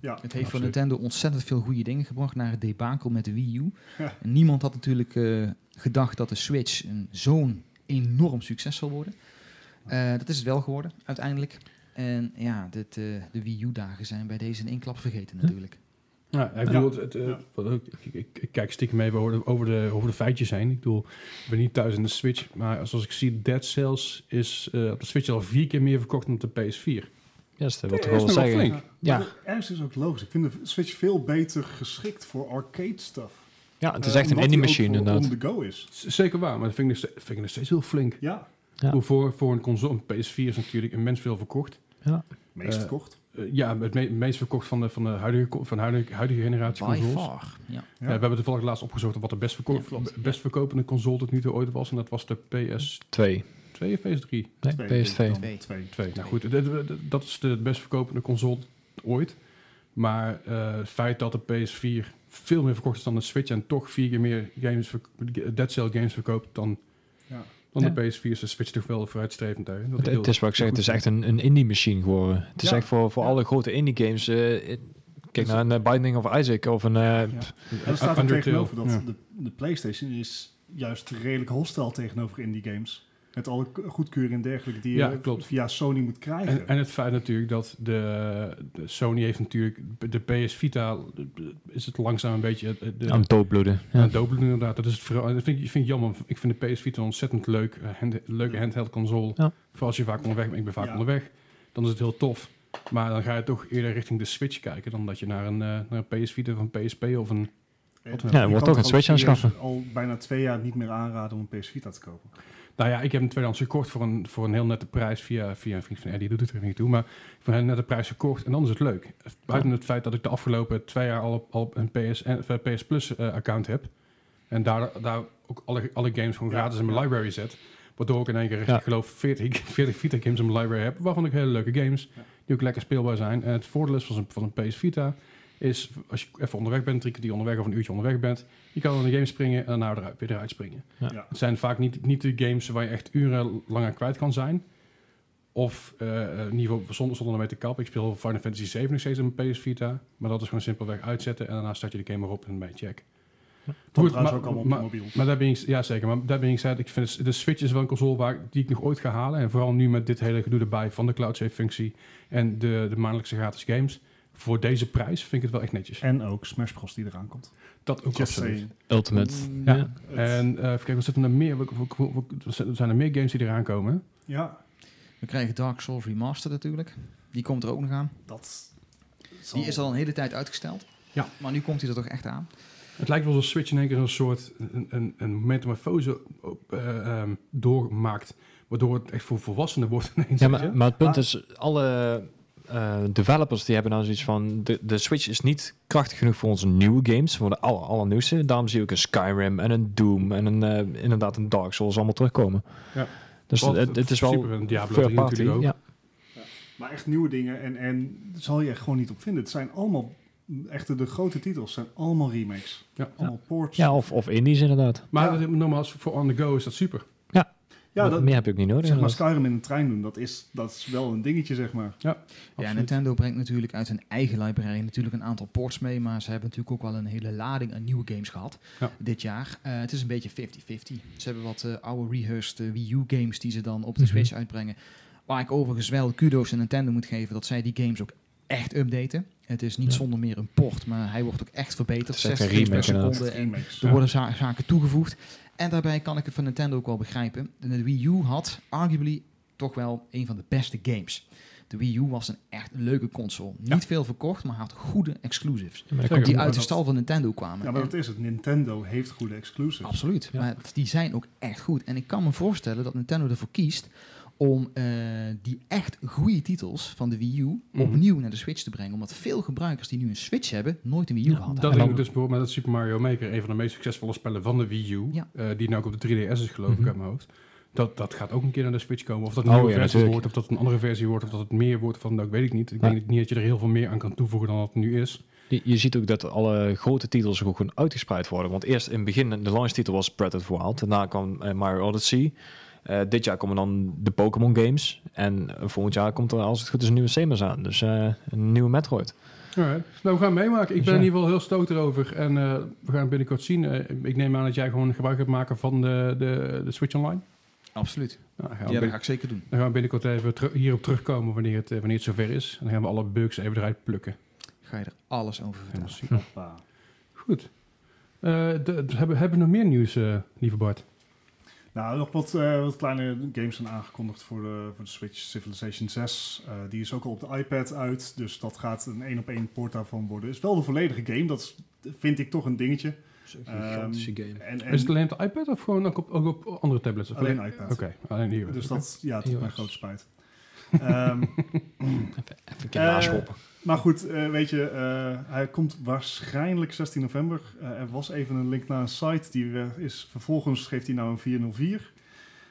[SPEAKER 2] Ja,
[SPEAKER 3] het heeft voor
[SPEAKER 1] absoluut.
[SPEAKER 3] Nintendo ontzettend veel goede dingen gebracht naar het debakel met de Wii U. En niemand had natuurlijk eh, gedacht dat de Switch een- zo'n enorm succes zou worden. Eh, dat is het wel geworden, uiteindelijk. En ja, dit, eh, de Wii U-dagen zijn bij deze in één klap vergeten natuurlijk.
[SPEAKER 1] Ja, ik bedoel,
[SPEAKER 2] Ja.
[SPEAKER 1] het, het, eh,
[SPEAKER 2] Ja.
[SPEAKER 1] wat ook- ik, ik, ik kijk stiekem even over de, over, de, over de feitjes heen. Ik bedoel, ik ben niet thuis in de Switch, maar zoals ik zie, Dead Cells is eh, op de Switch al vier keer meer verkocht dan op de PS4.
[SPEAKER 4] Ja, dat wil ik toch
[SPEAKER 1] Ja, is
[SPEAKER 4] wel
[SPEAKER 1] nog wel
[SPEAKER 4] zeggen.
[SPEAKER 1] flink.
[SPEAKER 4] Ja.
[SPEAKER 2] Ja. Eh, Maar ergens is ook logisch. Ik vind de Switch veel beter geschikt voor arcade stuff.
[SPEAKER 4] Ja, het is
[SPEAKER 2] Eh,
[SPEAKER 4] echt een
[SPEAKER 2] omdat
[SPEAKER 4] indie
[SPEAKER 2] die ook
[SPEAKER 4] machine,
[SPEAKER 2] voor
[SPEAKER 4] inderdaad.
[SPEAKER 2] on the go is.
[SPEAKER 1] Z- Zeker waar, maar dat vind ik nog steeds, vind ik nog steeds heel flink.
[SPEAKER 2] Ja,
[SPEAKER 1] Ik bedoel, Voor, voor een console, een PS4 is natuurlijk immens veel verkocht.
[SPEAKER 2] meest
[SPEAKER 1] Eh,
[SPEAKER 2] verkocht.
[SPEAKER 1] Eh, ja, het me- meest verkocht van de, van de huidige, co- van de huidige, huidige generatie
[SPEAKER 3] By
[SPEAKER 1] consoles.
[SPEAKER 3] far. Ja.
[SPEAKER 1] Ja, we hebben toevallig laatst opgezocht wat de best, verko-
[SPEAKER 3] Ja, klopt.
[SPEAKER 1] best verkopende console tot nu toe ooit was. En dat was de PS2
[SPEAKER 4] Twee.
[SPEAKER 1] of PS3?
[SPEAKER 4] Nee,
[SPEAKER 2] Twee, denk ik
[SPEAKER 4] PS2.
[SPEAKER 2] dan.
[SPEAKER 3] Twee.
[SPEAKER 2] Twee.
[SPEAKER 1] Twee. Nou goed, dat- dat- dat- dat is de best verkopende console ooit. Maar eh, het feit dat de PS4 veel meer verkocht is dan de Switch en toch vier keer meer games verk- Dead Cell games verkoopt dan,
[SPEAKER 2] Ja.
[SPEAKER 1] dan
[SPEAKER 4] Ja.
[SPEAKER 1] de PS4 is de Switch toch wel vooruitstrevend daarin. Dat
[SPEAKER 4] Het,
[SPEAKER 1] ik heel-
[SPEAKER 4] het is wat ik zeg, het is echt een, een indie machine geworden. Het is
[SPEAKER 2] Ja.
[SPEAKER 4] echt voor, voor
[SPEAKER 2] Ja.
[SPEAKER 4] alle grote indie games. eh, het- kijk
[SPEAKER 1] Dus-
[SPEAKER 4] naar een eh, Binding of Isaac of een... eh, pff,
[SPEAKER 2] En dan staat er
[SPEAKER 1] Undertale.
[SPEAKER 2] tegenover dat
[SPEAKER 1] Ja.
[SPEAKER 2] de, de PlayStation is juist redelijk hostile tegenover indie games. Met alle k- goedkeuring en dergelijke die
[SPEAKER 1] Ja,
[SPEAKER 2] je
[SPEAKER 1] klopt.
[SPEAKER 2] via Sony moet krijgen.
[SPEAKER 1] En, en het feit natuurlijk dat de, de Sony heeft natuurlijk de PS Vita is het langzaam een beetje het- het- de,
[SPEAKER 4] aan het doodbloeden.
[SPEAKER 1] Ja.
[SPEAKER 4] Ja.
[SPEAKER 1] doodbloeden inderdaad. Dat, is het vooral, dat vind, ik, vind ik jammer. Ik vind de PS Vita een ontzettend leuk, eh, hand- leuke handheld console.
[SPEAKER 4] Ja.
[SPEAKER 1] Vooral als je vaak onderweg bent. Ik ben vaak
[SPEAKER 2] Ja.
[SPEAKER 1] onderweg. Dan is het heel tof. Maar dan ga je toch eerder richting de Switch kijken... dan dat je naar een, eh, naar een PS Vita of een PSP of een... Ja,
[SPEAKER 2] Eh, je
[SPEAKER 4] wordt
[SPEAKER 2] kan
[SPEAKER 4] toch een
[SPEAKER 2] gewoon
[SPEAKER 4] Switch aanschaffen.
[SPEAKER 2] serieus al bijna twee jaar niet meer aanraden om een PS Vita te kopen.
[SPEAKER 1] Nou ja, ik heb hem tweedehands gekocht voor een, voor een heel nette prijs... via, via een vriend van Eddie, doet het er niet toe. Maar voor een heel nette prijs gekocht en dan is het leuk. Buiten het feit dat ik de afgelopen twee jaar al, op- al een PS, en- of, eh, PS Plus eh, account heb... en daar, daar ook alle, alle games gewoon
[SPEAKER 2] Ja.
[SPEAKER 1] gratis in mijn library zet... Waardoor ik in één keer,
[SPEAKER 4] Ja.
[SPEAKER 1] ik geloof, <laughs> 40, 40 Vita games in mijn library heb. Waarvan ik hele leuke games,
[SPEAKER 2] Ja.
[SPEAKER 1] die ook lekker speelbaar zijn. En het voordeel is van een, van een PS Vita, is als je even onderweg bent, drie kwartier onderweg of een uurtje onderweg bent, je kan aan de game springen en daarna eruit, weer eruit springen.
[SPEAKER 4] Ja.
[SPEAKER 2] Ja.
[SPEAKER 1] Het zijn vaak niet, niet de games waar je echt uren lang aan kwijt kan zijn. Of eh, eh, in ieder geval zonder, zonder ermee te kappen. Ik speel Final Fantasy 7 nog steeds op mijn PS Vita. Maar dat is gewoon simpelweg uitzetten en daarna start je de game erop en bij check.
[SPEAKER 2] Komt
[SPEAKER 1] Goed,
[SPEAKER 2] trouwens
[SPEAKER 1] maar-
[SPEAKER 2] ook allemaal op
[SPEAKER 1] maar-
[SPEAKER 2] je mobiel.
[SPEAKER 1] Maar dat ben ik, ja zeker, maar dat ben ik zei, ik vind het- de Switch is wel een console waar, die ik nog ooit ga halen. En vooral nu met dit hele gedoe erbij van de cloud save functie en de, de maandelijkse gratis games. Voor deze prijs vind ik het wel echt netjes.
[SPEAKER 2] En ook Smash Bros. die eraan komt.
[SPEAKER 1] Dat ook
[SPEAKER 2] Just
[SPEAKER 1] absoluut.
[SPEAKER 2] saying.
[SPEAKER 4] Ultimate.
[SPEAKER 1] Ja.
[SPEAKER 4] Ja.
[SPEAKER 1] En eh even kijken, wat zitten er meer? Wat- wat- wat- wat- Er zijn er meer games die eraan komen.
[SPEAKER 2] Ja,
[SPEAKER 3] We krijgen Dark Souls Remastered natuurlijk. Die komt er ook nog aan.
[SPEAKER 2] dat zal-
[SPEAKER 3] Die is al een hele tijd uitgesteld.
[SPEAKER 1] Ja.
[SPEAKER 3] Maar nu komt hij er toch echt aan.
[SPEAKER 1] Het lijkt wel alsof Switch in één keer een soort een, een, een metamorfose op- eh, ehm, doormaakt. Waardoor het echt voor volwassenen wordt <laughs> ineens.
[SPEAKER 4] Ja,
[SPEAKER 1] weet je? Ah.
[SPEAKER 4] maar, maar het punt
[SPEAKER 2] Maar-
[SPEAKER 4] is, alle eh, developers die hebben nou zoiets van... De, de Switch is niet krachtig genoeg voor onze nieuwe games, voor de aller, allernieuwste. Daarom zie ik een Skyrim en een Doom en een, eh, inderdaad een Dark Souls allemaal terugkomen.
[SPEAKER 1] Ja.
[SPEAKER 4] Dus
[SPEAKER 1] Wat-
[SPEAKER 4] het, het is wel
[SPEAKER 1] Super, en Diablo
[SPEAKER 4] third
[SPEAKER 1] 3 natuurlijk ook.
[SPEAKER 4] Ja.
[SPEAKER 2] Maar echt nieuwe dingen en, en daar zal je echt gewoon niet op vinden. Het zijn allemaal, echt de, de grote titels zijn allemaal remakes.
[SPEAKER 1] Ja.
[SPEAKER 2] Allemaal ports.
[SPEAKER 4] Ja, of, of indies inderdaad.
[SPEAKER 1] Maar
[SPEAKER 2] Ja.
[SPEAKER 1] dat- normaal is voor on the go is dat super.
[SPEAKER 2] Ja, dat,
[SPEAKER 4] Meer heb je ook niet nodig.
[SPEAKER 2] zeg maar
[SPEAKER 4] inderdaad.
[SPEAKER 2] Skyrim in een trein doen, dat is, dat is wel een dingetje, zeg maar.
[SPEAKER 3] Ja,
[SPEAKER 1] Absoluut.
[SPEAKER 3] Nintendo brengt natuurlijk uit hun eigen library natuurlijk een aantal ports mee, maar ze hebben natuurlijk ook wel een hele lading aan nieuwe games gehad
[SPEAKER 1] Ja.
[SPEAKER 3] dit jaar. Eh, het is een beetje 50-50. Ze hebben wat eh, oude rehearsed eh, Wii U games die ze dan op de
[SPEAKER 4] Mhm.
[SPEAKER 3] Switch uitbrengen. Waar ik overigens wel kudo's aan Nintendo moet geven dat zij die games ook echt updaten. Het is niet
[SPEAKER 4] Ja.
[SPEAKER 3] zonder meer een port, maar hij wordt ook echt verbeterd.
[SPEAKER 4] Het is echt
[SPEAKER 3] 60
[SPEAKER 4] een
[SPEAKER 3] games per
[SPEAKER 4] remake inderdaad.
[SPEAKER 3] seconde en
[SPEAKER 2] Remakes.
[SPEAKER 3] er worden za- zaken toegevoegd. En daarbij kan ik het van Nintendo ook wel begrijpen. De Wii U had arguably toch wel een van de beste games. De Wii U was een echt leuke console. Niet veel verkocht, maar had goede exclusives.
[SPEAKER 4] Ja, maar dat
[SPEAKER 1] Zeker.
[SPEAKER 4] komt-
[SPEAKER 3] Die
[SPEAKER 1] maar
[SPEAKER 3] uit de
[SPEAKER 2] dat-
[SPEAKER 3] stal van Nintendo kwamen.
[SPEAKER 2] Ja, maar
[SPEAKER 3] En-
[SPEAKER 2] dat is het. Nintendo heeft goede exclusives.
[SPEAKER 3] Absoluut.
[SPEAKER 4] Ja.
[SPEAKER 3] Maar die zijn ook echt goed. En ik kan me voorstellen dat Nintendo ervoor kiest om eh, die echt goede titels van de Wii U
[SPEAKER 1] Mhm.
[SPEAKER 3] opnieuw naar de Switch te brengen. Omdat veel gebruikers die nu een Switch hebben, nooit een Wii U
[SPEAKER 4] Ja,
[SPEAKER 3] hadden.
[SPEAKER 1] Dat
[SPEAKER 4] En
[SPEAKER 1] denk
[SPEAKER 4] dan-
[SPEAKER 1] ik dus bijvoorbeeld met dat Super Mario Maker, een van de meest succesvolle spellen van de Wii U,
[SPEAKER 3] Ja.
[SPEAKER 1] eh, die nu ook op de 3DS is geloof ik
[SPEAKER 4] Mhm.
[SPEAKER 1] uit mijn hoofd. Dat, dat gaat ook een keer naar de Switch komen. Of dat een
[SPEAKER 4] Oh,
[SPEAKER 1] nieuwe
[SPEAKER 4] ja,
[SPEAKER 1] versie
[SPEAKER 4] natuurlijk.
[SPEAKER 1] wordt, of dat een andere versie wordt, of dat het meer wordt van, dat weet ik niet. Ik
[SPEAKER 4] Ja.
[SPEAKER 1] denk niet dat je er heel veel meer aan kan toevoegen dan dat het nu is.
[SPEAKER 4] Je, je ziet ook dat alle grote titels ook gewoon uitgespreid worden. Want eerst in het begin, de launchtitel was Breath of the Wild. Daarna kwam eh, Mario Odyssey. Eh, dit jaar komen dan de Pokémon games. En eh, volgend jaar komt er, als het goed is, een nieuwe Samus aan. Dus eh, een nieuwe Metroid.
[SPEAKER 1] Alright. Nou, we gaan meemaken. Ik
[SPEAKER 4] Dus
[SPEAKER 1] ben
[SPEAKER 4] ja.
[SPEAKER 1] in ieder geval heel stoot erover. En eh, we gaan binnenkort zien. Eh, ik neem aan dat jij gewoon gebruik gaat maken van de, de, de Switch Online.
[SPEAKER 3] Absoluut.
[SPEAKER 1] Nou, dan gaan we
[SPEAKER 3] Ja, dat
[SPEAKER 1] bin-
[SPEAKER 3] ga ik zeker doen.
[SPEAKER 1] dan gaan we binnenkort even teru- hierop terugkomen wanneer het, eh, wanneer het zover is. En dan gaan we alle bugs even eruit plukken.
[SPEAKER 3] Ga je er alles over
[SPEAKER 1] Helemaal
[SPEAKER 3] vertellen.
[SPEAKER 1] super.
[SPEAKER 2] Hoppa.
[SPEAKER 1] Goed. Eh, de- de- hebben, hebben we nog meer nieuws, eh, lieve Bart?
[SPEAKER 2] Nou, nog wat, eh, wat kleine games zijn aangekondigd voor de, voor de Switch. Civilization 6, eh, die is ook al op de iPad uit. Dus dat gaat een één op één port daarvan worden. Is wel de volledige game, dat is- vind ik toch een dingetje. gigantische
[SPEAKER 4] game.
[SPEAKER 2] En, en
[SPEAKER 1] is het alleen op de iPad of gewoon ook op, ook op andere tablets? Of
[SPEAKER 2] alleen iPad.
[SPEAKER 1] Oké, alleen hier.
[SPEAKER 2] Dus dat, ja, dat is
[SPEAKER 4] Heel
[SPEAKER 2] mijn
[SPEAKER 4] erg.
[SPEAKER 2] grote spijt. Ehm,
[SPEAKER 4] Even, even een keer
[SPEAKER 2] Eh,
[SPEAKER 4] naschoppen.
[SPEAKER 2] maar goed, eh, weet je, eh, hij komt waarschijnlijk 16 november. Eh, er was even een link naar een site, die eh, is, vervolgens geeft hij nou een 404.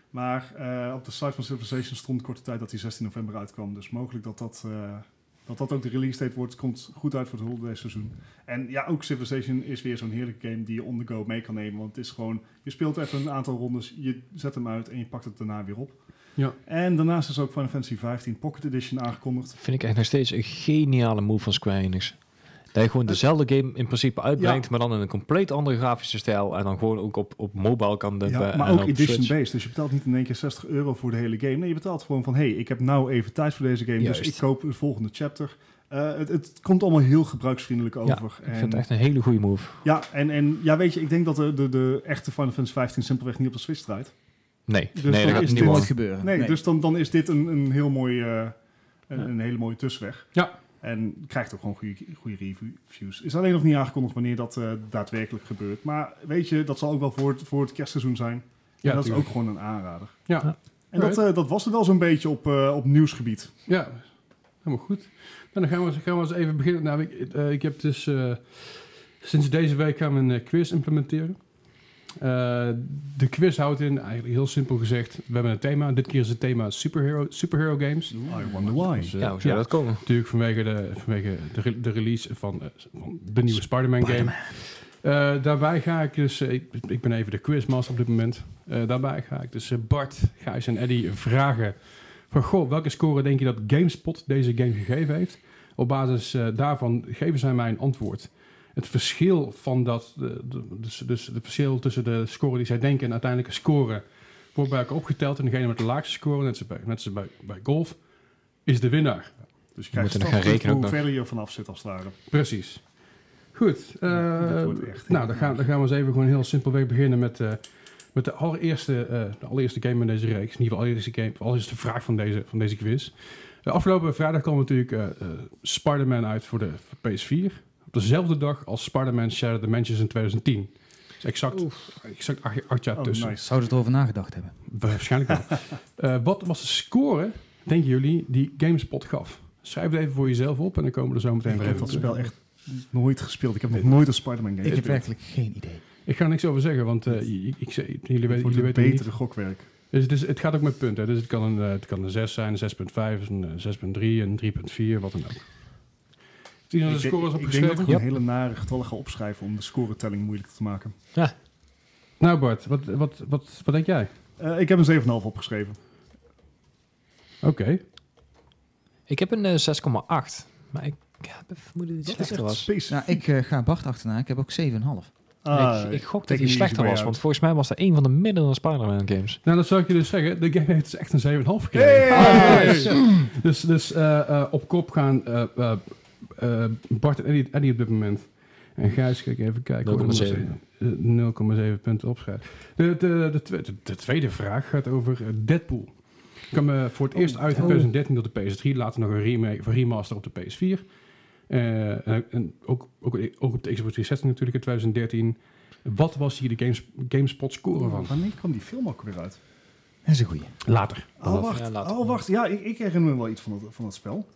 [SPEAKER 2] Maar eh, op de site van Civilization stond korte tijd dat hij 16 november uitkwam. Dus mogelijk dat dat, eh, dat, dat ook de release date wordt, komt goed uit voor het holiday seizoen. En ja, ook Civilization is weer zo'n heerlijke game die je on the go mee kan nemen. Want het is gewoon, je speelt even een aantal rondes, je zet hem uit en je pakt het daarna weer op.
[SPEAKER 1] Ja.
[SPEAKER 2] En daarnaast is ook Final Fantasy 15 Pocket Edition aangekondigd.
[SPEAKER 4] Dat vind ik echt nog steeds een geniale move van Square Enix. Dat je gewoon dezelfde game in principe uitbrengt, maar dan in een compleet andere grafische stijl. En dan gewoon ook op, op mobile kan dumpen.
[SPEAKER 2] Ja,
[SPEAKER 4] eh, en
[SPEAKER 2] maar ook
[SPEAKER 4] op Switch.
[SPEAKER 2] edition-based. Dus je betaalt niet in één keer 60 euro voor de hele game. Nee, je betaalt gewoon van... hey, ik heb nou even tijd voor deze game, dus
[SPEAKER 4] Juist.
[SPEAKER 2] ik koop het volgende chapter. Eh, het, het komt allemaal heel gebruiksvriendelijk
[SPEAKER 4] Ja,
[SPEAKER 2] over.
[SPEAKER 4] Ik
[SPEAKER 2] en,
[SPEAKER 4] vind het echt een hele goede move.
[SPEAKER 2] ja, en, en ja, weet je, ik denk dat de, de, de echte Final Fantasy 15 simpelweg niet op de Switch draait.
[SPEAKER 4] Nee,
[SPEAKER 2] Dus
[SPEAKER 4] nee
[SPEAKER 2] dan
[SPEAKER 4] dat
[SPEAKER 2] is
[SPEAKER 4] gaat niet
[SPEAKER 2] dit
[SPEAKER 3] Dit nooit
[SPEAKER 4] worden.
[SPEAKER 3] gebeuren.
[SPEAKER 2] Nee, dus dan, dan is dit een, een heel mooi... eh, een,
[SPEAKER 1] Ja.
[SPEAKER 2] een hele mooie tussenweg.
[SPEAKER 1] Ja.
[SPEAKER 2] En krijgt ook gewoon goede, goede reviews. Is alleen nog niet aangekondigd wanneer dat eh, daadwerkelijk gebeurt. Maar weet je, dat zal ook wel voor het, voor het kerstseizoen zijn. Ja, dat is ook gewoon een aanrader.
[SPEAKER 1] Ja.
[SPEAKER 4] Ja.
[SPEAKER 2] En dat, eh, dat was het wel zo'n beetje op, eh, op nieuwsgebied.
[SPEAKER 1] Ja, helemaal goed. Nou, dan gaan we, eens- gaan we eens even beginnen. Nou, ik, eh, ik heb dus eh, sinds deze week gaan we een eh, quiz implementeren. Eh, de quiz houdt in, eigenlijk heel simpel gezegd, we hebben een thema. Dit keer is het thema superhero, superhero games.
[SPEAKER 2] I wonder why.
[SPEAKER 1] Dus, eh,
[SPEAKER 4] Ja, hoe zou dat komen?
[SPEAKER 1] Natuurlijk vanwege de, vanwege de, re- de release van, eh, van de nieuwe Spider-Man game. Eh, daarbij ga ik dus... eh, ik, ik ben even de quizmaster op dit moment. Eh, daarbij ga ik dus eh, Bart, Gijs en Eddy vragen... van goh, welke score denk je dat GameSpot deze game gegeven heeft? Op basis eh, daarvan geven zij mij een antwoord. Het verschil van dat... de- de- dus, dus het verschil tussen de score die zij denken... en de uiteindelijke score wordt bij elkaar opgeteld. En degene met de laagste score, net zoals bij, net zoals bij, bij golf... is de winnaar.
[SPEAKER 2] Dus
[SPEAKER 4] We
[SPEAKER 2] je krijgt
[SPEAKER 4] moeten
[SPEAKER 2] een
[SPEAKER 4] nog gaan rekenen ook
[SPEAKER 2] hoe
[SPEAKER 4] nog.
[SPEAKER 2] verder je vanaf zit als het ware.
[SPEAKER 1] Precies. Goed. eh,
[SPEAKER 2] Ja, dit wordt echt heel
[SPEAKER 1] nou, dan gaan, dan gaan we eens even gewoon heel simpelweg beginnen met, eh, met de, allereerste, eh, de allereerste game in deze reeks. In ieder geval allereerste game, of allereerste vraag van deze, van deze quiz. De afgelopen vrijdag kwam natuurlijk eh, eh, Spider-Man uit voor de voor PS4. Op dezelfde dag als Spider-Man Shattered Dimensions in 2010. Dus exact, exact acht, acht jaar
[SPEAKER 2] Oh,
[SPEAKER 1] tussen.
[SPEAKER 2] nice.
[SPEAKER 3] Zou je erover nagedacht hebben?
[SPEAKER 1] Waarschijnlijk <laughs>
[SPEAKER 2] <laughs>
[SPEAKER 1] wel. Eh, wat was de score, denken jullie, die GameSpot gaf? Schrijf het even voor jezelf op en dan komen we er zo meteen
[SPEAKER 2] Ik
[SPEAKER 1] weer
[SPEAKER 2] heb
[SPEAKER 1] even
[SPEAKER 2] dat
[SPEAKER 1] op terug.
[SPEAKER 2] spel echt nooit gespeeld. Ik heb nog nooit een Spider-Man game
[SPEAKER 3] Ik heb
[SPEAKER 2] gespeeld.
[SPEAKER 3] werkelijk geen idee.
[SPEAKER 1] Ik ga er niks over zeggen, want eh, ik, ik, ik- jullie,
[SPEAKER 2] Het
[SPEAKER 1] weten-
[SPEAKER 2] wordt
[SPEAKER 1] jullie
[SPEAKER 2] een
[SPEAKER 1] weten
[SPEAKER 2] betere
[SPEAKER 1] niet.
[SPEAKER 2] gokwerk.
[SPEAKER 1] Dus het, is, het gaat ook met punten. hè. Dus het kan een, eh, het kan een 6 zijn, een 6.5, een eh, 6.3, een 3.4, wat dan ook. Zie je
[SPEAKER 2] Ik
[SPEAKER 1] dat de
[SPEAKER 2] denk-
[SPEAKER 1] score is
[SPEAKER 2] ik denk dat ik
[SPEAKER 1] opgeschreven?
[SPEAKER 2] gewoon hele nare getallen ga opschrijven om de scoretelling moeilijk te maken.
[SPEAKER 1] Nou Bart, wat, wat, wat, wat denk jij?
[SPEAKER 2] Eh, ik heb een 7,5 opgeschreven.
[SPEAKER 1] Oké.
[SPEAKER 4] Ik heb een eh, 6,8. Maar ik heb het vermoeden dat het
[SPEAKER 2] Dat is
[SPEAKER 4] slechter
[SPEAKER 2] echt
[SPEAKER 4] was.
[SPEAKER 2] space.
[SPEAKER 3] Nou, ik eh, ga Bart achterna. Ik heb ook 7,5.
[SPEAKER 2] Ah,
[SPEAKER 4] ik, ik gok dat
[SPEAKER 2] take
[SPEAKER 4] hij
[SPEAKER 2] it easy
[SPEAKER 4] slechter
[SPEAKER 2] bij
[SPEAKER 4] was.
[SPEAKER 2] jou.
[SPEAKER 4] Want volgens mij was dat een van de middelere Spider-Man games.
[SPEAKER 1] Nou, dat zou ik je dus zeggen. De game heeft dus echt een 7,5 gekregen.
[SPEAKER 2] Hey!
[SPEAKER 1] Dus, dus eh, eh, op kop gaan eh, eh, eh, Bart en Eddie, Eddie op dit moment. En Gijs, kijk even kijken. hoor.
[SPEAKER 4] 0,7.
[SPEAKER 1] Eh, 0,7 punten opschrijven. De, de, de, twe- de- de tweede vraag gaat over eh, Deadpool. kwam eh, voor het eerst uit in 2013 op de PS3. Later nog een remake, of een remaster op de PS4. Eh, en en ook, ook, ook op de Xbox 360 natuurlijk in 2013. Wat was hier de games, GameSpot score van?
[SPEAKER 2] Wanneer kwam die film ook weer uit?
[SPEAKER 3] Dat is een goeie.
[SPEAKER 1] Later. dan
[SPEAKER 2] Oh,
[SPEAKER 1] dat.
[SPEAKER 2] wacht.
[SPEAKER 4] Ja, later.
[SPEAKER 2] oh, wacht. Ja, ik, ik herinner me wel iets van dat, van dat spel.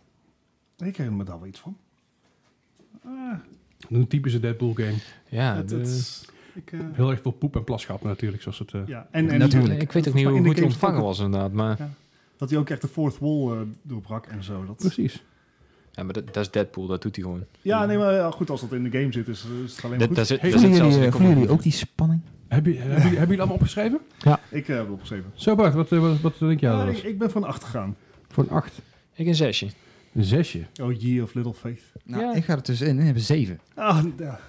[SPEAKER 2] Ik herinner me daar wel iets van.
[SPEAKER 1] Een typische Deadpool game.
[SPEAKER 4] Ja, dus-
[SPEAKER 2] Het-
[SPEAKER 4] de-
[SPEAKER 2] het- ik, eh,
[SPEAKER 1] Heel erg veel poep en plasgat natuurlijk. Zoals het, eh,
[SPEAKER 2] ja. en, en
[SPEAKER 3] Natuurlijk.
[SPEAKER 4] ik weet ook niet
[SPEAKER 2] In
[SPEAKER 4] hoe
[SPEAKER 2] de
[SPEAKER 4] goed hij
[SPEAKER 2] games
[SPEAKER 4] ontvangen
[SPEAKER 2] ook-
[SPEAKER 4] was inderdaad. Maar, ja.
[SPEAKER 2] Dat hij ook echt de fourth wall eh, doorbrak en zo. Dat,
[SPEAKER 1] Precies.
[SPEAKER 4] maar dat, dat is Deadpool, dat doet hij gewoon.
[SPEAKER 2] ja, nee, maar ja, goed, als dat in de game zit, is, is het alleen maar
[SPEAKER 4] Dat, daar
[SPEAKER 2] goed.
[SPEAKER 4] zit, daar zit
[SPEAKER 1] Voelen
[SPEAKER 4] zelfs
[SPEAKER 3] Voelen
[SPEAKER 4] in
[SPEAKER 3] jullie,
[SPEAKER 4] de
[SPEAKER 3] eh, voelen jullie
[SPEAKER 4] comedy.
[SPEAKER 3] ook die spanning?
[SPEAKER 1] Heb je, hebben jullie- hebben jullie allemaal opgeschreven?
[SPEAKER 2] Ik eh, heb opgeschreven.
[SPEAKER 1] Zo Bart, wat, eh, wat, wat denk jij
[SPEAKER 2] Ja,
[SPEAKER 1] dat
[SPEAKER 2] Nou, ik,
[SPEAKER 1] was?
[SPEAKER 2] ik ben van acht gegaan.
[SPEAKER 1] Voor een 8,
[SPEAKER 4] Ik een zesje.
[SPEAKER 1] een zesje.
[SPEAKER 2] Oh, Year of Little Faith.
[SPEAKER 3] Nou,
[SPEAKER 4] Ja.
[SPEAKER 3] ik ga er tussenin en heb een 7.
[SPEAKER 2] Ah, ja.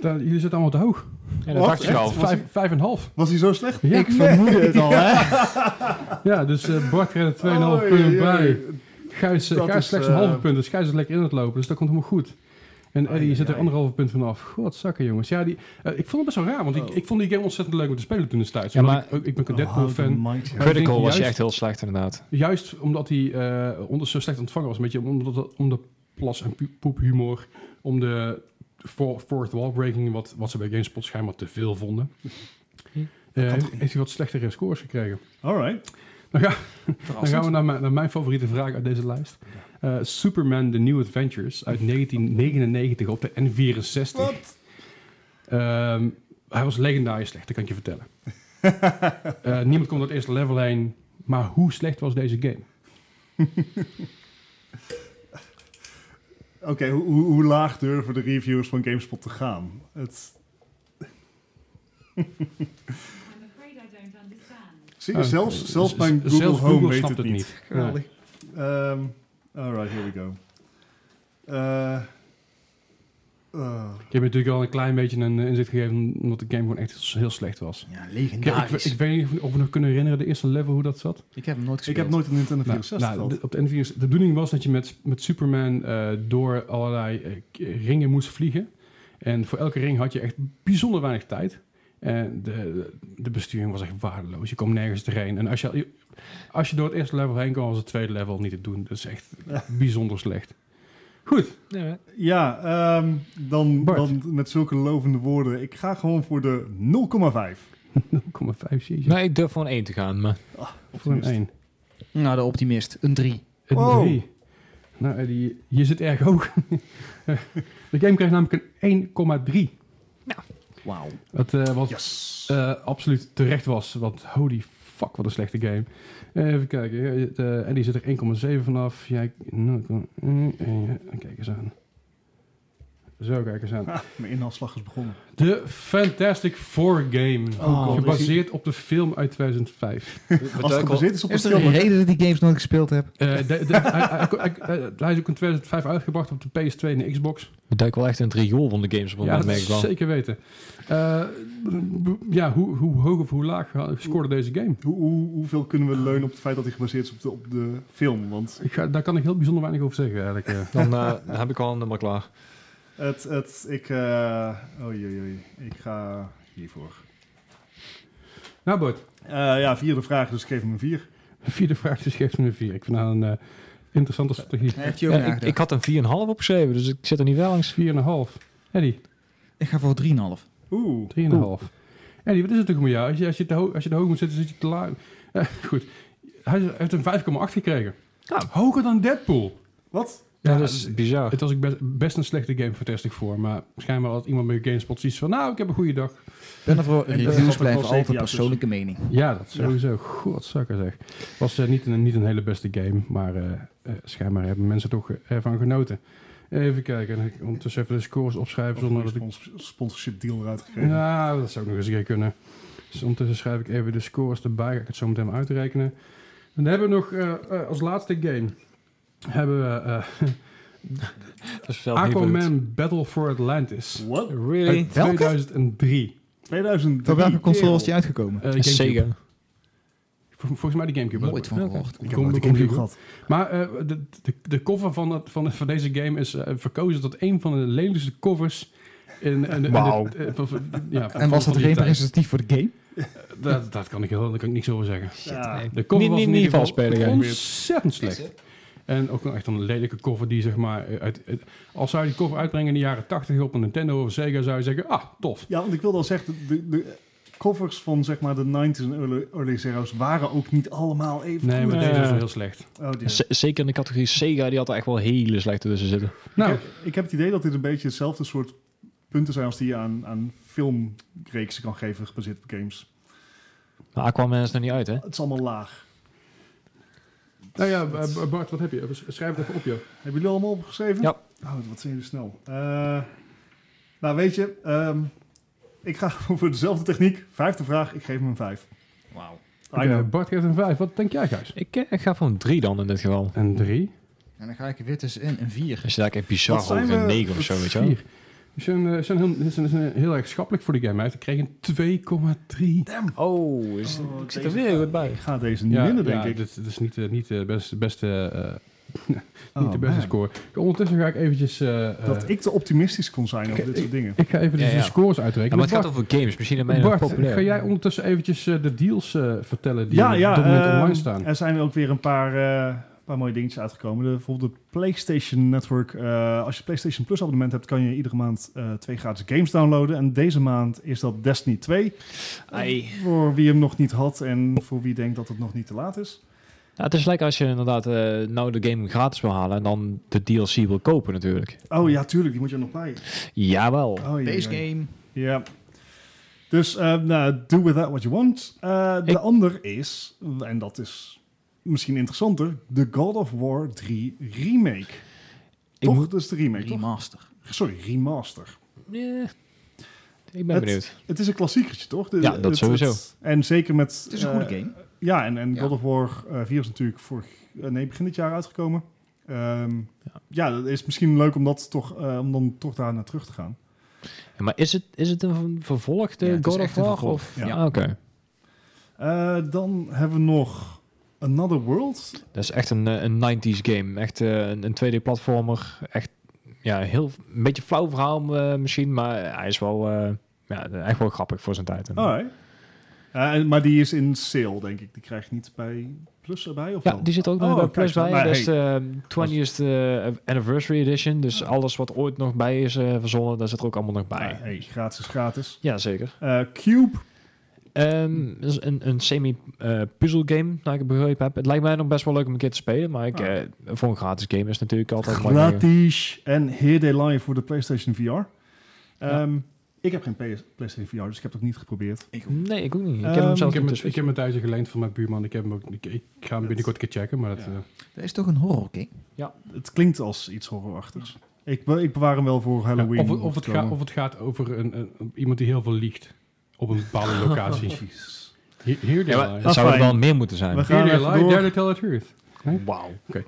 [SPEAKER 1] Daar- jullie zitten allemaal te hoog.
[SPEAKER 4] Ja, dat
[SPEAKER 2] Wat?
[SPEAKER 4] dacht ik
[SPEAKER 2] Echt?
[SPEAKER 4] al.
[SPEAKER 1] Vijf, vijf en een half.
[SPEAKER 2] Was hij zo slecht?
[SPEAKER 1] Ja,
[SPEAKER 3] Ik vermoedde het al, hè?
[SPEAKER 1] ja dus eh, Bart krijgt er 2,5
[SPEAKER 2] Oh,
[SPEAKER 1] punten
[SPEAKER 2] jee,
[SPEAKER 1] bij.
[SPEAKER 2] jee.
[SPEAKER 1] Gijs, eh,
[SPEAKER 2] Dat
[SPEAKER 1] Gijs
[SPEAKER 2] is,
[SPEAKER 1] slechts
[SPEAKER 2] eh,
[SPEAKER 1] een halve punt, dus Gijs is lekker in het lopen. Dus dat komt helemaal goed. En
[SPEAKER 2] Ai,
[SPEAKER 1] Eddie
[SPEAKER 2] ai,
[SPEAKER 1] zit er
[SPEAKER 2] ai.
[SPEAKER 1] anderhalve punt vanaf. Godzakken jongens. Ja, die, eh, ik vond het best wel raar, want ik,
[SPEAKER 2] Oh.
[SPEAKER 1] ik vond die game ontzettend leuk om te spelen toen destijds.
[SPEAKER 4] Ja,
[SPEAKER 1] Ja, maar,
[SPEAKER 4] maar-
[SPEAKER 1] ik, ook- ik ben ook een
[SPEAKER 2] Oh, how the
[SPEAKER 1] Deadpool-fan.
[SPEAKER 2] mind shifts.
[SPEAKER 1] Maar ik
[SPEAKER 4] Critical
[SPEAKER 1] denk
[SPEAKER 4] was je
[SPEAKER 1] juist-
[SPEAKER 4] echt heel slecht inderdaad.
[SPEAKER 1] Juist omdat hij eh, onder, zo slecht ontvangen was. Een beetje omdat dat- om de plas- en pu- poephumor. Om de for- fourth wall breaking. Wat, wat ze bij GameSpot schijnbaar te veel vonden.
[SPEAKER 4] Hm.
[SPEAKER 1] Eh, heeft, heeft hij wat slechtere scores gekregen.
[SPEAKER 2] Alright.
[SPEAKER 1] Dan, ga- dan gaan we naar mijn, naar mijn favoriete vraag uit deze lijst. Eh, Superman The New Adventures uit 1999 op de N64.
[SPEAKER 2] Wat?
[SPEAKER 1] Ehm, hij was legendarisch slecht, dat kan ik je vertellen. Eh, niemand kon het eerste level heen. Maar hoe slecht was deze game?
[SPEAKER 2] Oké, hoe, hoe, hoe laag durven de reviewers van GameSpot te gaan? Het,
[SPEAKER 6] I'm afraid I don't understand.
[SPEAKER 2] zie,
[SPEAKER 1] Oh.
[SPEAKER 2] zelfs, zelfs
[SPEAKER 1] Z-
[SPEAKER 2] mijn
[SPEAKER 1] z-
[SPEAKER 2] Google
[SPEAKER 1] zelfs
[SPEAKER 2] Home
[SPEAKER 1] Google
[SPEAKER 2] weet
[SPEAKER 1] snapt
[SPEAKER 2] het
[SPEAKER 1] het
[SPEAKER 2] niet.
[SPEAKER 1] niet.
[SPEAKER 3] Geweldig.
[SPEAKER 2] Ehm, alright, here we go. Eh, eh,
[SPEAKER 1] Ik heb je natuurlijk al een klein beetje een eh, inzicht gegeven omdat de game gewoon echt heel slecht was.
[SPEAKER 3] Ja,
[SPEAKER 1] Ik, ik, ik,
[SPEAKER 3] legendarisch. Ik,
[SPEAKER 1] weet niet of- of we nog kunnen herinneren de eerste level hoe dat zat.
[SPEAKER 3] heb hem nooit gespeeld.
[SPEAKER 2] ik heb nooit een Nintendo 64
[SPEAKER 1] nou,
[SPEAKER 2] gehad.
[SPEAKER 1] de, op de N64 de bedoeling was dat je met, met Superman eh, door allerlei eh, k- ringen moest vliegen. En voor elke ring had je echt bijzonder weinig tijd. En de, de besturing was echt waardeloos. Je kwam nergens erheen. En als je, als je door het eerste level heen kwam, was het tweede level niet te doen. Dat is echt bijzonder slecht. Goed,
[SPEAKER 2] Ja, ehm, dan,
[SPEAKER 1] Bart.
[SPEAKER 2] dan met zulke lovende woorden. Ik ga gewoon voor de 0,5.
[SPEAKER 1] 0,5 jeetje.
[SPEAKER 4] Nee, ik durf gewoon één te gaan. Maar
[SPEAKER 1] Voor een 1.
[SPEAKER 3] Nou, de optimist. Een 3.
[SPEAKER 1] Een
[SPEAKER 2] Wow.
[SPEAKER 1] drie. Nou, Eddie, je zit erg hoog. <laughs> de game kreeg namelijk een 1,3.
[SPEAKER 3] Wauw.
[SPEAKER 1] Wat, eh, wat
[SPEAKER 2] Yes.
[SPEAKER 1] eh, absoluut terecht was. Want holy fuck, wat een slechte game. Eh, even kijken. eh, eh, Eddie zit er 1,7 vanaf. Jij... nou, kom- mm, eh, kijk eens aan. Zo, kijk eens aan.
[SPEAKER 2] Ah, <laughs> mijn inhaalslag is begonnen.
[SPEAKER 1] De Fantastic Four game.
[SPEAKER 2] Oh, God.
[SPEAKER 1] gebaseerd op de film uit 2005.
[SPEAKER 2] Als het gebaseerd is op
[SPEAKER 3] Is
[SPEAKER 2] een
[SPEAKER 3] er een
[SPEAKER 2] film...
[SPEAKER 3] reden dat ik die games nooit gespeeld heb?
[SPEAKER 1] Eh, de- de- <laughs> hij- hij- hij- Hij is ook in 2005 uitgebracht op de PS2 en de Xbox.
[SPEAKER 4] we duiken wel echt in het riool van de games op het moment,
[SPEAKER 1] Ja, dat
[SPEAKER 4] merk ik wel.
[SPEAKER 1] zeker weten. Eh, b- ja, hoe, hoe hoog of hoe laag ha- scoorde deze game?
[SPEAKER 2] Hoe, hoe, hoeveel kunnen we leunen op het feit dat hij gebaseerd is op de, op de film? Want
[SPEAKER 1] Ik ga, daar kan ik heel bijzonder weinig over zeggen eigenlijk. <laughs> eh.
[SPEAKER 4] Dan eh, dan heb ik al een nummer klaar.
[SPEAKER 2] het... het ik, eh oei, oei, oei. ik ga hiervoor.
[SPEAKER 1] nou Bart,
[SPEAKER 2] Eh, ja, vierde vraag, dus ik geef hem een 4.
[SPEAKER 1] vierde vraag, dus geeft me een vier. Ik vind dat een eh, interessante strategie.
[SPEAKER 3] Heeft
[SPEAKER 4] Ja, ik, ik had een 4,5 opgeschreven, dus ik zit er niet wel langs.
[SPEAKER 1] 4,5. Eddie,
[SPEAKER 3] ik ga voor 3,5.
[SPEAKER 2] Oeh.
[SPEAKER 1] 3,5. Eddie, wat is het toch met jou? Als je, als je, te, ho- als je te hoog moet zitten, zit je te laag. Eh, goed, hij heeft een 5,8 gekregen.
[SPEAKER 4] Nou.
[SPEAKER 1] Hoger dan Deadpool.
[SPEAKER 2] Wat?
[SPEAKER 1] Ja,
[SPEAKER 4] dat is bizar.
[SPEAKER 1] Het was ook best, best een slechte game voor Testing voor, maar schijnbaar had iemand met GameSpot zoiets van, nou, ik heb een goede dag.
[SPEAKER 3] Ben er voor
[SPEAKER 2] En dat
[SPEAKER 3] reviews
[SPEAKER 2] valt ook wel
[SPEAKER 3] blijven
[SPEAKER 2] zeven
[SPEAKER 3] altijd
[SPEAKER 2] jaar tussen.
[SPEAKER 3] persoonlijke mening.
[SPEAKER 1] Ja, dat sowieso. Godzakker zeg. Was eh, niet, een, niet een hele beste game, maar eh, eh, schijnbaar hebben mensen toch eh, ervan genoten. Even kijken, ondertussen even de scores opschrijven zonder dat ik...
[SPEAKER 2] sponsorship deal eruit gekregen.
[SPEAKER 1] Ja, dat zou ook nog eens een keer kunnen. Dus ondertussen schrijf ik even de scores erbij. Ga ik het zo meteen maar uitrekenen. En dan hebben we nog eh, eh, als laatste game... Hebben we eh,
[SPEAKER 4] Dat is wel nieuw
[SPEAKER 1] Aquaman Battle for Atlantis.
[SPEAKER 2] What?
[SPEAKER 4] voor het- Really?
[SPEAKER 1] Uit
[SPEAKER 3] Welke?
[SPEAKER 1] 2003.
[SPEAKER 2] 2003.
[SPEAKER 3] Voor welke console
[SPEAKER 2] kerel.
[SPEAKER 3] was die uitgekomen?
[SPEAKER 1] Eh,
[SPEAKER 4] Sega.
[SPEAKER 1] Gamecube. Vol- Volgens mij de Gamecube.
[SPEAKER 3] Nooit van gehoord.
[SPEAKER 2] Ik
[SPEAKER 1] Ik
[SPEAKER 2] heb nooit een
[SPEAKER 1] kom-
[SPEAKER 2] Gamecube
[SPEAKER 1] kom-
[SPEAKER 2] gehad.
[SPEAKER 1] Maar eh, de, de, de cover van, dat, van, van deze game is eh, verkozen tot een van de lelijkste covers. In, in, in de-
[SPEAKER 4] Wauw.
[SPEAKER 1] eh, van- van- ja, van-
[SPEAKER 3] En was
[SPEAKER 1] van
[SPEAKER 3] dat
[SPEAKER 1] die tijd.
[SPEAKER 3] representatief voor de game?
[SPEAKER 1] Dat, dat kan ik heel, daar kan ik niks over zeggen.
[SPEAKER 2] Ja.
[SPEAKER 1] De
[SPEAKER 4] Niet-
[SPEAKER 1] cover was
[SPEAKER 4] niet-
[SPEAKER 1] in
[SPEAKER 4] niet
[SPEAKER 1] ieder
[SPEAKER 4] vals spelen,
[SPEAKER 1] geval
[SPEAKER 4] ja.
[SPEAKER 1] ontzettend slecht. En ook wel echt een lelijke cover die zeg maar... eh, Uit, uit- als zou je die cover uitbrengen in de jaren 80 op een Nintendo of Sega... zou je zeggen, ah, tof.
[SPEAKER 2] ja, want ik wilde al zeggen, de, de covers van zeg maar de 90s en early, early zeros waren ook niet allemaal even
[SPEAKER 1] Nee, maar
[SPEAKER 2] goed.
[SPEAKER 1] deze is
[SPEAKER 4] Ja.
[SPEAKER 1] heel slecht.
[SPEAKER 2] Oh, dear.
[SPEAKER 4] Z- zeker in de categorie Sega, die had er echt wel hele slechte tussen zitten.
[SPEAKER 1] Nou,
[SPEAKER 2] ik, heb, ik heb het idee dat dit een beetje hetzelfde soort punten zijn als die je aan, aan filmreeksen kan geven gebaseerd op games.
[SPEAKER 4] Maar Aquaman is nog niet uit, hè?
[SPEAKER 2] Het is allemaal laag.
[SPEAKER 1] nou ja, eh, Bart, wat heb je? Even- Schrijf het even op, joh.
[SPEAKER 2] Hebben jullie allemaal opgeschreven?
[SPEAKER 4] Ja.
[SPEAKER 2] Oh, wat zijn jullie snel. Eh, nou, weet je, ehm, ik ga <laughs> gewoon voor dezelfde techniek. Vijfde vraag, ik geef hem een vijf.
[SPEAKER 3] Wauw.
[SPEAKER 2] I know.
[SPEAKER 1] Oké, Eh, Bart geeft een 5. Wat denk jij, Gijs?
[SPEAKER 4] Ik, eh, ik ga voor een 3 dan in dit geval.
[SPEAKER 1] Een 3.
[SPEAKER 3] En dan ga ik er weer tussenin, een 4.
[SPEAKER 4] Als je daar echt bizar
[SPEAKER 2] Wat zijn
[SPEAKER 4] hoog een
[SPEAKER 2] we-
[SPEAKER 4] 9 of zo, weet je wel.
[SPEAKER 1] Vier. Die zijn, eh, zijn, heel, die zijn, zijn heel erg schappelijk voor de game. Hij kreeg een 2,3.
[SPEAKER 2] Damn.
[SPEAKER 4] Oh, is-
[SPEAKER 2] Oh,
[SPEAKER 4] ik zit er
[SPEAKER 2] deze
[SPEAKER 4] weer goed bij. Nou,
[SPEAKER 2] Ik ga deze niet winnen, denk ik.
[SPEAKER 1] Dit, dit is niet, eh, niet de beste, beste, eh, niet
[SPEAKER 2] Oh,
[SPEAKER 1] de beste
[SPEAKER 2] man.
[SPEAKER 1] score. Ondertussen ga ik eventjes... eh,
[SPEAKER 2] Dat
[SPEAKER 1] eh,
[SPEAKER 2] ik te optimistisch kon zijn over dit soort dingen.
[SPEAKER 1] ik ga even
[SPEAKER 4] Ja,
[SPEAKER 1] de
[SPEAKER 4] ja.
[SPEAKER 1] scores uitrekenen.
[SPEAKER 4] Ja, maar het gaat
[SPEAKER 1] Bart,
[SPEAKER 4] over games, misschien een beetje
[SPEAKER 1] Bart,
[SPEAKER 4] populair.
[SPEAKER 1] ga jij ondertussen eventjes eh, de deals eh, vertellen die
[SPEAKER 2] Ja, ja.
[SPEAKER 1] op dit moment
[SPEAKER 2] ehm,
[SPEAKER 1] online staan?
[SPEAKER 2] Er zijn ook weer een paar, eh, paar mooie dingetjes uitgekomen. De, bijvoorbeeld de PlayStation Network. eh, als je PlayStation Plus abonnement hebt, kan je iedere maand eh, twee gratis games downloaden. En deze maand is dat Destiny 2.
[SPEAKER 4] Ai.
[SPEAKER 2] Voor wie hem nog niet had en voor wie denkt dat het nog niet te laat is.
[SPEAKER 4] Ja, het is lekker als je inderdaad eh, nou de game gratis wil halen en dan de DLC wil kopen natuurlijk.
[SPEAKER 2] Oh ja, tuurlijk, die moet je er nog bij.
[SPEAKER 4] Jawel.
[SPEAKER 2] Oh, ja,
[SPEAKER 3] Base
[SPEAKER 2] ja, ja.
[SPEAKER 3] game.
[SPEAKER 2] Ja. Dus eh, nou, do with that what you want. Eh, de
[SPEAKER 4] Ik-
[SPEAKER 2] ander is, en dat is misschien interessanter, de God of War 3 remake.
[SPEAKER 4] Ik
[SPEAKER 2] toch?
[SPEAKER 4] moet-
[SPEAKER 2] Dat is de remake, toch?
[SPEAKER 3] Remaster.
[SPEAKER 2] Sorry, remaster.
[SPEAKER 4] Eh, ik ben
[SPEAKER 2] Het-
[SPEAKER 4] benieuwd.
[SPEAKER 2] Het is een klassiekertje, toch? De-
[SPEAKER 4] Ja, dat
[SPEAKER 2] het-
[SPEAKER 4] sowieso.
[SPEAKER 2] het- en zeker met...
[SPEAKER 3] Het is een
[SPEAKER 2] eh,
[SPEAKER 3] goede game.
[SPEAKER 2] Ja, en, en
[SPEAKER 3] Ja.
[SPEAKER 2] God of War eh 4 is natuurlijk vorig, eh, nee, begin dit jaar uitgekomen. Ehm, ja. dat is misschien leuk om, dat toch, eh, om dan toch daar naar terug te gaan.
[SPEAKER 4] Maar is het, is het een ver- vervolg, de
[SPEAKER 3] Ja, het is
[SPEAKER 4] God of
[SPEAKER 3] echt een
[SPEAKER 4] War?
[SPEAKER 3] vervolg.
[SPEAKER 4] Of?
[SPEAKER 2] Ja.
[SPEAKER 4] Ah, Oké,
[SPEAKER 2] Eh, dan hebben we nog Another World.
[SPEAKER 4] dat is echt een, eh, een 90s game. Echt eh, een, een 2D-platformer. Echt, ja, heel, een beetje flauw verhaal eh, misschien, maar hij is wel, eh, ja, echt wel grappig voor zijn tijd.
[SPEAKER 3] Oh,
[SPEAKER 4] En-
[SPEAKER 2] Alright. Eh, en- maar die is in sale, denk ik. Die krijg je niet bij Plus erbij? Of
[SPEAKER 4] Ja,
[SPEAKER 2] wel?
[SPEAKER 4] die zit ook nog
[SPEAKER 2] Oh,
[SPEAKER 4] bij
[SPEAKER 2] kijk
[SPEAKER 4] Plus
[SPEAKER 2] zo.
[SPEAKER 4] bij.
[SPEAKER 2] Maar
[SPEAKER 4] dat
[SPEAKER 2] hey,
[SPEAKER 4] is de 20th eh, Anniversary Edition. Dus alles wat ooit nog bij is eh, verzonnen, daar zit er ook allemaal nog bij.
[SPEAKER 2] Ah, hey, gratis, gratis.
[SPEAKER 4] Ja, zeker.
[SPEAKER 2] Eh, Cube.
[SPEAKER 4] Ehm, dat is een, een semi-puzzle game, naar ik het begrepen heb. Het lijkt mij nog best wel leuk om een keer te spelen, maar ik,
[SPEAKER 2] Ah.
[SPEAKER 4] eh, voor een gratis game is het natuurlijk altijd maar-
[SPEAKER 2] Gratis. En Here They Lie voor de PlayStation VR. Ehm, Ik heb geen PS PlayStation VR, dus ik heb het ook niet geprobeerd.
[SPEAKER 4] Nee, ik ook niet. Ik heb
[SPEAKER 2] Ehm,
[SPEAKER 4] hem
[SPEAKER 1] ik
[SPEAKER 4] zelf
[SPEAKER 1] heb,
[SPEAKER 4] niet
[SPEAKER 1] het,
[SPEAKER 4] tussen.
[SPEAKER 1] ik heb mijn thuisje geleend van mijn buurman. Ik, heb hem ook, ik, ik ga hem binnenkort een keer checken, maar dat...
[SPEAKER 2] Ja.
[SPEAKER 1] eh,
[SPEAKER 3] Dat is toch een horror game?
[SPEAKER 2] Het klinkt als iets horrorachtigs. Ik, be- ik bewaar hem wel voor
[SPEAKER 1] Ja,
[SPEAKER 2] Halloween.
[SPEAKER 1] of, het, of, het
[SPEAKER 2] te komen.
[SPEAKER 1] gaat, of het gaat over een, een- iemand die heel veel liegt op een bepaalde locatie.
[SPEAKER 2] <laughs> Jezus.
[SPEAKER 1] Hier, hier
[SPEAKER 4] Ja,
[SPEAKER 1] deel
[SPEAKER 4] maar
[SPEAKER 1] I.
[SPEAKER 4] het zou er
[SPEAKER 2] fijn.
[SPEAKER 4] wel meer moeten zijn.
[SPEAKER 2] We
[SPEAKER 1] Here
[SPEAKER 2] gaan
[SPEAKER 1] they
[SPEAKER 2] even
[SPEAKER 1] lie,
[SPEAKER 2] door.
[SPEAKER 1] there they tell the truth.
[SPEAKER 4] Wauw.
[SPEAKER 1] Oké.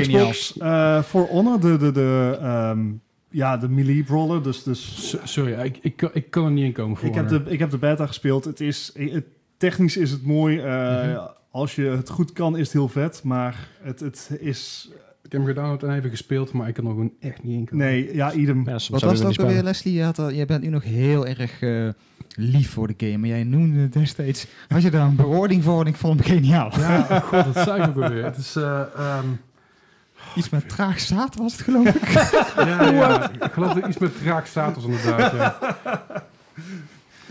[SPEAKER 2] Xbox eh, For Honor, de, de, de, ehm, ja, de melee brawler. Dus, dus
[SPEAKER 1] S- sorry, ik, ik, kan- ik kan er niet in komen voor.
[SPEAKER 2] ik, heb de, ik heb de beta gespeeld. Het is, het, technisch is het mooi. eh,
[SPEAKER 1] Mhm.
[SPEAKER 2] Als je het goed kan, is het heel vet. Maar het, het is...
[SPEAKER 1] Ik heb hem gedownload en even gespeeld, maar ik kan er gewoon echt niet in komen.
[SPEAKER 2] Nee, ja, idem.
[SPEAKER 4] Ja, soms zou
[SPEAKER 3] Wat was
[SPEAKER 4] ik
[SPEAKER 3] het
[SPEAKER 4] het
[SPEAKER 3] ook
[SPEAKER 4] niet spelen.
[SPEAKER 3] alweer, Leslie? Je, had al- jij bent nu nog heel erg eh, lief voor de game. Maar jij noemde het destijds... Had je daar een beoordeling voor en ik vond hem geniaal.
[SPEAKER 1] Ja, oh <laughs> god, dat zei ik ook alweer. Het is, eh, ehm,
[SPEAKER 3] Iets met traag zaad was het, geloof ik.
[SPEAKER 1] ja, ja, ik geloof dat iets met raak status inderdaad. Ja.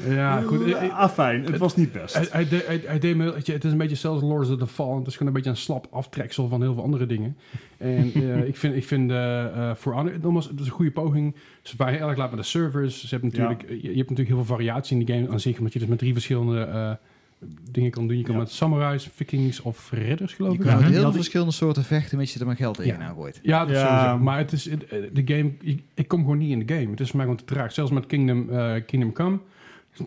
[SPEAKER 1] Ja, goed. eh, eh,
[SPEAKER 2] ah, fijn. Het was niet best.
[SPEAKER 1] Hij, hij, deed- hij, hij deed me, weet je, het is een beetje zelfs Lords of the Fallen. Het is gewoon een beetje een slap aftreksel van heel veel andere dingen.
[SPEAKER 3] <laughs>
[SPEAKER 1] En eh, ik vind, ik vind eh, eh, For Honor, het was, het is een goede poging. Ze waren heel erg laat met de servers. Ze hebben natuurlijk, je, je hebt natuurlijk heel veel variatie in de game aan zich. Omdat je dus met drie verschillende eh, dingen kan doen. Je kan
[SPEAKER 2] Ja.
[SPEAKER 1] met samurais, vikings of ridders, geloof
[SPEAKER 3] Je
[SPEAKER 1] ik.
[SPEAKER 3] kan met
[SPEAKER 1] Ja.
[SPEAKER 3] heel
[SPEAKER 2] Ja,
[SPEAKER 3] veel
[SPEAKER 2] die-
[SPEAKER 3] verschillende soorten vechten, mits je er maar geld
[SPEAKER 1] Ja.
[SPEAKER 3] in aan gooit.
[SPEAKER 1] Ja, dat
[SPEAKER 2] Ja.
[SPEAKER 1] sowieso. Maar het is, het- eh, de game, ik, ik kom gewoon niet in de game. Het is voor mij gewoon te traag. Zelfs met Kingdom, eh, Kingdom Come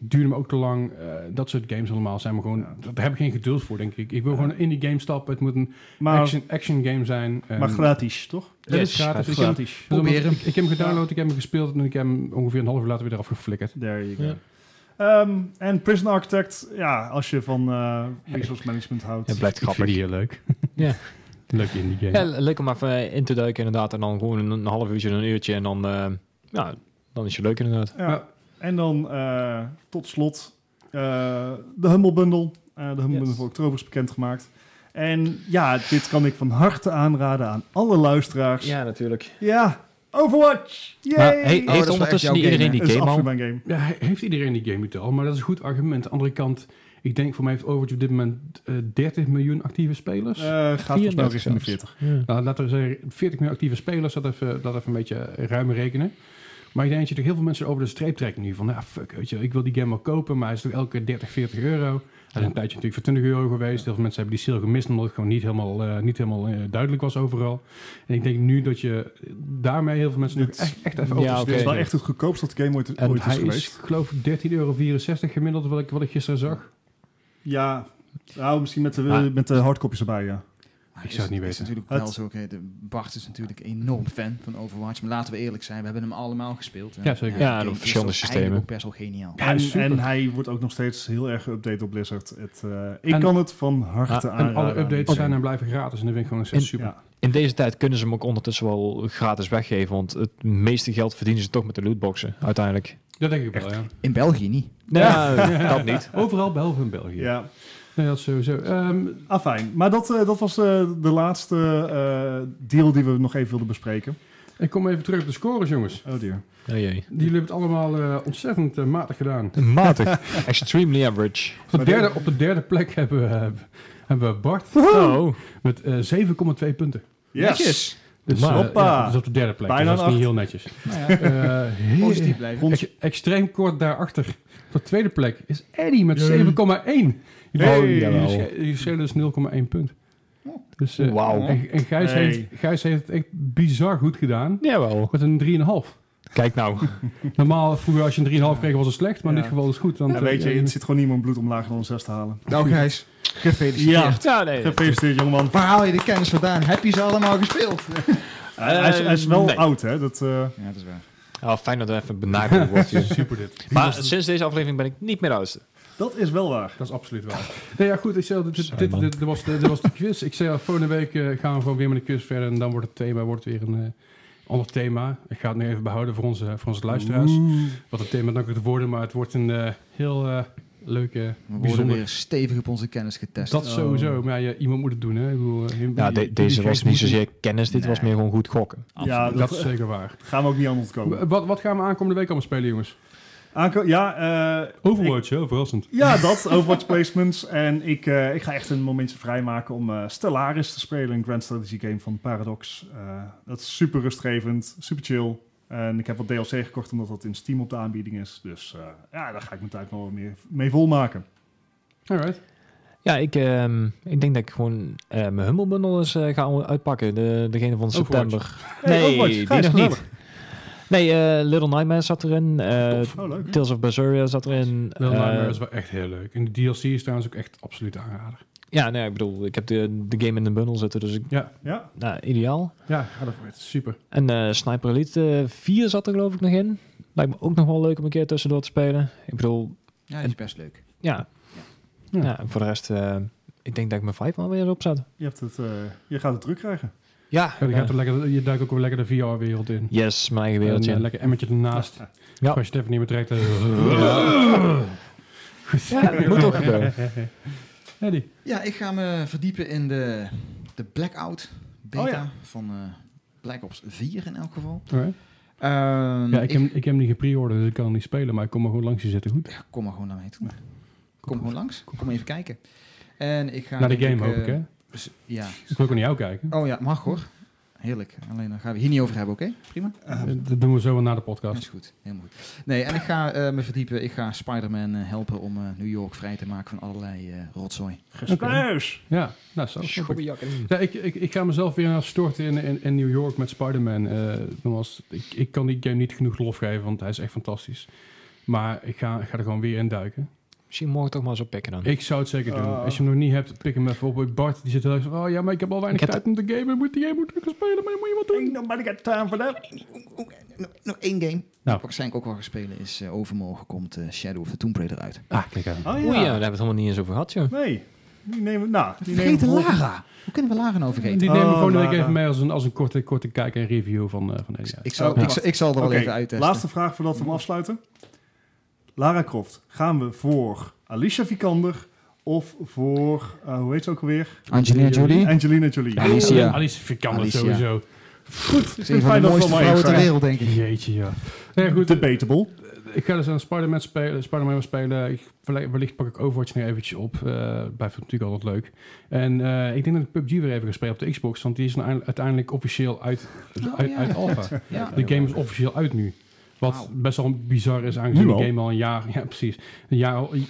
[SPEAKER 1] duurde me ook te lang. Eh, dat soort games allemaal zijn me gewoon...
[SPEAKER 2] Ja.
[SPEAKER 1] Daar heb ik geen geduld voor, denk ik. Ik wil gewoon in die game stappen. Het moet een
[SPEAKER 2] Maar,
[SPEAKER 1] action, action game zijn. En
[SPEAKER 2] maar gratis, toch?
[SPEAKER 1] Het is
[SPEAKER 4] Yes,
[SPEAKER 1] gratis. Ik, heb,
[SPEAKER 2] Gratis.
[SPEAKER 1] dus omdat-
[SPEAKER 3] Probeer hem.
[SPEAKER 1] ik, ik heb hem gedownload, ik heb hem gespeeld... en ik heb hem ongeveer een half uur later weer eraf geflikkerd.
[SPEAKER 2] There you go.
[SPEAKER 4] Ja.
[SPEAKER 2] Ehm, en Prison Architect, ja, als je van eh, resource management houdt.
[SPEAKER 4] Het blijft
[SPEAKER 1] Ik vind
[SPEAKER 4] grappig.
[SPEAKER 1] die heel leuk.
[SPEAKER 4] Ja.
[SPEAKER 1] Leuk in die
[SPEAKER 4] Ja,
[SPEAKER 1] game.
[SPEAKER 4] leuk om even eh, in te duiken inderdaad. En dan gewoon een, een half uurtje, een uurtje. En dan, eh, ja, dan is je leuk inderdaad.
[SPEAKER 2] Ja. En dan eh, tot slot eh, de Humble Bundle. Eh, de Humble Bundle voor oktober is bekendgemaakt. En ja, dit kan ik van harte aanraden aan alle luisteraars. Ja,
[SPEAKER 4] natuurlijk. Oh,
[SPEAKER 2] Overwatch! Yay! Oh,
[SPEAKER 4] Maar he- heeft
[SPEAKER 3] dat is wel
[SPEAKER 4] ondertussen
[SPEAKER 3] echt
[SPEAKER 4] niet
[SPEAKER 3] jouw
[SPEAKER 4] iedereen
[SPEAKER 3] game,
[SPEAKER 4] die
[SPEAKER 2] Het is
[SPEAKER 4] game
[SPEAKER 2] absoluut
[SPEAKER 4] al?
[SPEAKER 2] mijn game.
[SPEAKER 1] Ja, he- heeft iedereen die game niet al, maar dat is een goed argument. Aan de andere kant, ik denk voor mij heeft Overwatch op dit moment eh, 30 miljoen actieve spelers.
[SPEAKER 2] Eh gaat volgens
[SPEAKER 4] 34
[SPEAKER 2] mij richting de
[SPEAKER 4] zelfs.
[SPEAKER 2] 40.
[SPEAKER 4] Ja.
[SPEAKER 1] Nou, laten we zeggen, 40 miljoen actieve spelers, dat even, dat even een beetje ruim rekenen. Maar ik denk dat je toch heel veel mensen over de streep trekt nu. Van, ja, fuck, weet je, ik wil die game wel kopen, maar hij is toch elke keer 30, 40 euro. Hij is een tijdje natuurlijk voor 20 euro geweest. Heel veel mensen hebben die sale gemist, omdat het gewoon niet helemaal, eh, niet helemaal eh, duidelijk was overal. En ik denk nu dat je daarmee heel veel mensen nu
[SPEAKER 2] Dit-
[SPEAKER 1] echt, echt even
[SPEAKER 4] Ja,
[SPEAKER 1] over de
[SPEAKER 4] oké.
[SPEAKER 2] Dit is
[SPEAKER 1] streep
[SPEAKER 2] wel
[SPEAKER 1] trekt.
[SPEAKER 2] echt het goedkoopste dat de game ooit,
[SPEAKER 1] En
[SPEAKER 2] ooit is
[SPEAKER 1] hij
[SPEAKER 2] geweest.
[SPEAKER 1] is, geloof ik, 13,64 euro gemiddeld, wat ik, wat ik gisteren zag.
[SPEAKER 2] Ja, nou, misschien met de,
[SPEAKER 4] Maar-
[SPEAKER 2] met de hardcopies erbij, ja.
[SPEAKER 3] Maar
[SPEAKER 1] Ik
[SPEAKER 3] is-
[SPEAKER 1] zou het niet
[SPEAKER 3] is
[SPEAKER 1] weten.
[SPEAKER 3] natuurlijk
[SPEAKER 2] Het-
[SPEAKER 3] wel zo, oké, de- Bart is natuurlijk enorm fan van Overwatch, maar laten we eerlijk zijn, we hebben hem allemaal gespeeld. En,
[SPEAKER 1] Ja, zeker.
[SPEAKER 4] Ja,
[SPEAKER 3] de game
[SPEAKER 4] op
[SPEAKER 3] is
[SPEAKER 4] verschillende
[SPEAKER 3] ook
[SPEAKER 4] systemen.
[SPEAKER 3] eigenlijk ook best wel geniaal.
[SPEAKER 1] Ja,
[SPEAKER 2] en,
[SPEAKER 1] super.
[SPEAKER 2] en hij wordt ook nog steeds heel erg geüpdate op Blizzard. Het, eh, ik
[SPEAKER 1] En-
[SPEAKER 2] kan het van harte aanraden.
[SPEAKER 1] En alle
[SPEAKER 2] aan
[SPEAKER 1] updates
[SPEAKER 2] die
[SPEAKER 1] zijn
[SPEAKER 2] game.
[SPEAKER 1] en blijven gratis. En dat vind ik gewoon echt
[SPEAKER 4] En-
[SPEAKER 1] super.
[SPEAKER 2] Ja.
[SPEAKER 4] In deze tijd kunnen ze hem ook ondertussen wel gratis weggeven. Want het meeste geld verdienen ze toch met de lootboxen uiteindelijk.
[SPEAKER 1] Dat denk ik wel, ja.
[SPEAKER 3] In België niet.
[SPEAKER 4] Ja,
[SPEAKER 2] <laughs>
[SPEAKER 4] dat <laughs> niet.
[SPEAKER 1] Overal behalve in België.
[SPEAKER 2] Ja,
[SPEAKER 1] Nee, dat sowieso. Ehm,
[SPEAKER 2] ah, fijn. Maar dat, eh, dat was eh, de laatste eh, deal die we nog even wilden bespreken.
[SPEAKER 1] ik kom even terug op de scores, jongens.
[SPEAKER 2] Oh dear.
[SPEAKER 4] Oh jee.
[SPEAKER 1] Jullie hebben het allemaal eh, ontzettend eh, matig gedaan.
[SPEAKER 4] Matig. <laughs> Extremely average.
[SPEAKER 1] Op de,
[SPEAKER 2] Maar
[SPEAKER 1] derde,
[SPEAKER 2] dit-
[SPEAKER 1] op de derde plek <laughs> hebben we, eh, hebben we Bart
[SPEAKER 4] Oh.
[SPEAKER 1] met eh, 7,2 punten.
[SPEAKER 2] Yes!
[SPEAKER 1] Dus,
[SPEAKER 4] Maar-
[SPEAKER 1] eh,
[SPEAKER 2] Hoppa.
[SPEAKER 1] ja, dus op de derde plek.
[SPEAKER 2] Bijna
[SPEAKER 1] dus dat is
[SPEAKER 2] een
[SPEAKER 1] niet heel netjes.
[SPEAKER 3] <laughs> Nou ja,
[SPEAKER 1] Eh, heel-
[SPEAKER 3] positief blijven.
[SPEAKER 1] ex- extreem kort daarachter, op de tweede plek, is Eddie met 7,1.
[SPEAKER 2] Yay.
[SPEAKER 1] Jullie-
[SPEAKER 2] Hey.
[SPEAKER 1] jullie
[SPEAKER 4] Jawel.
[SPEAKER 1] sch- Jullie schelen dus 0,1 punt.
[SPEAKER 3] Oh.
[SPEAKER 1] Dus, eh,
[SPEAKER 4] Wauw.
[SPEAKER 1] En, en Gijs,
[SPEAKER 2] Hey.
[SPEAKER 1] heeft, Gijs heeft het echt bizar goed gedaan.
[SPEAKER 4] Jawel.
[SPEAKER 1] Met een 3,5.
[SPEAKER 4] Kijk nou.
[SPEAKER 1] Normaal, vroeger als je een 3,5 kreeg was het slecht, maar in
[SPEAKER 2] Ja.
[SPEAKER 1] dit geval is het goed. Want,
[SPEAKER 2] Ja, Nou, weet
[SPEAKER 1] <laughs>
[SPEAKER 2] je,
[SPEAKER 1] eh,
[SPEAKER 2] het zit gewoon niemand bloed om lager dan een zes te halen.
[SPEAKER 3] Nou Gijs, gefeliciteerd.
[SPEAKER 2] Ja,
[SPEAKER 4] Ja, nee.
[SPEAKER 2] gefeliciteerd jongeman.
[SPEAKER 3] Waar haal je de kennis vandaan? Heb je ze allemaal gespeeld?
[SPEAKER 2] hij, hij is, hij is wel
[SPEAKER 4] nee.
[SPEAKER 2] oud, hè. Dat, eh,
[SPEAKER 3] Ja, dat is waar.
[SPEAKER 4] Oh, fijn dat we even benaderd <laughs> wordt. hier.
[SPEAKER 1] Super dit.
[SPEAKER 4] Maar sinds deze aflevering ben ik niet meer de oudste.
[SPEAKER 2] dat is wel waar.
[SPEAKER 1] Dat is absoluut waar. Nee, ja, goed. Ik zei, al, dit, dit,
[SPEAKER 4] Sorry,
[SPEAKER 1] dit,
[SPEAKER 4] man.
[SPEAKER 1] dit was de, dit was de quiz. Ik zei, al, volgende week eh, gaan we gewoon weer met een quiz verder. En dan wordt het thema wordt weer een eh, ander thema. Ik ga het nu even behouden voor onze, voor onze luisteraars. Wat het thema dan ook het worden, maar het wordt een eh, heel eh, leuke,
[SPEAKER 3] We worden
[SPEAKER 1] bijzonder.
[SPEAKER 3] weer stevig op onze kennis getest.
[SPEAKER 1] Dat sowieso. Maar ja, iemand moet het doen, hè. Ik bedoel, eh, die-
[SPEAKER 4] Oh. Ja,
[SPEAKER 1] die-
[SPEAKER 4] de-
[SPEAKER 1] die
[SPEAKER 4] deze
[SPEAKER 1] gek
[SPEAKER 4] was
[SPEAKER 1] moet
[SPEAKER 4] niet
[SPEAKER 1] het-
[SPEAKER 4] zozeer kennis. Dit was meer gewoon goed gokken.
[SPEAKER 2] Ja,
[SPEAKER 1] Dat, Oh.
[SPEAKER 2] dat, eh,
[SPEAKER 1] is zeker waar.
[SPEAKER 2] gaan we ook niet aan ontkomen.
[SPEAKER 1] Wat, wat gaan we aankomende week allemaal spelen, jongens?
[SPEAKER 2] Aanko- ja, eh,
[SPEAKER 1] Overwatch, hè? Verrassend.
[SPEAKER 2] Ja, dat, Overwatch placements. En ik, eh, ik ga echt een momentje vrijmaken om eh, Stellaris te spelen, een grand strategy game van Paradox. Eh, dat is super rustgevend, super chill. En ik heb wat DLC gekocht omdat dat in Steam op de aanbieding is. Dus eh, ja, daar ga ik mijn tijd wel meer mee volmaken.
[SPEAKER 1] Alright.
[SPEAKER 4] Ja, ik, ehm, ik denk dat ik gewoon eh, mijn Humble Bundle eens eh, ga uitpakken. De, degene van
[SPEAKER 1] Overwatch.
[SPEAKER 4] september.
[SPEAKER 2] Hey,
[SPEAKER 4] nee,
[SPEAKER 2] Overwatch,
[SPEAKER 4] die
[SPEAKER 2] Gijs,
[SPEAKER 4] nog
[SPEAKER 2] gezellig.
[SPEAKER 4] niet. Nee, eh, Little Nightmares zat erin. eh,
[SPEAKER 2] Oh, leuk.
[SPEAKER 4] Tales of Berseria zat erin.
[SPEAKER 1] Little
[SPEAKER 4] eh,
[SPEAKER 1] Nightmare is wel echt heel leuk. En de DLC is trouwens ook echt absoluut aanrader.
[SPEAKER 4] ja, nee, ik bedoel, ik heb de, de game in de bundle zitten, dus ik,
[SPEAKER 1] Ja,
[SPEAKER 2] Ja,
[SPEAKER 4] nou, ideaal.
[SPEAKER 1] ja ga ervoor. Het is super.
[SPEAKER 4] En eh, Sniper Elite eh, 4 zat er geloof ik nog in. Lijkt me ook nog wel leuk om een keer tussendoor te spelen. Ik bedoel,
[SPEAKER 3] Ja, dat is best leuk.
[SPEAKER 4] ja.
[SPEAKER 1] Ja.
[SPEAKER 4] Ja, en voor de rest, eh, ik denk dat ik mijn 5 maar weer opzet.
[SPEAKER 2] je, hebt het, eh, je gaat het druk krijgen.
[SPEAKER 4] Ja,
[SPEAKER 1] Ja, dan gaat er lekker, je duikt ook weer lekker de VR-wereld in.
[SPEAKER 4] Yes, mijn eigen
[SPEAKER 1] En,
[SPEAKER 4] wereldje.
[SPEAKER 1] eh, lekker emmertje ernaast.
[SPEAKER 4] <laughs> Ja.
[SPEAKER 1] Als je het even niet meer trekt. eh.
[SPEAKER 4] <laughs> Ja, dat moet ook gebeuren.
[SPEAKER 1] <laughs> Eddie.
[SPEAKER 3] Ja, ik ga me verdiepen in de, de Blackout beta
[SPEAKER 2] Oh ja.
[SPEAKER 3] van eh, Black Ops 4 in elk geval.
[SPEAKER 1] Alright.
[SPEAKER 3] Ehm,
[SPEAKER 1] Ja, Mm, ik,
[SPEAKER 3] ik
[SPEAKER 1] heb, ik heb hem niet gepreorderd, dus ik kan hem niet spelen. Maar ik kom er gewoon langs je zitten. Goed.
[SPEAKER 3] Ja, kom maar gewoon naar mij toe. Kom
[SPEAKER 1] Kom
[SPEAKER 3] gewoon langs. Kom even kijken. En ik ga...
[SPEAKER 1] Naar de
[SPEAKER 3] denk
[SPEAKER 1] game hoop ik,
[SPEAKER 3] eh,
[SPEAKER 1] hè?
[SPEAKER 3] dus- Ja.
[SPEAKER 1] Ik wil ook naar jou kijken.
[SPEAKER 3] Oh ja, mag hoor. Heerlijk. Alleen dan gaan we hier niet over hebben, oké? Prima.
[SPEAKER 1] Eh, Dat doen we zo wel na de podcast.
[SPEAKER 3] Dat is goed. Helemaal goed. Nee, en ik ga eh, me verdiepen. Ik ga Spider-Man eh, helpen om eh, New York vrij te maken van allerlei eh, rotzooi.
[SPEAKER 2] Gespuis!
[SPEAKER 1] Ja, nou zo. snap ik. Ja, ik, ik, ik ga mezelf weer aan storten in, in, in New York met Spider-Man. Eh, nogmaals, ik, ik kan die game niet genoeg lof geven, want hij is echt fantastisch. Maar ik ga, ik ga er gewoon weer in duiken.
[SPEAKER 4] Misschien mogen we toch maar zo pikken dan.
[SPEAKER 1] Ik zou het zeker doen.
[SPEAKER 2] Ah.
[SPEAKER 1] Als je hem nog niet hebt, pik hem even op. Bart die zit heel erg van, oh ja, maar ik heb al weinig
[SPEAKER 4] Ik heb-
[SPEAKER 1] tijd om te gamen. Ik Moet die game moet ik gaan spelen, maar je moet je wat doen.
[SPEAKER 2] Nobody got time for that.
[SPEAKER 3] Nog- Nog één game. Die
[SPEAKER 1] Nou.
[SPEAKER 3] ik waarschijnlijk ook wel ga spelen is eh, overmorgen komt eh, Shadow of the Tomb Raider uit.
[SPEAKER 1] Ah, kijk aan.
[SPEAKER 2] Oh
[SPEAKER 4] Oei, ja, daar
[SPEAKER 2] ja.
[SPEAKER 4] hebben we het helemaal niet eens over gehad, joh.
[SPEAKER 2] Nee. Die nemen, nou, die nemen
[SPEAKER 3] Vergeten
[SPEAKER 2] voor-
[SPEAKER 3] Lara. Hoe kunnen we Lara nou vergeten?
[SPEAKER 1] Die nemen we
[SPEAKER 2] Oh,
[SPEAKER 1] gewoon
[SPEAKER 2] Lara.
[SPEAKER 1] week even mee als een, als een korte, korte kijk en review van, eh van deze.
[SPEAKER 3] Ik zal,
[SPEAKER 2] Ja.
[SPEAKER 3] ik, zal, ik zal er wel
[SPEAKER 2] Oké,
[SPEAKER 3] even uittesten.
[SPEAKER 2] laatste vraag voordat we hem afsluiten. Lara Croft, gaan we voor Alicia Vikander of voor, eh, hoe heet ze ook alweer?
[SPEAKER 3] Angelina Jolie.
[SPEAKER 2] Angelina Jolie.
[SPEAKER 3] Hm? Ja, Alicia.
[SPEAKER 1] Oh, Alicia Vikander
[SPEAKER 3] Alicia.
[SPEAKER 1] sowieso.
[SPEAKER 2] Goed, ik
[SPEAKER 3] Ze is
[SPEAKER 2] vind
[SPEAKER 3] een van
[SPEAKER 2] fijn
[SPEAKER 3] de
[SPEAKER 2] dat
[SPEAKER 3] mooiste
[SPEAKER 2] het wel maar
[SPEAKER 3] vrouwen
[SPEAKER 2] eens
[SPEAKER 3] ter
[SPEAKER 2] zijn.
[SPEAKER 3] wereld, denk ik.
[SPEAKER 1] Jeetje, ja. Nee, goed,
[SPEAKER 2] Debatable.
[SPEAKER 1] Ik ga dus aan Spider-Man spelen. Spider-Man spelen. Ik, wellicht wellicht pak ik Overwatch nog eventjes op. Eh blijft natuurlijk altijd leuk. En eh, ik denk dat ik PUBG weer even ga spelen op de Xbox. Want die is nou eindelijk- uiteindelijk officieel uit,
[SPEAKER 3] Oh,
[SPEAKER 1] uit,
[SPEAKER 3] ja,
[SPEAKER 1] uit
[SPEAKER 3] <laughs>
[SPEAKER 1] Alpha.
[SPEAKER 3] Ja.
[SPEAKER 1] De game is officieel uit nu. Wat
[SPEAKER 3] Wauw.
[SPEAKER 1] best wel bizar is aangezien
[SPEAKER 2] Nu
[SPEAKER 1] de
[SPEAKER 2] al?
[SPEAKER 1] game al een jaar... Ja, precies. Een jaar al, ik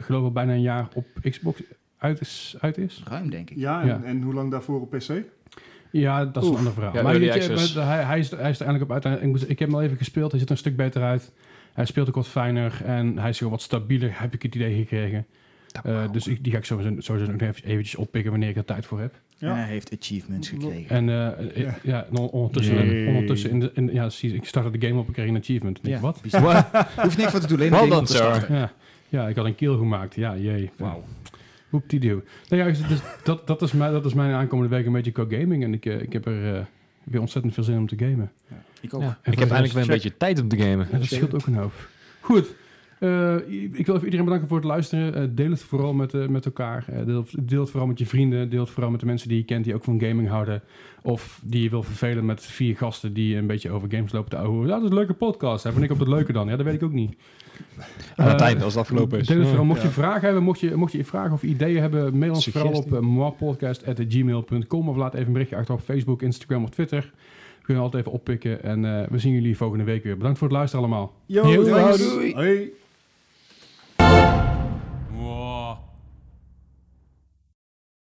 [SPEAKER 1] geloof al bijna een jaar op Xbox uit is. Uit is.
[SPEAKER 3] Ruim, denk ik.
[SPEAKER 2] Ja, en,
[SPEAKER 1] Ja.
[SPEAKER 2] en hoe lang daarvoor op PC?
[SPEAKER 1] Ja, dat is
[SPEAKER 2] Oef.
[SPEAKER 1] een ander verhaal.
[SPEAKER 4] Ja,
[SPEAKER 1] maar
[SPEAKER 4] early
[SPEAKER 1] weet je,
[SPEAKER 4] access.
[SPEAKER 1] maar hij, hij, is, hij is er eindelijk op uit. En Ik, moet- ik heb hem al even gespeeld. Hij ziet er een stuk beter uit. Hij speelt ook wat fijner. En hij is gewoon wat stabieler, heb ik het idee gekregen. Eh, dus ik, die ga ik sowieso, sowieso nog even, eventjes oppikken wanneer ik er tijd voor heb.
[SPEAKER 2] Ja.
[SPEAKER 3] En hij heeft achievements gekregen.
[SPEAKER 1] En eh, eh, ja. en on- ondertussen,
[SPEAKER 2] Yay.
[SPEAKER 1] ondertussen in de, in, ja, precies, ik startte de game op en kreeg een achievement. Ik Denk,
[SPEAKER 3] Ja.
[SPEAKER 1] Wat?
[SPEAKER 3] hoeft niks voor te doen, alleen
[SPEAKER 4] Well
[SPEAKER 3] een game
[SPEAKER 4] done,
[SPEAKER 3] op te
[SPEAKER 4] sir.
[SPEAKER 3] starten.
[SPEAKER 1] Ja. ja, ik had een keel gemaakt. Ja, jee. Wauw. Hoep die deal. Nou ja, dus, dus dat, dat, is mijn, dat is mijn aankomende week een beetje qua gaming. En ik, eh, ik heb er eh, weer ontzettend veel zin om te gamen.
[SPEAKER 3] Ik
[SPEAKER 4] Ja.
[SPEAKER 3] ook.
[SPEAKER 4] Ik heb eindelijk weer een
[SPEAKER 2] check.
[SPEAKER 4] beetje tijd om te gamen.
[SPEAKER 1] Ja, dat scheelt ook een hoop. Goed. Eh, i- ik wil even iedereen bedanken voor het luisteren. Eh, deel het vooral met, eh, met elkaar. Eh, deel, deel het vooral met je vrienden. Deel het vooral met de mensen die je kent die ook van gaming houden. Of die je wil vervelen met vier gasten die een beetje over games lopen te ouwen. Ja, dat is een leuke podcast. Hè? Ben ik op dat leuke dan? Ja, dat weet ik ook niet.
[SPEAKER 4] Aan het
[SPEAKER 1] Eh,
[SPEAKER 4] eind, als het afgelopen is.
[SPEAKER 1] Deel het vooral. Mocht je
[SPEAKER 2] Ja.
[SPEAKER 1] vragen hebben, mocht je, mocht je vragen of ideeën hebben, mail ons vooral op
[SPEAKER 4] Suggestie.
[SPEAKER 1] uh, moapodcast.gmail.com of laat even een berichtje achter op Facebook, Instagram of Twitter. We kunnen altijd even oppikken. En eh, we zien jullie volgende week weer. Bedankt voor het luisteren allemaal.
[SPEAKER 2] Yo,
[SPEAKER 1] Yo,
[SPEAKER 2] thanks.
[SPEAKER 1] doei.
[SPEAKER 2] Hoi.